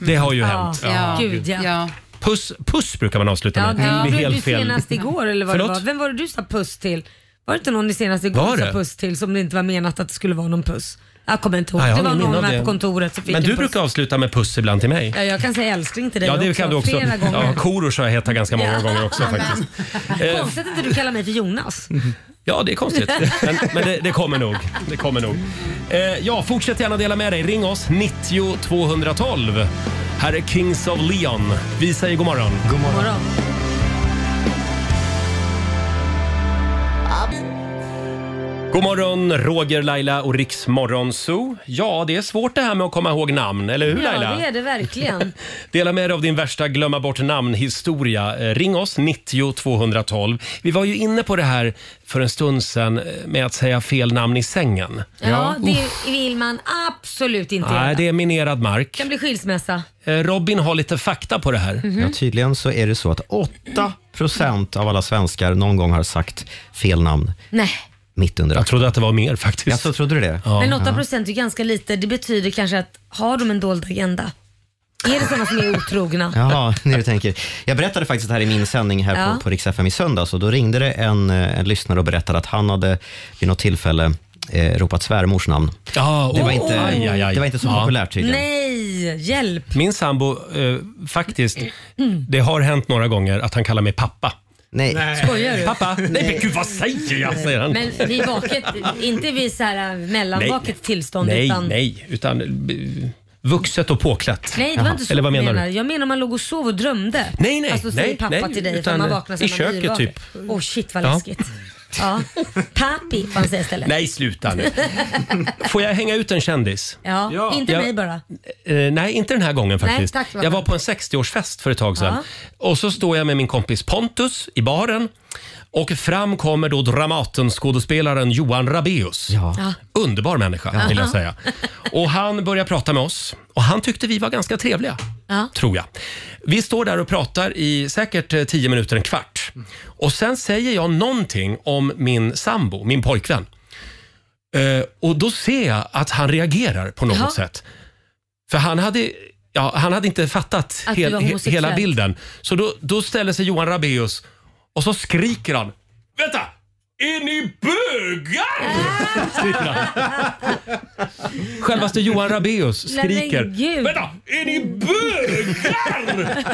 [SPEAKER 1] Det har ju hänt.
[SPEAKER 2] Mm. Ja. Gud ja. ja.
[SPEAKER 1] Puss, puss brukar man avsluta med.
[SPEAKER 2] det
[SPEAKER 1] det
[SPEAKER 2] gjorde
[SPEAKER 1] är helt
[SPEAKER 2] du
[SPEAKER 1] fel.
[SPEAKER 2] senast igår eller vad det
[SPEAKER 1] Förlåt?
[SPEAKER 2] var. Vem var det du sa puss till? Var det inte någon ni senast igår
[SPEAKER 1] Var
[SPEAKER 2] sa
[SPEAKER 1] det?
[SPEAKER 2] puss till som det inte var menat att det skulle vara någon puss? Jag kommer inte ihåg.
[SPEAKER 1] Ja, jag
[SPEAKER 2] det
[SPEAKER 1] har
[SPEAKER 2] var
[SPEAKER 1] ingen minne
[SPEAKER 2] någon
[SPEAKER 1] av
[SPEAKER 2] här
[SPEAKER 1] det.
[SPEAKER 2] på kontoret som fick
[SPEAKER 1] Men du
[SPEAKER 2] en puss.
[SPEAKER 1] brukar avsluta med puss ibland till mig.
[SPEAKER 2] Ja, jag kan säga älskling till dig
[SPEAKER 1] Ja, det
[SPEAKER 2] också,
[SPEAKER 1] kan du också.
[SPEAKER 2] Flera gånger.
[SPEAKER 1] Ja, Korosh har jag hetat ganska många
[SPEAKER 2] Ja.
[SPEAKER 1] gånger också
[SPEAKER 2] Ja, men-
[SPEAKER 1] faktiskt. Eh,
[SPEAKER 2] *laughs* Konstigt att inte du kallar mig för Jonas.
[SPEAKER 1] Ja, det är konstigt. Men, men det, det kommer nog. Det kommer nog. Eh, ja, fortsätt gärna dela med dig. Ring oss, 90 212. Här är Kings of Leon. Vi säger god morgon. God
[SPEAKER 2] morgon.
[SPEAKER 1] God morgon, Roger, Laila och Riks Morgonzoo. Ja, det är svårt det här med att komma ihåg namn, eller hur Laila?
[SPEAKER 2] Ja, det är det verkligen.
[SPEAKER 1] Dela med er av din värsta glömma bort namn-historia. Eh, Ring oss, 90 212. Vi var ju inne på det här för en stund sedan eh, med att säga fel namn i sängen.
[SPEAKER 2] Ja, det vill man absolut inte
[SPEAKER 1] Nej,
[SPEAKER 2] göra.
[SPEAKER 1] det är minerad
[SPEAKER 2] Det
[SPEAKER 1] mark.
[SPEAKER 2] kan bli skilsmässa.
[SPEAKER 1] *laughs* Eh, Robin har lite fakta på det här.
[SPEAKER 2] Mhm. Ja,
[SPEAKER 3] Tydligen så är det så att 8 procent av alla svenskar någon gång har sagt fel namn
[SPEAKER 2] Nej.
[SPEAKER 3] mitt under
[SPEAKER 1] Jag trodde att det var mer faktiskt.
[SPEAKER 3] Ja, så trodde du det?
[SPEAKER 2] Men 8 procent är ganska lite. Det betyder kanske att har de en dold agenda? Är det sådana som är otrogna?
[SPEAKER 3] Jaha, nu du tänker. Jag berättade faktiskt det här i min sändning här
[SPEAKER 2] Ja.
[SPEAKER 3] på, på Rix FM i söndags och då ringde det en, eh, en lyssnare och berättade att han hade vid något tillfälle eh, ropat svärmors namn.
[SPEAKER 1] Ja,
[SPEAKER 3] det, var
[SPEAKER 1] oj.
[SPEAKER 3] inte,
[SPEAKER 1] Ah, Aj, aj, aj.
[SPEAKER 3] det var inte så
[SPEAKER 1] Ja.
[SPEAKER 3] populärt tydligen.
[SPEAKER 2] Nej, hjälp!
[SPEAKER 1] Min sambo, eh, faktiskt,
[SPEAKER 2] Mm.
[SPEAKER 1] det har hänt några gånger att han kallar mig pappa.
[SPEAKER 3] Nej.
[SPEAKER 2] Skojar du?
[SPEAKER 1] Pappa? Nej, men gud vad säger jag? Säger han.
[SPEAKER 2] Men vi är vaket, inte vi så här äh, mellanvaket tillstånd
[SPEAKER 1] nej,
[SPEAKER 2] utan...
[SPEAKER 1] nej, utan eh, vuxet och påklätt.
[SPEAKER 2] Nej, det var inte så
[SPEAKER 1] Eller vad menar du?
[SPEAKER 2] Jag menar man låg och sov och drömde.
[SPEAKER 1] Nej, nej,
[SPEAKER 2] alltså, säger
[SPEAKER 1] nej,
[SPEAKER 2] pappa
[SPEAKER 1] nej,
[SPEAKER 2] till dig
[SPEAKER 1] utan
[SPEAKER 2] utan man vaknar så
[SPEAKER 1] i
[SPEAKER 2] är man
[SPEAKER 1] köket
[SPEAKER 2] yrvaken.
[SPEAKER 1] typ.
[SPEAKER 2] Åh shit vad
[SPEAKER 1] Ja.
[SPEAKER 2] läskigt. Ja. Papi får han säga istället.
[SPEAKER 1] Nej, sluta nu. Får jag hänga ut en kändis?
[SPEAKER 2] Ja, inte
[SPEAKER 1] Jag-
[SPEAKER 2] mig bara.
[SPEAKER 1] Eh, nej, inte den här gången
[SPEAKER 2] Nej,
[SPEAKER 1] faktiskt.
[SPEAKER 2] tack, vad
[SPEAKER 1] jag var
[SPEAKER 2] skönt.
[SPEAKER 1] på en 60-årsfest för ett tag sedan. Och så står jag med min kompis Pontus i baren. Och fram kommer då Dramaten-skådespelaren Johan Rabaeus.
[SPEAKER 2] Ja.
[SPEAKER 1] Underbar människa,
[SPEAKER 2] Ja.
[SPEAKER 1] vill jag
[SPEAKER 2] *laughs*
[SPEAKER 1] säga. Och han börjar prata med oss. Och han tyckte vi var ganska trevliga.
[SPEAKER 2] Ja.
[SPEAKER 1] Tror jag. Vi står där och pratar i säkert eh, 10 minuter, en kvart. Och sen säger jag någonting om min sambo, min pojkvän. Eh, och då ser jag att han reagerar på något
[SPEAKER 2] Jaha.
[SPEAKER 1] sätt. För han hade, ja, han hade inte fattat
[SPEAKER 2] Att du
[SPEAKER 1] hel,
[SPEAKER 2] var
[SPEAKER 1] he,
[SPEAKER 2] homosexuell.
[SPEAKER 1] hela bilden. Så då, då ställer sig Johan Rabaeus och så skriker han. Vänta! Är ni
[SPEAKER 2] Ah!
[SPEAKER 1] bögar? Skriker han. Självaste Johan Rabaeus skriker.
[SPEAKER 2] gud.
[SPEAKER 1] Vänta, är ni bögar?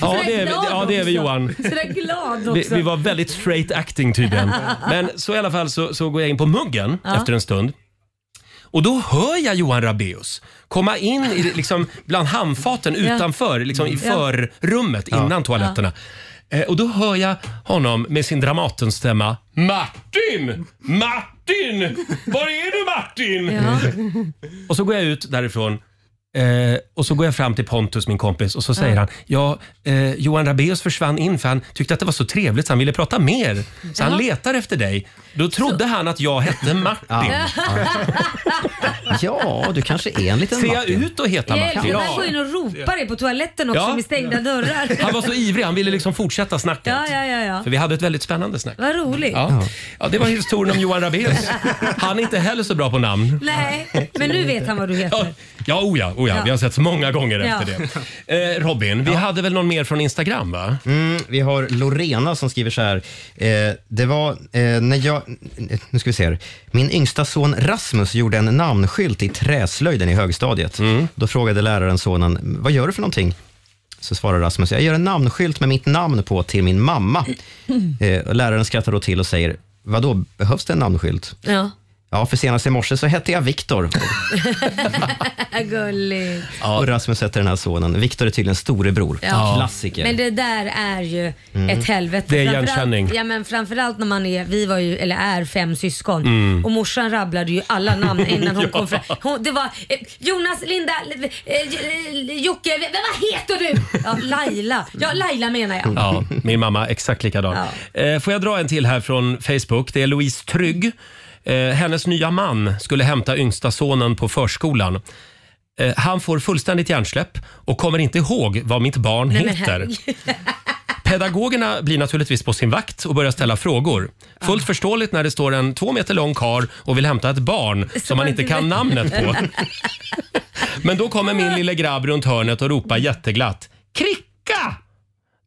[SPEAKER 1] Ja det, är, vi- ja, det är vi Johan.
[SPEAKER 2] Sådär glad också.
[SPEAKER 1] Vi, vi var väldigt straight acting
[SPEAKER 2] *laughs*
[SPEAKER 1] tydligen. Men så i alla fall så, så går jag in på muggen
[SPEAKER 2] Ja.
[SPEAKER 1] efter en stund. Och då hör jag Johan Rabaeus komma in i, liksom, bland handfaten
[SPEAKER 2] *laughs* Ja.
[SPEAKER 1] utanför, liksom, i
[SPEAKER 2] Ja.
[SPEAKER 1] förrummet innan toaletterna. Eh, och då hör jag honom med sin Dramatenstämma. Martin! Martin! Var är du Martin? Och så går jag ut därifrån eh, och så går jag fram till Pontus, min kompis, och så säger
[SPEAKER 2] Ja.
[SPEAKER 1] han ja, eh, Johan Rabaeus försvann in för han tyckte att det var så trevligt så han ville prata mer. Så han
[SPEAKER 2] Jaha.
[SPEAKER 1] letar efter dig. Då trodde han att jag hette Martin.
[SPEAKER 3] Ja, du kanske är en liten
[SPEAKER 1] Ser jag
[SPEAKER 3] Martin.
[SPEAKER 1] ut att heta
[SPEAKER 2] Jag
[SPEAKER 1] Martin?
[SPEAKER 2] älskar man går in och ropar det på toaletten också
[SPEAKER 1] Ja.
[SPEAKER 2] med stängda dörrar.
[SPEAKER 1] Han var så ivrig, han ville liksom fortsätta snacket.
[SPEAKER 2] *laughs* Ja, ja, ja. ja.
[SPEAKER 1] För vi hade ett väldigt spännande snack.
[SPEAKER 2] Vad roligt.
[SPEAKER 1] Ja. ja, det var historien om Johan Rabaeus. Han är inte heller så bra på namn.
[SPEAKER 2] Nej, men nu vet han vad du heter.
[SPEAKER 1] Ja, oh ja, oh ja.
[SPEAKER 2] Ja.
[SPEAKER 1] vi har sett så många gånger
[SPEAKER 2] Ja.
[SPEAKER 1] efter det. Eh, Robin, vi hade väl någon mer från Instagram va?
[SPEAKER 3] Mm, vi har Lorena som skriver så här. Eh, det var eh, när jag... Nu ska vi se här. Min yngsta son Rasmus gjorde en namnskylt i träslöjden i högstadiet.
[SPEAKER 1] Mm.
[SPEAKER 3] Då frågade läraren sonen, vad gör du för någonting? Så svarar Rasmus, jag gör en namnskylt med mitt namn på till min mamma. Eh, och läraren skrattar då till och säger, vadå, behövs det en namnskylt?
[SPEAKER 2] *laughs* Ja. *laughs*
[SPEAKER 3] Ja, för senast i morse så hette jag Viktor.
[SPEAKER 2] Gulligt.
[SPEAKER 3] Och Rasmus heter den här sonen. Viktor är tydligen storebror. Klassiker.
[SPEAKER 2] Men det där är ju
[SPEAKER 3] Mm.
[SPEAKER 2] ett helvete.
[SPEAKER 3] Det är
[SPEAKER 2] Framförallt-
[SPEAKER 3] igenkänning.
[SPEAKER 2] Ja, men framförallt när man är, vi var ju, eller är fem syskon
[SPEAKER 1] Mm.
[SPEAKER 2] och morsan rabblade ju alla namn innan hon
[SPEAKER 1] *laughs* Ja.
[SPEAKER 2] kom fram. Hon, det var eh, Jonas, Linda, eh, eh, Jocke, v- vad heter du? Ja, Laila. Ja, Laila menar jag.
[SPEAKER 1] Ja, min mamma exakt likadan. Eh, får jag dra en till här från Facebook? Det är Louise Trygg. Eh, hennes nya man skulle hämta yngsta sonen på förskolan. Eh, han får fullständigt hjärnsläpp och kommer inte ihåg vad mitt barn
[SPEAKER 2] Nej,
[SPEAKER 1] *laughs*
[SPEAKER 2] men
[SPEAKER 1] heter.
[SPEAKER 2] herregud.
[SPEAKER 1] Pedagogerna blir naturligtvis på sin vakt och börjar ställa frågor. Fullt förståeligt när det står en två meter lång kar och vill hämta ett barn *laughs* som man inte kan namnet på. Men då kommer min lille grabb runt hörnet och ropar jätteglatt. Kricka!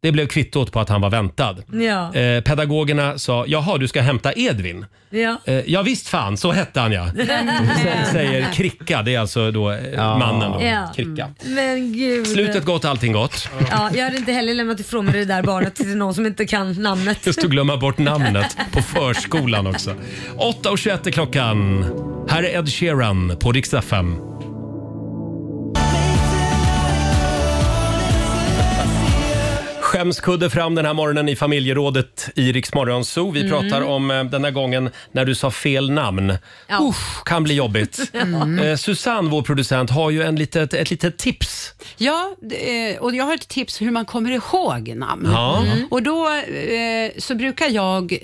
[SPEAKER 1] Det blev kvittot på att han var väntad.
[SPEAKER 2] Ja.
[SPEAKER 1] Eh, pedagogerna sa, jaha du ska hämta Edvin?
[SPEAKER 2] Ja.
[SPEAKER 1] Eh, ja visst fan, så hette han ja.
[SPEAKER 2] *laughs*
[SPEAKER 1] S- Säger Kricka, det är alltså då eh, mannen. Då.
[SPEAKER 2] Ja. Mm.
[SPEAKER 1] Kricka.
[SPEAKER 2] Men gud.
[SPEAKER 1] Slutet gott, allting gott.
[SPEAKER 2] Ja, jag hade inte heller lämnat ifrån mig det där barnet till någon som inte kan namnet.
[SPEAKER 1] Just att glömma bort namnet på förskolan också. 8.21 är klockan. Här är Ed Sheeran på Rix FM. Skämskudde fram den här morgonen i familjerådet i Rix Morgon Zoo. Vi
[SPEAKER 2] Mm.
[SPEAKER 1] pratar om eh, den här gången när du sa fel namn.
[SPEAKER 2] Ja.
[SPEAKER 1] Usch, kan bli jobbigt.
[SPEAKER 6] *laughs* Mm.
[SPEAKER 1] Eh, Susanne, vår producent, har ju en litet, ett litet tips.
[SPEAKER 6] Ja, det, eh, och jag har ett tips hur man kommer ihåg namn.
[SPEAKER 1] Ja. Mm.
[SPEAKER 6] Och då eh, så brukar jag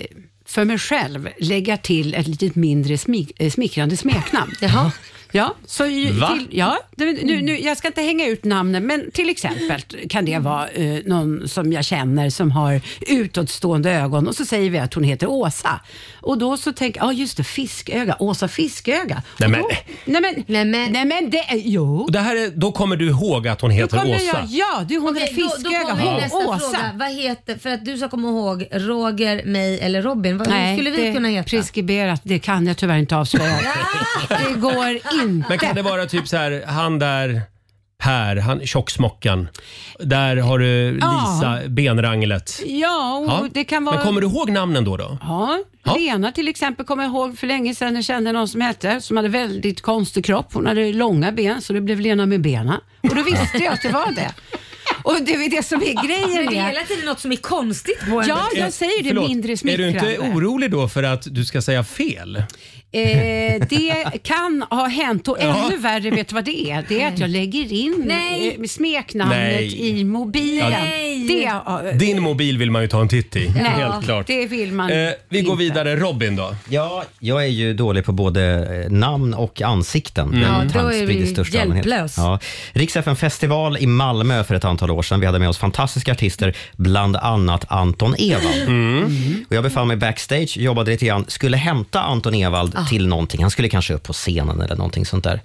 [SPEAKER 6] för mig själv lägga till ett lite mindre smik, eh, smickrande smeknamn. *laughs* Jaha. Mm. Ja, så ju,
[SPEAKER 7] Va?
[SPEAKER 6] till, ja, det- nu, nu, jag ska inte hänga ut namnen, men till exempel kan det vara eh, någon som jag känner som har utåtstående ögon och så säger vi att hon heter Åsa. Och då så tänker jag, ah, just det, fisköga, Åsa fisköga.
[SPEAKER 1] Nej,
[SPEAKER 6] Och
[SPEAKER 1] men-
[SPEAKER 6] då, nej, men, nej, men, nej men det, är- jo.
[SPEAKER 1] Och det här är, då kommer du ihåg att hon heter
[SPEAKER 6] kommer
[SPEAKER 1] Åsa.
[SPEAKER 6] jag- ja, du hon
[SPEAKER 2] Okej,
[SPEAKER 6] är
[SPEAKER 2] då- Då
[SPEAKER 6] fisköga.
[SPEAKER 2] kommer
[SPEAKER 6] Hon-
[SPEAKER 2] nästa
[SPEAKER 6] Åsa.
[SPEAKER 2] fråga. Vad heter, för att du ska komma ihåg Roger, mig eller Robin. Vad
[SPEAKER 6] Nej,
[SPEAKER 2] skulle vi
[SPEAKER 6] det är
[SPEAKER 2] kunna heta?
[SPEAKER 6] preskriberat. Det kan jag tyvärr inte
[SPEAKER 2] *laughs*
[SPEAKER 6] avslöja. det går inte.
[SPEAKER 1] Men kan det vara typ så här, han där Per, han, tjocksmockan. Där har du Lisa, benranglet.
[SPEAKER 6] Ja, och
[SPEAKER 1] Ja.
[SPEAKER 6] det kan vara...
[SPEAKER 1] Men kommer du ihåg namnen då? då?
[SPEAKER 6] Ja, Lena till exempel kommer jag ihåg för länge sedan. Jag kände någon som hette, som hade väldigt konstig kropp. Hon hade långa ben, så det blev Lena med bena. Och då visste jag att det var det. Och det är det som är grejen
[SPEAKER 2] Men det är
[SPEAKER 6] med-
[SPEAKER 2] hela tiden något som är konstigt på en.
[SPEAKER 6] Ja, jag säger det
[SPEAKER 1] Förlåt,
[SPEAKER 6] mindre
[SPEAKER 1] Är du
[SPEAKER 6] smickrande.
[SPEAKER 1] inte orolig då för att du ska säga fel?
[SPEAKER 6] Eh, det kan ha hänt och
[SPEAKER 1] Ja.
[SPEAKER 6] ännu värre, vet du vad det är? Det är att jag lägger in
[SPEAKER 2] Nej.
[SPEAKER 6] eh, smeknamnet
[SPEAKER 1] Nej.
[SPEAKER 6] i mobilen.
[SPEAKER 1] Nej.
[SPEAKER 6] Det, eh,
[SPEAKER 1] Din mobil vill man ju ta en titt i,
[SPEAKER 6] Ja,
[SPEAKER 1] helt klart.
[SPEAKER 6] Det vill man.
[SPEAKER 1] Eh, vi går vidare. Robin då?
[SPEAKER 3] Ja, jag är ju dålig på både eh, namn och ansikten.
[SPEAKER 2] Mm. Ja,
[SPEAKER 3] Den
[SPEAKER 2] då är
[SPEAKER 3] tankspridd
[SPEAKER 2] vi
[SPEAKER 3] i största allmänhet.
[SPEAKER 2] hjälplös.
[SPEAKER 3] Ja. Rix FM festival i Malmö för ett antal år sedan. Vi hade med oss fantastiska artister, bland annat Anton Ewald.
[SPEAKER 2] Mm.
[SPEAKER 3] Mm. Och jag befann mig backstage, jobbade lite grann, skulle hämta Anton Ewald
[SPEAKER 2] Ah.
[SPEAKER 3] till någonting. Han skulle kanske upp på scenen eller någonting sånt där.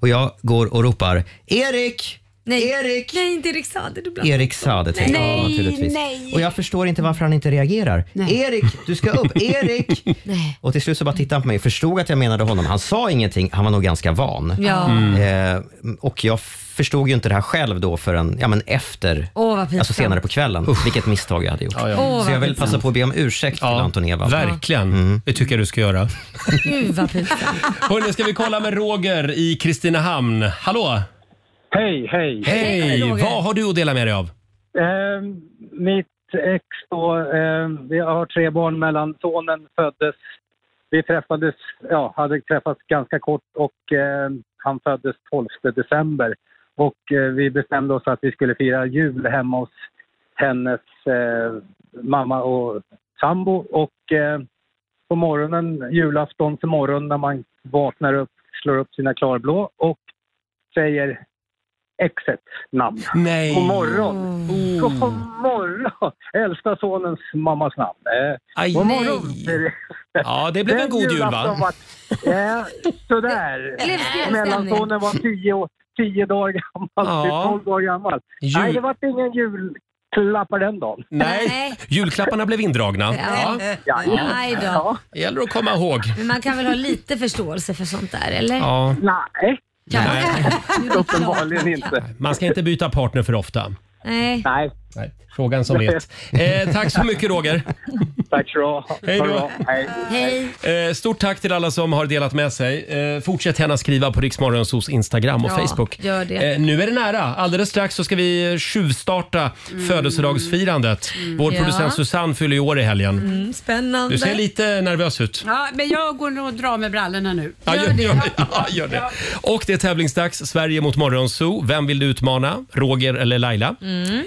[SPEAKER 3] Och jag går och ropar Erik!
[SPEAKER 2] Nej. Erik! Nej, inte Erik Saade. Du blandar
[SPEAKER 3] Erik
[SPEAKER 2] ihop
[SPEAKER 3] Saade
[SPEAKER 2] dem.
[SPEAKER 3] tänkte jag naturligtvis. Och jag förstår inte varför han inte reagerar. Erik, du ska upp. Erik! Och till slut så bara tittade han på mig, förstod att jag menade honom. Han sa ingenting, han var nog ganska van.
[SPEAKER 2] Ja.
[SPEAKER 1] Mm.
[SPEAKER 3] Eh, och jag förstod ju inte det här själv då förrän, ja men efter,
[SPEAKER 2] Åh, vad pinsamt.
[SPEAKER 3] alltså senare på kvällen, vilket misstag jag hade gjort.
[SPEAKER 2] ja. Åh,
[SPEAKER 3] så jag
[SPEAKER 2] vad
[SPEAKER 3] vill
[SPEAKER 2] pinsamt.
[SPEAKER 3] passa på att be om ursäkt till Anton Mm. Ewald.
[SPEAKER 1] Verkligen, det tycker jag du ska göra.
[SPEAKER 2] *laughs* Gud vad pinsamt.
[SPEAKER 1] Hörrni, ska vi kolla med Roger i Kristinehamn. Hallå!
[SPEAKER 14] Hej, hej!
[SPEAKER 1] Hej!
[SPEAKER 14] Hej, Roger.
[SPEAKER 1] Vad har du att dela med dig av?
[SPEAKER 14] Eh, mitt ex då, eh, vi har tre barn mellan. Sonen föddes, vi träffades, ja, hade träffats ganska kort och eh, han föddes 12 december. Och eh, vi bestämde oss att vi skulle fira jul hemma hos hennes eh, mamma och sambo. Och eh, på morgonen, julaftons morgon när man vaknar upp, slår upp sina klarblå och säger exets namn.
[SPEAKER 1] Nej. Mm.
[SPEAKER 14] God morgon. God morgon. Äldsta sonens mammas namn. Eh,
[SPEAKER 1] Aj,
[SPEAKER 14] God morgon.
[SPEAKER 1] Ja, det blev en
[SPEAKER 14] Den
[SPEAKER 1] god jul
[SPEAKER 14] julafton
[SPEAKER 1] va?
[SPEAKER 14] var- Ja, sådär.
[SPEAKER 2] Det blev stel
[SPEAKER 14] Mellansonen var tio, år- tio dagar gammal,
[SPEAKER 1] Ja.
[SPEAKER 14] ja. tolv dagar gammal.
[SPEAKER 1] Jul-
[SPEAKER 14] Nej, det var ingen julklappar den dagen.
[SPEAKER 1] Nej, julklapparna blev indragna.
[SPEAKER 2] Ja.
[SPEAKER 14] Ja.
[SPEAKER 2] Nej då.
[SPEAKER 1] Det gäller att komma ihåg.
[SPEAKER 2] Men man kan väl ha lite förståelse för sånt där, eller?
[SPEAKER 1] Ja.
[SPEAKER 14] Nej.
[SPEAKER 1] Nej.
[SPEAKER 2] *laughs*
[SPEAKER 14] Uppenbarligen inte.
[SPEAKER 1] Man ska inte byta partner för ofta.
[SPEAKER 2] Nej.
[SPEAKER 14] Nej.
[SPEAKER 1] Nej, frågan som vet. Eh, tack så mycket Roger.
[SPEAKER 14] Tack så du ha.
[SPEAKER 1] Hej då.
[SPEAKER 14] Ha det bra. Hej.
[SPEAKER 1] Eh, stort tack till alla som har delat med sig. Eh, fortsätt gärna skriva på Riksmorgonsos Instagram och
[SPEAKER 2] Ja,
[SPEAKER 1] Facebook.
[SPEAKER 2] gör det.
[SPEAKER 1] Eh, nu är det nära. Alldeles strax så ska vi tjuvstarta
[SPEAKER 2] Mm.
[SPEAKER 1] födelsedagsfirandet. Vår
[SPEAKER 6] Ja.
[SPEAKER 1] producent Susanne fyller ju år i helgen.
[SPEAKER 2] Mm, spännande.
[SPEAKER 1] Du ser lite nervös ut.
[SPEAKER 6] Ja, men jag går och drar med brallorna nu.
[SPEAKER 1] Ja, gör, gör, ja, gör det. Och det är tävlingsdags. Sverige mot Morgonzoo. Vem vill du utmana? Roger eller Laila?
[SPEAKER 7] Mm.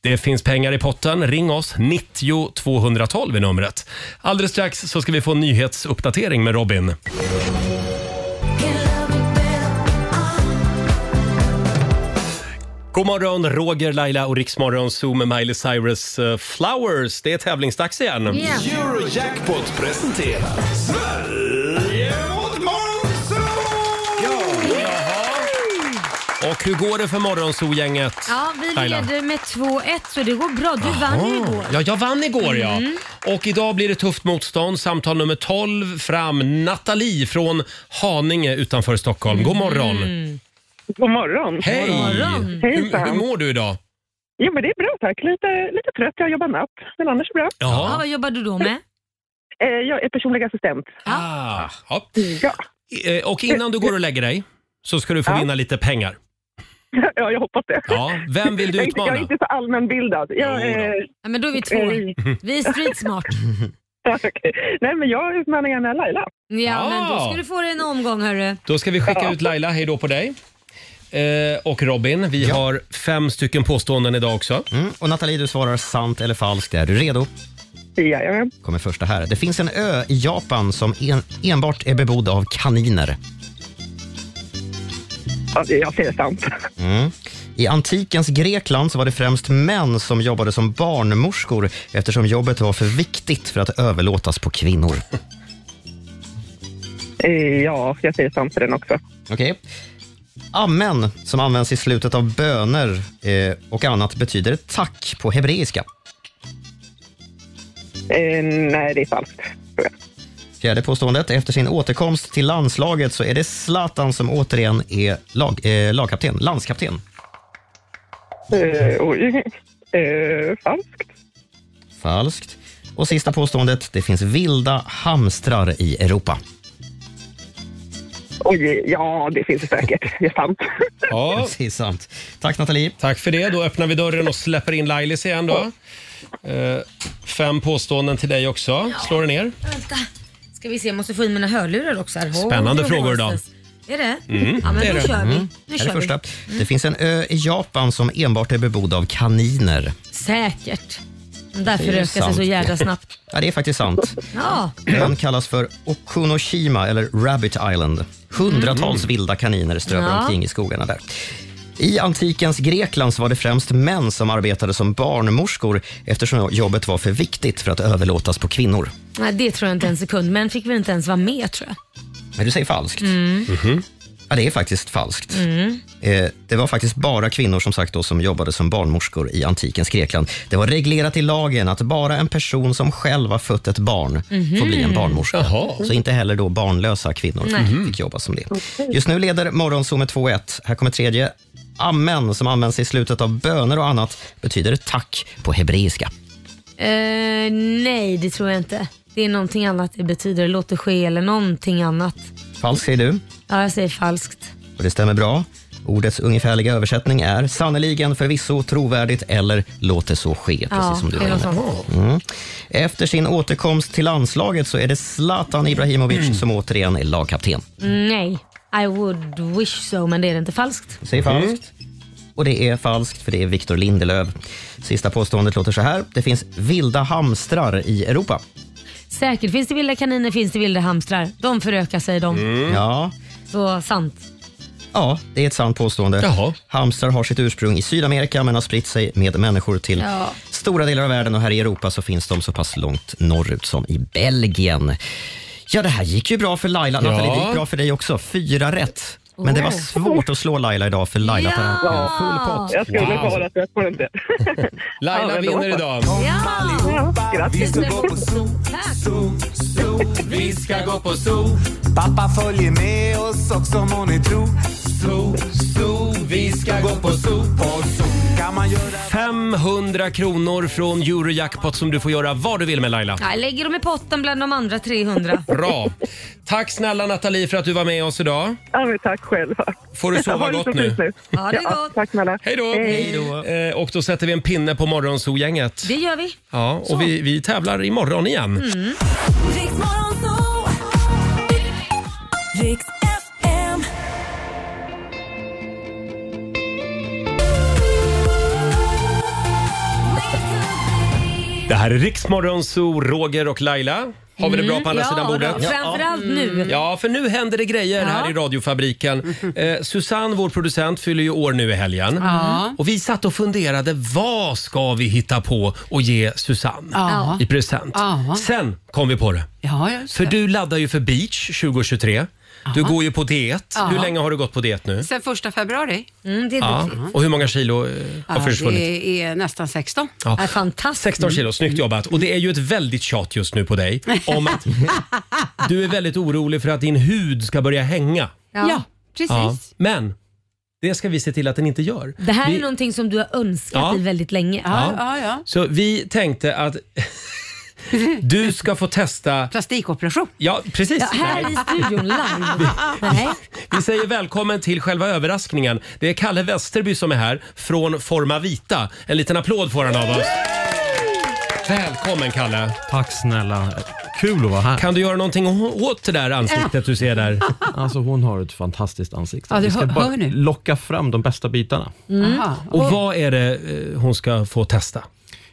[SPEAKER 1] Det finns pengar i potten. Ring oss. 90 212 är numret. Alldeles strax så ska vi få en nyhetsuppdatering med Robin. God morgon, Roger, Laila och Riksmorgon Zoom med Miley Cyrus eh, Flowers. Det är tävlingsdags igen.
[SPEAKER 13] Eurojackpot presenterar Sverige mot
[SPEAKER 1] Och hur går det för Morgonzoo-gänget?
[SPEAKER 2] Ja, vi
[SPEAKER 1] Laila?
[SPEAKER 2] leder med 2-1 så det går bra. Du vann ju igår.
[SPEAKER 1] Ja, jag vann igår
[SPEAKER 2] Mm.
[SPEAKER 1] ja. Och idag blir det tufft motstånd. Samtal nummer 12 fram. Nathalie från Haninge utanför Stockholm. God morgon.
[SPEAKER 15] Mm. God morgon.
[SPEAKER 1] Hej! Hur, hur
[SPEAKER 15] Hejsan.
[SPEAKER 1] mår du idag?
[SPEAKER 15] Jo, men det är bra tack. Lite, lite trött. Jag jobbar natt, men annars bra. Eh,
[SPEAKER 1] Ja. Ja,
[SPEAKER 2] vad jobbar du då med?
[SPEAKER 15] Jag är personlig assistent.
[SPEAKER 1] Ah, ja. Eh, Och innan du går och lägger dig så ska du få vinna lite pengar.
[SPEAKER 15] *laughs* Ja, jag hoppas det.
[SPEAKER 1] Ja, vem vill du
[SPEAKER 15] Jag är inte- Jag är
[SPEAKER 1] utmana?
[SPEAKER 15] inte så allmänbildad. Jag, Eh,
[SPEAKER 1] Jo då.
[SPEAKER 2] Ja, men då är
[SPEAKER 3] *laughs*
[SPEAKER 2] vi två.
[SPEAKER 15] *laughs*
[SPEAKER 2] Vi är streetsmart.
[SPEAKER 15] Nej, men jag utmanar gärna Laila.
[SPEAKER 2] Ja, men då ska du få dig en omgång hörru.
[SPEAKER 1] Då ska vi skicka
[SPEAKER 2] Ja.
[SPEAKER 1] ut Laila. Hej då på dig. Eh, och Robin, vi har fem stycken påståenden idag också.
[SPEAKER 3] Mm. och Nathalie, du svarar sant eller falskt. Är du redo?
[SPEAKER 15] Jajamän.
[SPEAKER 3] Kommer första här. Det finns en ö i Japan som en, enbart är bebodd av kaniner.
[SPEAKER 15] Ja, Jag säger sant.
[SPEAKER 3] Mm. I antikens Grekland så var det främst män som jobbade som barnmorskor eftersom jobbet var för viktigt för att överlåtas på kvinnor.
[SPEAKER 15] Eh, Ja, jag säger sant för den också.
[SPEAKER 3] Okej. Amen, som används i slutet av böner eh, och annat, betyder tack på hebreiska.
[SPEAKER 15] Eh, Nej, det är falskt.
[SPEAKER 3] Fjärde påståendet. Efter sin återkomst till landslaget så är det Zlatan som återigen är lag, eh, lagkapten, landskapten.
[SPEAKER 15] Eh, Oj. Eh, Falskt.
[SPEAKER 3] Falskt. Och sista påståendet. Det finns vilda hamstrar i Europa.
[SPEAKER 15] Oj, ja, det finns det säkert. Det är sant.
[SPEAKER 1] Ja.
[SPEAKER 3] *laughs* Det är sant. Tack Nathalie.
[SPEAKER 1] Tack för det. Då öppnar vi dörren och släpper in Lailis igen då. Eh, fem påståenden till dig också. Slår du ner?
[SPEAKER 2] Vänta. Ska vi se, jag måste få in mina hörlurar också. Här.
[SPEAKER 1] Spännande
[SPEAKER 2] Hår-
[SPEAKER 1] frågor idag.
[SPEAKER 2] Är det?
[SPEAKER 3] Mm,
[SPEAKER 2] ja, men
[SPEAKER 3] det är
[SPEAKER 2] då
[SPEAKER 3] det.
[SPEAKER 2] kör vi.
[SPEAKER 3] Mm.
[SPEAKER 2] Nu
[SPEAKER 3] Här
[SPEAKER 2] kör
[SPEAKER 3] är det,
[SPEAKER 2] vi.
[SPEAKER 3] första. det finns en ö i Japan som enbart är bebodd av kaniner.
[SPEAKER 2] Säkert.
[SPEAKER 3] Det
[SPEAKER 2] Därför
[SPEAKER 3] är
[SPEAKER 2] rökar sig
[SPEAKER 3] sant.
[SPEAKER 2] så
[SPEAKER 3] *laughs*
[SPEAKER 2] jädra snabbt.
[SPEAKER 3] Ja, det är faktiskt sant.
[SPEAKER 2] Ja.
[SPEAKER 3] Ön kallas för Okunoshima eller Rabbit Island. Hundratals vilda kaniner strövar
[SPEAKER 2] Mm. Ja.
[SPEAKER 3] omkring i skogarna där. I antikens Grekland så var det främst män som arbetade som barnmorskor eftersom jobbet var för viktigt för att överlåtas på kvinnor.
[SPEAKER 2] Nej, det tror jag inte en sekund. Men fick väl inte ens vara med tror jag.
[SPEAKER 3] Men du säger falskt.
[SPEAKER 2] Mm.
[SPEAKER 3] Ja, det är faktiskt falskt.
[SPEAKER 2] Mm.
[SPEAKER 3] Eh, det var faktiskt bara kvinnor som sagt då som jobbade som barnmorskor i antikens Grekland. Det var reglerat i lagen att bara en person som själv har fött ett barn får
[SPEAKER 7] Mhm.
[SPEAKER 3] bli en barnmorska.
[SPEAKER 7] Jaha.
[SPEAKER 3] Så inte heller då barnlösa kvinnor
[SPEAKER 7] Nej. Mhm.
[SPEAKER 3] fick jobba som det. Just nu leder Morgonzoo med 2-1. Här kommer tredje. Amen, som används i slutet av böner och annat, betyder tack på hebreiska.
[SPEAKER 2] Eh, nej, det tror jag inte. Det är någonting annat det betyder. Låt det ske eller någonting annat.
[SPEAKER 3] Falskt säger du.
[SPEAKER 2] Ja, jag säger falskt.
[SPEAKER 3] Och det stämmer bra. Ordets ungefärliga översättning är sannoliken, förvisso, trovärdigt eller låt det så ske. Precis
[SPEAKER 2] Ja,
[SPEAKER 3] som du
[SPEAKER 2] det
[SPEAKER 3] var
[SPEAKER 2] är
[SPEAKER 3] inne
[SPEAKER 2] något
[SPEAKER 3] på. Mm. Efter sin återkomst till landslaget så är det Zlatan Ibrahimovic som återigen är lagkapten.
[SPEAKER 2] Nej, I would wish so, men det är det inte. Falskt.
[SPEAKER 3] Säg
[SPEAKER 1] Mm.
[SPEAKER 3] falskt. Och det är falskt för det är Victor Lindelöf. Sista påståendet låter så här. Det finns vilda hamstrar i Europa.
[SPEAKER 2] Säkert finns det vilda kaniner, finns det vilda hamstrar. De förökar sig de.
[SPEAKER 1] Mm.
[SPEAKER 3] Ja,
[SPEAKER 2] Så sant.
[SPEAKER 3] Ja, det är ett sant påstående. Hamstrar har sitt ursprung i Sydamerika men har spritt sig med människor till
[SPEAKER 2] Ja.
[SPEAKER 3] stora delar av världen och här i Europa så finns de så pass långt norrut som i Belgien. Ja, det här gick ju bra för Laila.
[SPEAKER 7] Ja.
[SPEAKER 3] Nathalie, det gick bra för dig också. Fyra rätt. Men det var
[SPEAKER 7] Oh.
[SPEAKER 3] svårt att slå Laila idag för Laila tar hem en full pott.
[SPEAKER 15] Jag skulle
[SPEAKER 3] Wow.
[SPEAKER 15] bara att jag får inte.
[SPEAKER 1] Laila vinner idag.
[SPEAKER 15] Ja,
[SPEAKER 13] Vi
[SPEAKER 15] grattis.
[SPEAKER 13] ska gå på zoo, zoo, zoo. Vi ska gå på zoo. Pappa följer med oss också må ni tro. Zoo, zoo. Vi ska gå på zoo. På zoo kan man göra
[SPEAKER 1] 500 kronor från Eurojackpot som du får göra vad du vill med Laila.
[SPEAKER 2] Jag lägger dem i potten bland de andra 300.
[SPEAKER 1] *laughs* Bra. Tack snälla Nathalie för att du var med oss idag.
[SPEAKER 15] Ja, men tack själv.
[SPEAKER 1] Får du
[SPEAKER 2] *laughs*
[SPEAKER 1] sova
[SPEAKER 15] Ha det så
[SPEAKER 1] gott
[SPEAKER 15] fint
[SPEAKER 1] nu?
[SPEAKER 2] Ja, det är gott.
[SPEAKER 15] Tack snälla.
[SPEAKER 1] Hej då!
[SPEAKER 2] Hej.
[SPEAKER 1] Eh, och då sätter vi en pinne på Morgonzoo-gänget.
[SPEAKER 2] Det gör vi.
[SPEAKER 1] Ja,
[SPEAKER 2] Så.
[SPEAKER 1] och vi, vi tävlar imorgon igen.
[SPEAKER 2] Mm.
[SPEAKER 1] Det här är Riksmorgonzoo, Roger och Laila. Har vi det bra
[SPEAKER 2] Mm.
[SPEAKER 1] på andra
[SPEAKER 2] Ja,
[SPEAKER 1] sidan
[SPEAKER 2] då.
[SPEAKER 1] bordet?
[SPEAKER 2] Framförallt Mm. nu.
[SPEAKER 1] Ja, för nu händer det grejer här i radiofabriken. Eh, Susanne, vår producent, fyller ju år nu i helgen.
[SPEAKER 6] Ja.
[SPEAKER 1] Och vi satt och funderade, vad ska vi hitta på och ge Susanne
[SPEAKER 6] Ja.
[SPEAKER 1] i present?
[SPEAKER 6] Ja.
[SPEAKER 1] Sen kom vi på det.
[SPEAKER 6] Ja, just
[SPEAKER 1] För du laddar ju för beach 2023. Du
[SPEAKER 6] Ja.
[SPEAKER 1] går ju på diet.
[SPEAKER 6] Ja.
[SPEAKER 1] Hur länge har du gått på diet nu?
[SPEAKER 6] Sen första februari.
[SPEAKER 2] det
[SPEAKER 1] Ja. Och hur många kilo eh, har försvunnit?
[SPEAKER 6] det är Mm. nästan 16.
[SPEAKER 1] Ja. Är
[SPEAKER 2] fantastiskt.
[SPEAKER 1] 16
[SPEAKER 6] *laughs*
[SPEAKER 1] kilo, snyggt jobbat. Och det är ju ett väldigt tjat just nu på dig om att du är väldigt orolig för att din hud ska börja
[SPEAKER 6] *laughs*
[SPEAKER 1] hänga.
[SPEAKER 2] Ja.
[SPEAKER 6] precis.
[SPEAKER 1] Ja, Men det ska vi se till att den inte gör.
[SPEAKER 2] Det här
[SPEAKER 1] vi,
[SPEAKER 2] är någonting som du har önskat
[SPEAKER 1] Ja.
[SPEAKER 2] dig väldigt länge.
[SPEAKER 1] Ja, ja, Så vi tänkte att *laughs* du ska få testa...
[SPEAKER 6] Plastikoperation.
[SPEAKER 1] Ja, precis.
[SPEAKER 2] Ja, här i
[SPEAKER 1] *laughs*
[SPEAKER 2] studion live. Nej.
[SPEAKER 1] Vi säger välkommen till själva överraskningen. Det är Kalle Westerby som är här från Forma Vita. En liten applåd får han av oss. Välkommen Kalle!
[SPEAKER 16] Tack snälla. Kul att vara här.
[SPEAKER 1] Kan du göra någonting å- åt det där ansiktet du ser där?
[SPEAKER 16] *laughs* Alltså hon har ett fantastiskt ansikte.
[SPEAKER 6] Ja, det
[SPEAKER 16] Vi ska
[SPEAKER 6] hör-
[SPEAKER 16] bara
[SPEAKER 6] hör ni?
[SPEAKER 16] locka fram de bästa bitarna.
[SPEAKER 6] Mm.
[SPEAKER 1] Och vad är det eh, hon ska få testa?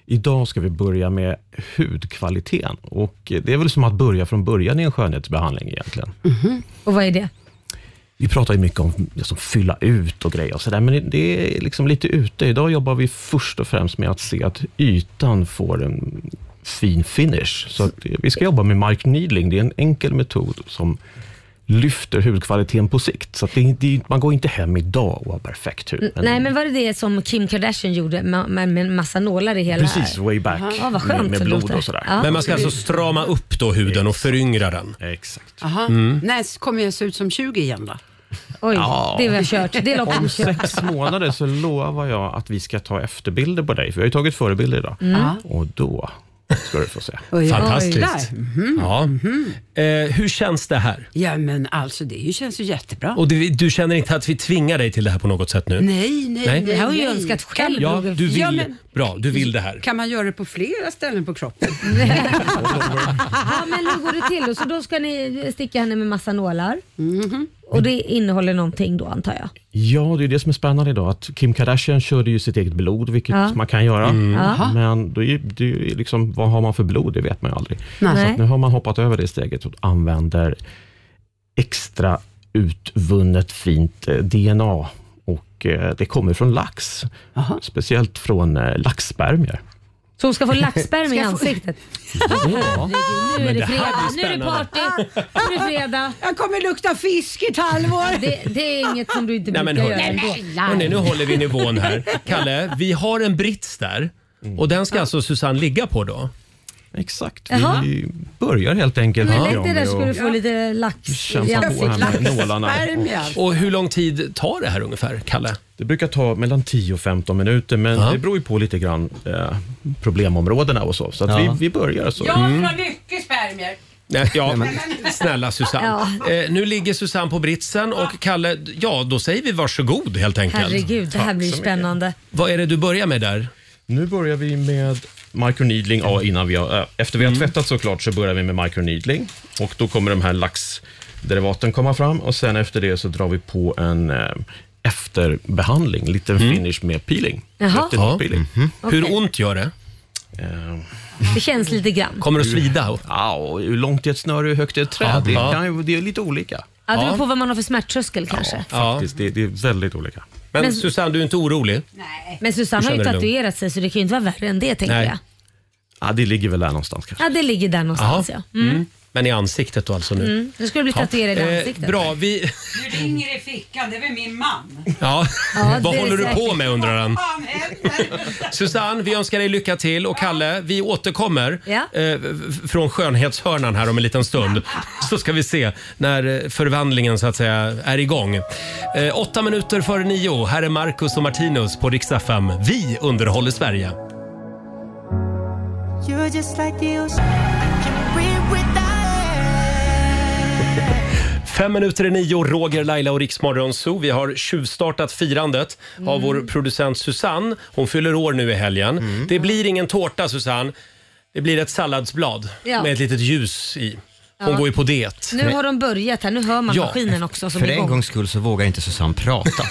[SPEAKER 16] Idag ska vi börja med hudkvaliteten. Och eh, det är väl som att börja från början i en skönhetsbehandling egentligen.
[SPEAKER 2] Mm-hmm. Och vad är det?
[SPEAKER 16] Vi pratar ju mycket om liksom, fylla ut och grejer och sådär, men det är liksom lite ute. Idag jobbar vi först och främst med att se att ytan får en fin finish. Så att eh, vi ska jobba med microneedling. Det är en enkel metod som lyfter hudkvaliteten på sikt. Så att det, det, man går inte hem idag och har perfekt
[SPEAKER 1] Mm.
[SPEAKER 16] hud. men-
[SPEAKER 2] Nej men var det det som Kim Kardashian gjorde ma- med, med en massa nålar i hela?
[SPEAKER 16] Precis, way back.
[SPEAKER 2] Ja, vad skönt
[SPEAKER 16] med, med
[SPEAKER 2] det
[SPEAKER 16] blod
[SPEAKER 2] låter.
[SPEAKER 16] och sådär.
[SPEAKER 2] Ja.
[SPEAKER 1] Men man ska alltså strama upp då huden och föryngra den?
[SPEAKER 16] Exakt.
[SPEAKER 6] Aha.
[SPEAKER 1] Mm.
[SPEAKER 6] När kommer jag se ut som 20 igen då?
[SPEAKER 2] Oj,
[SPEAKER 16] Ja.
[SPEAKER 2] det var kört. Det är loppet
[SPEAKER 16] Om
[SPEAKER 2] kört.
[SPEAKER 16] sex månader så lovar jag att vi ska ta efterbilder på dig, för vi har ju tagit förebilder idag.
[SPEAKER 2] Mm.
[SPEAKER 16] Och då ska du få se.
[SPEAKER 6] Oj,
[SPEAKER 1] Fantastiskt.
[SPEAKER 6] oj.
[SPEAKER 1] Ja.
[SPEAKER 2] Mhm.
[SPEAKER 1] Eh, hur känns det här?
[SPEAKER 6] Ja men alltså det ju- känns ju jättebra.
[SPEAKER 1] Och du, du känner inte att vi tvingar dig till det här på något sätt nu?
[SPEAKER 6] Nej, nej, nej.
[SPEAKER 2] Det här har ju
[SPEAKER 6] nej.
[SPEAKER 2] önskat själv.
[SPEAKER 1] Ja, du vill,
[SPEAKER 6] Ja, men-
[SPEAKER 1] Bra, du vill det här.
[SPEAKER 6] Kan man göra det på flera ställen på
[SPEAKER 2] *laughs*
[SPEAKER 6] kroppen? *laughs*
[SPEAKER 2] ja men hur går det till då? Så då ska ni sticka henne med massa nålar.
[SPEAKER 1] Mhm.
[SPEAKER 2] Och det innehåller någonting då antar jag?
[SPEAKER 16] Ja, det är det som är spännande idag. Att Kim Kardashian körde ju sitt eget blod, vilket
[SPEAKER 2] Ja.
[SPEAKER 16] man kan göra.
[SPEAKER 2] Mm. Jaha.
[SPEAKER 16] Men då är, det är ju liksom, vad har man för blod? Det vet man ju aldrig.
[SPEAKER 2] Nej.
[SPEAKER 16] Så att nu har man hoppat över det steget och använder extra utvunnet fint eh, DNA. Och eh, Det kommer från lax, speciellt från eh, laxspermier.
[SPEAKER 2] Så hon ska
[SPEAKER 1] *laughs*
[SPEAKER 2] få laxsperm
[SPEAKER 6] Ska
[SPEAKER 2] i
[SPEAKER 6] jag få-
[SPEAKER 2] ansiktet?
[SPEAKER 16] Ja.
[SPEAKER 2] Nu är
[SPEAKER 16] Men
[SPEAKER 2] det
[SPEAKER 16] det här
[SPEAKER 2] fredag, nu
[SPEAKER 16] blir
[SPEAKER 2] är det party, nu
[SPEAKER 6] *laughs*
[SPEAKER 2] är det fredag.
[SPEAKER 6] Jag kommer lukta fisk i ett halvår.
[SPEAKER 2] Det, det är inget som du inte
[SPEAKER 1] Nej, men
[SPEAKER 2] brukar göra
[SPEAKER 1] hörni.
[SPEAKER 2] ändå.
[SPEAKER 1] Hörrni, nu håller vi nivån
[SPEAKER 2] *laughs*
[SPEAKER 1] här. Kalle, vi har en brits där. Och den ska alltså Susanne ligga på då?
[SPEAKER 16] Mm. Exakt.
[SPEAKER 2] Jaha.
[SPEAKER 16] Vi börjar helt enkelt.
[SPEAKER 2] Hur
[SPEAKER 16] Ja,
[SPEAKER 2] lätt är
[SPEAKER 16] med
[SPEAKER 2] det? Ska du
[SPEAKER 16] att
[SPEAKER 2] få lite lax i
[SPEAKER 16] Kämpa på här med
[SPEAKER 2] ansiktet?
[SPEAKER 16] nålarna.
[SPEAKER 1] Och hur lång tid tar det här ungefär, Kalle?
[SPEAKER 16] Det brukar ta mellan 10 och 15 minuter, men det beror ju på lite grann eh, problemområdena och så. Så att
[SPEAKER 1] Ja.
[SPEAKER 16] vi, vi börjar så.
[SPEAKER 6] Jag
[SPEAKER 2] Mm.
[SPEAKER 6] har mycket spermier.
[SPEAKER 1] Nej, Ja, snälla Susanne.
[SPEAKER 2] *laughs*
[SPEAKER 1] Eh, nu ligger Susanne på britsen och Kalle, ja då säger vi varsågod helt enkelt.
[SPEAKER 2] Herregud, det här
[SPEAKER 1] Tack
[SPEAKER 2] blir
[SPEAKER 1] så mycket.
[SPEAKER 2] spännande.
[SPEAKER 1] Vad är det du börjar med där?
[SPEAKER 16] Nu börjar vi med microneedling. Ja, innan vi har, eh, efter
[SPEAKER 1] Mm.
[SPEAKER 16] vi har tvättat såklart så börjar vi med microneedling. Och då kommer de här laxderivaten komma fram och sen efter det så drar vi på en eh, efterbehandling, lite finish med peeling.
[SPEAKER 2] Jaha.
[SPEAKER 16] Retinol peeling.
[SPEAKER 1] Mm. Mhm.
[SPEAKER 16] Eh,
[SPEAKER 1] Hur ont gör det?
[SPEAKER 2] Det känns lite grann.
[SPEAKER 1] Kommer det att svida?
[SPEAKER 16] Ja, och hur långt är ett snöre och hur högt är ett träd? Det,
[SPEAKER 1] Ja.
[SPEAKER 16] kan, ju- det är lite olika.
[SPEAKER 2] Ja, det beror på vad man har för smärttröskel kanske.
[SPEAKER 16] Faktiskt, det, det är väldigt olika.
[SPEAKER 1] Men,
[SPEAKER 2] Men-
[SPEAKER 1] Susanne, du är inte orolig?
[SPEAKER 2] Men Susanne har ju
[SPEAKER 16] Känner dig lugn.
[SPEAKER 2] tatuerat sig så det kan ju inte vara värre än det tänker
[SPEAKER 1] Nej.
[SPEAKER 2] jag.
[SPEAKER 16] Ja, det ligger väl där någonstans kanske.
[SPEAKER 2] Ja, det ligger där någonstans
[SPEAKER 1] Jaha.
[SPEAKER 2] ja. Mm.
[SPEAKER 1] Mm. Men i ansiktet då alltså nu?
[SPEAKER 2] Mm. Nu ska du bli
[SPEAKER 1] Ja.
[SPEAKER 2] tatuerad i
[SPEAKER 1] Eh,
[SPEAKER 2] ansiktet.
[SPEAKER 1] bra, vi... *laughs*
[SPEAKER 6] Nu ringer det i fickan, det är väl min man.
[SPEAKER 1] Ja.
[SPEAKER 6] Ja,
[SPEAKER 1] Vad
[SPEAKER 6] det är
[SPEAKER 1] håller du
[SPEAKER 6] säkert.
[SPEAKER 1] på med undrar han?
[SPEAKER 6] Han
[SPEAKER 1] *laughs*
[SPEAKER 6] händer.
[SPEAKER 1] Susanne, vi önskar dig lycka till och Kalle, vi återkommer
[SPEAKER 6] Ja.
[SPEAKER 1] eh, f- från skönhetshörnan här om en liten stund. Så ska vi se när eh, förvandlingen så att säga är igång. Eh, åtta minuter före nio, här är Marcus och Martinus på Rix FM. Vi underhåller Sverige.
[SPEAKER 8] You're just like the ocean. I can breathe without air.
[SPEAKER 1] Fem minuter i nio, Roger, Laila och Riksmorgon Zoo. Vi har tjuvstartat firandet
[SPEAKER 2] Mm.
[SPEAKER 1] av vår producent Susanne. Hon fyller år nu i helgen.
[SPEAKER 2] Mm.
[SPEAKER 1] Det blir ingen tårta Susanne. Det blir ett salladsblad
[SPEAKER 2] Ja.
[SPEAKER 1] med ett litet ljus i. Hon
[SPEAKER 2] Ja.
[SPEAKER 1] går ju på diet.
[SPEAKER 2] Nu har de börjat här, nu hör man maskinen också som
[SPEAKER 3] För
[SPEAKER 2] är
[SPEAKER 3] en
[SPEAKER 2] igång.
[SPEAKER 3] gångs skull så vågar inte Susanne prata.
[SPEAKER 1] *laughs*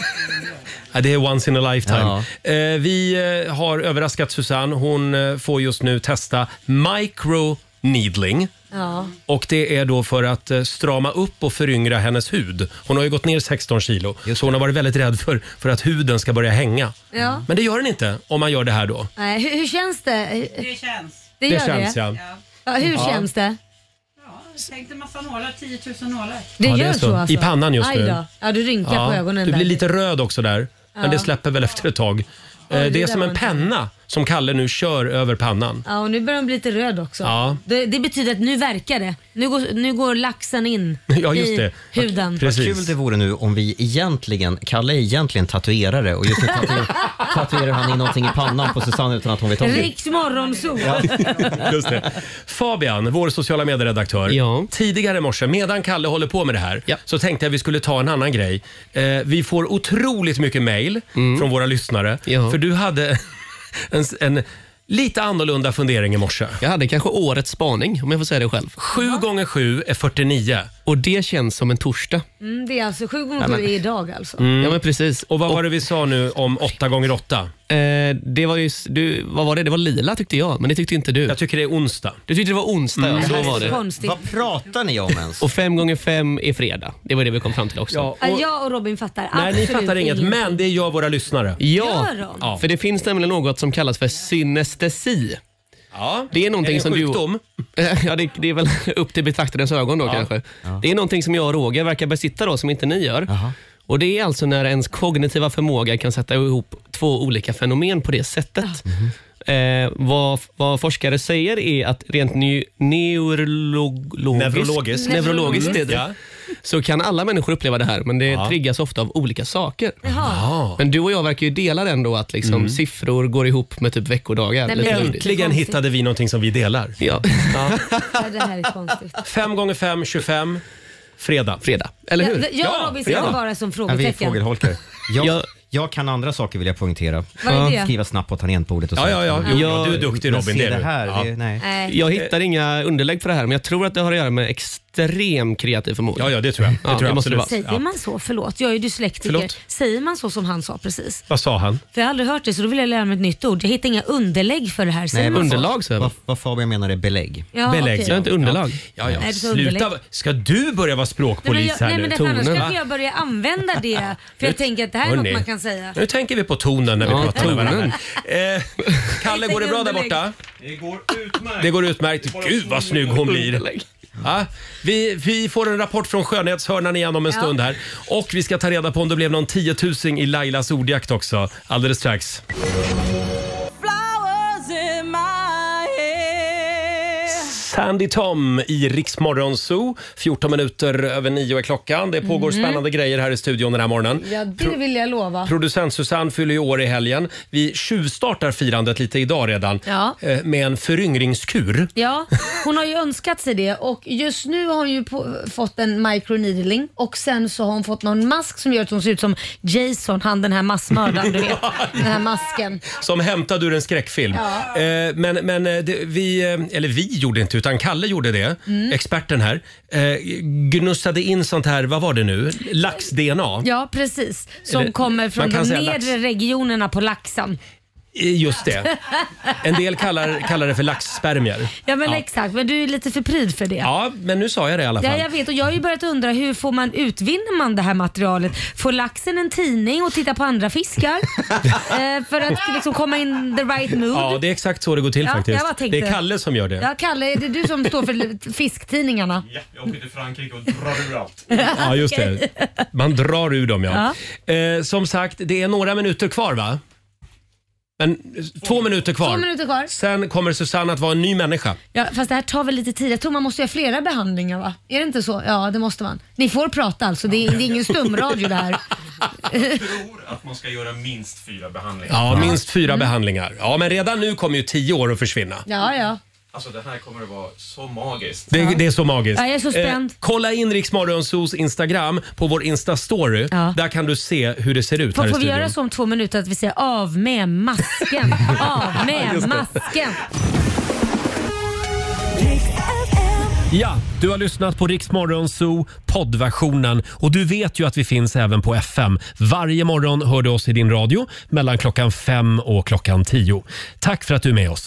[SPEAKER 1] Ja, det är once in a lifetime. Eh, vi eh, har överraskat Susanne. Hon eh, får just nu testa micro needling.
[SPEAKER 2] Ja.
[SPEAKER 1] Och det är då för att eh, strama upp och föryngra hennes hud. Hon har ju gått ner 16 kilo, så hon har varit väldigt rädd för, för att huden ska börja hänga.
[SPEAKER 2] ja.
[SPEAKER 1] Men det gör den inte om man gör det här då.
[SPEAKER 2] Nej, hur, hur känns det? Det känns. Det, gör
[SPEAKER 1] känns
[SPEAKER 2] det.
[SPEAKER 1] ja.
[SPEAKER 2] Ja, hur
[SPEAKER 1] Ja.
[SPEAKER 2] känns det?
[SPEAKER 6] Tänkte massa nålar, 10 000 nålar.
[SPEAKER 2] Det
[SPEAKER 1] Ja, det är
[SPEAKER 2] gör
[SPEAKER 1] så.
[SPEAKER 2] så. alltså?
[SPEAKER 1] I pannan just
[SPEAKER 2] Aj
[SPEAKER 1] nu.
[SPEAKER 2] då. Ja, du rynkar på ögonen
[SPEAKER 1] du
[SPEAKER 2] där.
[SPEAKER 1] blir lite röd också där,
[SPEAKER 2] Ja.
[SPEAKER 1] men det släpper väl efter ett tag. Eh,
[SPEAKER 2] det
[SPEAKER 1] det är
[SPEAKER 2] där
[SPEAKER 1] som
[SPEAKER 2] var
[SPEAKER 1] en
[SPEAKER 2] inte-
[SPEAKER 1] penna som Kalle nu kör över pannan.
[SPEAKER 2] Ja, och nu börjar den bli lite röd också.
[SPEAKER 1] Ja.
[SPEAKER 2] Det, det betyder att nu verkar det. Nu går, nu går laxen in
[SPEAKER 3] *laughs* Ja, just
[SPEAKER 2] i
[SPEAKER 3] det.
[SPEAKER 2] huden.
[SPEAKER 3] Vad kul det vore nu om vi egentligen, Kalle är egentligen tatuerare och just nu tatuer,
[SPEAKER 2] *laughs*
[SPEAKER 3] tatuerar han in någonting i pannan på Susanne utan att hon vet om det.
[SPEAKER 2] Riks morgonsol.
[SPEAKER 1] *laughs* Just det. Fabian, vår sociala medieredaktör. Tidigare i morse, medan Kalle håller på med det här, så tänkte jag vi skulle ta en annan grej. Eh, vi får otroligt mycket mail
[SPEAKER 10] Mm.
[SPEAKER 1] från våra lyssnare. För du hade *laughs* en, en lite annorlunda fundering i morse.
[SPEAKER 10] Jag hade kanske årets spaning, om jag får säga det själv.
[SPEAKER 1] 7 gånger 7 är 49.
[SPEAKER 10] Och det känns som en torsdag.
[SPEAKER 2] *laughs* Mm, det är alltså sju gånger
[SPEAKER 10] Ja,
[SPEAKER 2] sju
[SPEAKER 10] men-
[SPEAKER 2] är idag alltså.
[SPEAKER 10] Ja, men precis.
[SPEAKER 1] Mm. Och vad var det vi sa nu om 8 gånger 8?
[SPEAKER 10] Eh, det var ju, s- du, vad var det? Det var lila tyckte jag, men det tyckte inte du. Jag
[SPEAKER 1] tycker det är onsdag.
[SPEAKER 10] Du tyckte det var onsdag,
[SPEAKER 3] Mm.
[SPEAKER 10] ja.
[SPEAKER 3] Det
[SPEAKER 10] Så
[SPEAKER 3] här är
[SPEAKER 10] var
[SPEAKER 3] så
[SPEAKER 10] det.
[SPEAKER 2] Konstigt.
[SPEAKER 3] Vad pratar ni om ens?
[SPEAKER 10] Och fem gånger fem är fredag. Det var det vi kom fram till också.
[SPEAKER 2] Ja, jag och Robin fattar
[SPEAKER 10] Nej, ni
[SPEAKER 2] absolut
[SPEAKER 10] fattar inget,
[SPEAKER 2] ingenting.
[SPEAKER 1] Men det gör våra lyssnare.
[SPEAKER 10] Ja,
[SPEAKER 2] Gör de?
[SPEAKER 10] för det finns nämligen något som kallas för synestesi.
[SPEAKER 1] Ja.
[SPEAKER 10] Det är någonting
[SPEAKER 1] Är det en
[SPEAKER 10] som
[SPEAKER 1] sjukdom?
[SPEAKER 10] du... *laughs* ja, det, det är väl *laughs* upp till betraktarens ögon då kanske. Det är någonting som jag och Roger verkar besitta då, som inte ni gör. Och Det är alltså när ens kognitiva förmåga kan sätta ihop två olika fenomen på det
[SPEAKER 2] Ah.
[SPEAKER 10] sättet.
[SPEAKER 2] Mm-hmm.
[SPEAKER 10] Eh, vad, vad forskare säger är att rent ny, neurolog, Mm.
[SPEAKER 1] Neurologiskt.
[SPEAKER 10] neurologiskt det är det.
[SPEAKER 1] Ja.
[SPEAKER 10] så kan alla människor uppleva det här, men det
[SPEAKER 1] Ja.
[SPEAKER 10] triggas ofta av olika saker.
[SPEAKER 1] Jaha.
[SPEAKER 10] Men du och jag verkar ju dela den då att liksom
[SPEAKER 1] Mm.
[SPEAKER 10] siffror går ihop med typ veckodagar.
[SPEAKER 2] Nej,
[SPEAKER 10] Lite
[SPEAKER 2] men-
[SPEAKER 10] luddigt.
[SPEAKER 1] Äntligen hittade vi någonting som vi delar.
[SPEAKER 10] Ja.
[SPEAKER 2] Ja, det här är konstigt.
[SPEAKER 1] 5 gånger 5, 25. Fredag.
[SPEAKER 10] Fredag,
[SPEAKER 2] Jag, jag och Robin sitter bara som
[SPEAKER 3] Ja, vi är
[SPEAKER 2] frågetecken.
[SPEAKER 3] fågelholkar. Jag, jag kan andra saker vill jag poängtera.
[SPEAKER 2] Vad är det?
[SPEAKER 3] Skriva snabbt på tangentbordet och
[SPEAKER 10] Ja,
[SPEAKER 3] sånt.
[SPEAKER 10] ja, ja. Jo, ja, du är duktig,
[SPEAKER 3] Men
[SPEAKER 10] Robin,
[SPEAKER 3] se
[SPEAKER 10] det är
[SPEAKER 3] det
[SPEAKER 10] du.
[SPEAKER 3] här,
[SPEAKER 10] Ja.
[SPEAKER 3] det, nej.
[SPEAKER 2] Nej.
[SPEAKER 10] Jag hittar inga underlägg för det här, men jag tror att det har att göra med extrem kreativ förmåga.
[SPEAKER 1] Ja, ja det tror jag.
[SPEAKER 10] Det
[SPEAKER 1] tror jag
[SPEAKER 10] måste det
[SPEAKER 1] absolut.
[SPEAKER 10] vara.
[SPEAKER 2] Säger man så? Förlåt, jag är ju dyslektiker.
[SPEAKER 10] Förlåt?
[SPEAKER 2] Säger man så som han sa precis?
[SPEAKER 1] Vad sa han?
[SPEAKER 2] För jag har aldrig hört det så då vill jag lära mig ett nytt ord. Jag hittar inga underlägg för det här. Säger man så?
[SPEAKER 10] så
[SPEAKER 3] vad, vad Fabian menar är belägg.
[SPEAKER 2] Ja, Belägg, okej. ja. Inte
[SPEAKER 10] underlag.
[SPEAKER 1] Ja, ja.
[SPEAKER 2] Nej, det är
[SPEAKER 1] Sluta.
[SPEAKER 2] underlägg.
[SPEAKER 1] Ska du börja vara
[SPEAKER 2] Nej, men
[SPEAKER 1] språkpolis
[SPEAKER 2] jag, nej, men
[SPEAKER 1] här nu?
[SPEAKER 2] det, annars kanske jag börjar använda det.
[SPEAKER 10] *laughs*
[SPEAKER 2] För jag tänker att det här är något
[SPEAKER 1] Hörni.
[SPEAKER 2] man kan säga.
[SPEAKER 1] Nu tänker vi på tonen när vi
[SPEAKER 10] Ja,
[SPEAKER 1] pratar med varandra.
[SPEAKER 10] tonen.
[SPEAKER 1] Eh, Kalle, går det bra där borta?
[SPEAKER 16] Det går utmärkt.
[SPEAKER 1] Det går utmärkt. Gud vad snygg hon blir. Ja, vi, vi får en rapport från skönhetshörnan igen om en
[SPEAKER 2] Ja.
[SPEAKER 1] stund här. Och vi ska ta reda på om det blev någon tiotusing i Lailas ordjakt också alldeles strax.
[SPEAKER 8] Flowers in my hair.
[SPEAKER 1] Sandy Tom i Rix Morgon Zoo. 14 minuter över nio är klockan. Det pågår
[SPEAKER 2] Mhm.
[SPEAKER 1] spännande grejer här i studion den här morgonen.
[SPEAKER 2] Ja, det vill jag lova.
[SPEAKER 1] Producent Susanne fyller ju år i helgen. Vi tjuvstartar firandet lite idag redan
[SPEAKER 2] Ja.
[SPEAKER 1] eh, med en föryngringskur.
[SPEAKER 2] Ja, hon har ju önskat sig det och just nu har hon ju på, fått en microneedling och sen så har hon fått någon mask som gör att hon ser ut som Jason, han den här massmördaren du
[SPEAKER 10] *laughs*
[SPEAKER 2] vet. Den här masken.
[SPEAKER 1] Som hämtad ur en skräckfilm.
[SPEAKER 2] Ja.
[SPEAKER 1] Eh, Men, men eh, det, vi, eh, eller vi gjorde inte, utan Kalle gjorde det,
[SPEAKER 2] Mm.
[SPEAKER 1] experten här. Eh, Gnussade in sånt här, vad var det nu? Lax-DNA?
[SPEAKER 2] Ja, precis. Som
[SPEAKER 1] Eller-
[SPEAKER 2] kommer
[SPEAKER 1] man
[SPEAKER 2] från
[SPEAKER 1] kan
[SPEAKER 2] de
[SPEAKER 1] säga
[SPEAKER 2] nedre
[SPEAKER 1] lax.
[SPEAKER 2] regionerna på laxen.
[SPEAKER 1] Eh, Just det. En del kallar, kallar det för laxspermier.
[SPEAKER 2] *laughs* ja, men
[SPEAKER 1] ja.
[SPEAKER 2] exakt. Men du är lite för pryd för det.
[SPEAKER 1] ja, men nu sa jag det i alla fall.
[SPEAKER 2] Ja, jag vet och jag har ju börjat undra hur får man, utvinner man det här materialet? Får laxen en tidning och titta på
[SPEAKER 1] *laughs*
[SPEAKER 2] andra fiskar? eh, för att liksom komma in the right mood?
[SPEAKER 1] Ja, det är exakt så det går till
[SPEAKER 2] Ja, jag bara
[SPEAKER 1] faktiskt.
[SPEAKER 2] tänkte-
[SPEAKER 1] Det är Kalle som gör det.
[SPEAKER 2] Ja, Kalle, är det du som står för *laughs* fisktidningarna?
[SPEAKER 16] Ja, jag åker till Frankrike och drar ur allt.
[SPEAKER 1] *laughs* Ja, just
[SPEAKER 2] *laughs*
[SPEAKER 1] det. Man drar ur dem, ja. Eh, som sagt, det är några minuter kvar, va? Men, eh, två, minuter kvar.
[SPEAKER 2] Två minuter kvar.
[SPEAKER 1] Sen kommer Susanne att vara en ny människa.
[SPEAKER 2] Ja, fast det här tar väl lite tid. Jag tror man måste göra flera behandlingar va? Är det inte så? Ja, det måste man. Ni får prata alltså. Det är, det är ingen stumradio det här. *laughs*
[SPEAKER 16] att man ska göra minst fyra behandlingar.
[SPEAKER 1] Ja, minst
[SPEAKER 2] Mm.
[SPEAKER 1] fyra behandlingar. Ja, men redan nu kommer ju tio år att försvinna.
[SPEAKER 2] Ja, ja.
[SPEAKER 16] Alltså det här kommer att vara så magiskt.
[SPEAKER 1] Det, det är så magiskt. Eh,
[SPEAKER 2] Ja, jag är så spänd.
[SPEAKER 1] kolla in Rix Morgonzoos Instagram på vår Insta-story. Där kan du se hur det ser ut
[SPEAKER 2] Får,
[SPEAKER 1] här i
[SPEAKER 2] får vi
[SPEAKER 1] studion.
[SPEAKER 2] göra så om två minuter att vi säger av
[SPEAKER 1] *laughs*
[SPEAKER 2] med masken? Av
[SPEAKER 1] Just det.
[SPEAKER 2] med masken!
[SPEAKER 1] Ja, du har lyssnat på Rix Morgonzoo poddversionen och du vet ju att vi finns även på FM. Varje morgon hör du oss i din radio mellan klockan fem och klockan tio. Tack för att du är med oss.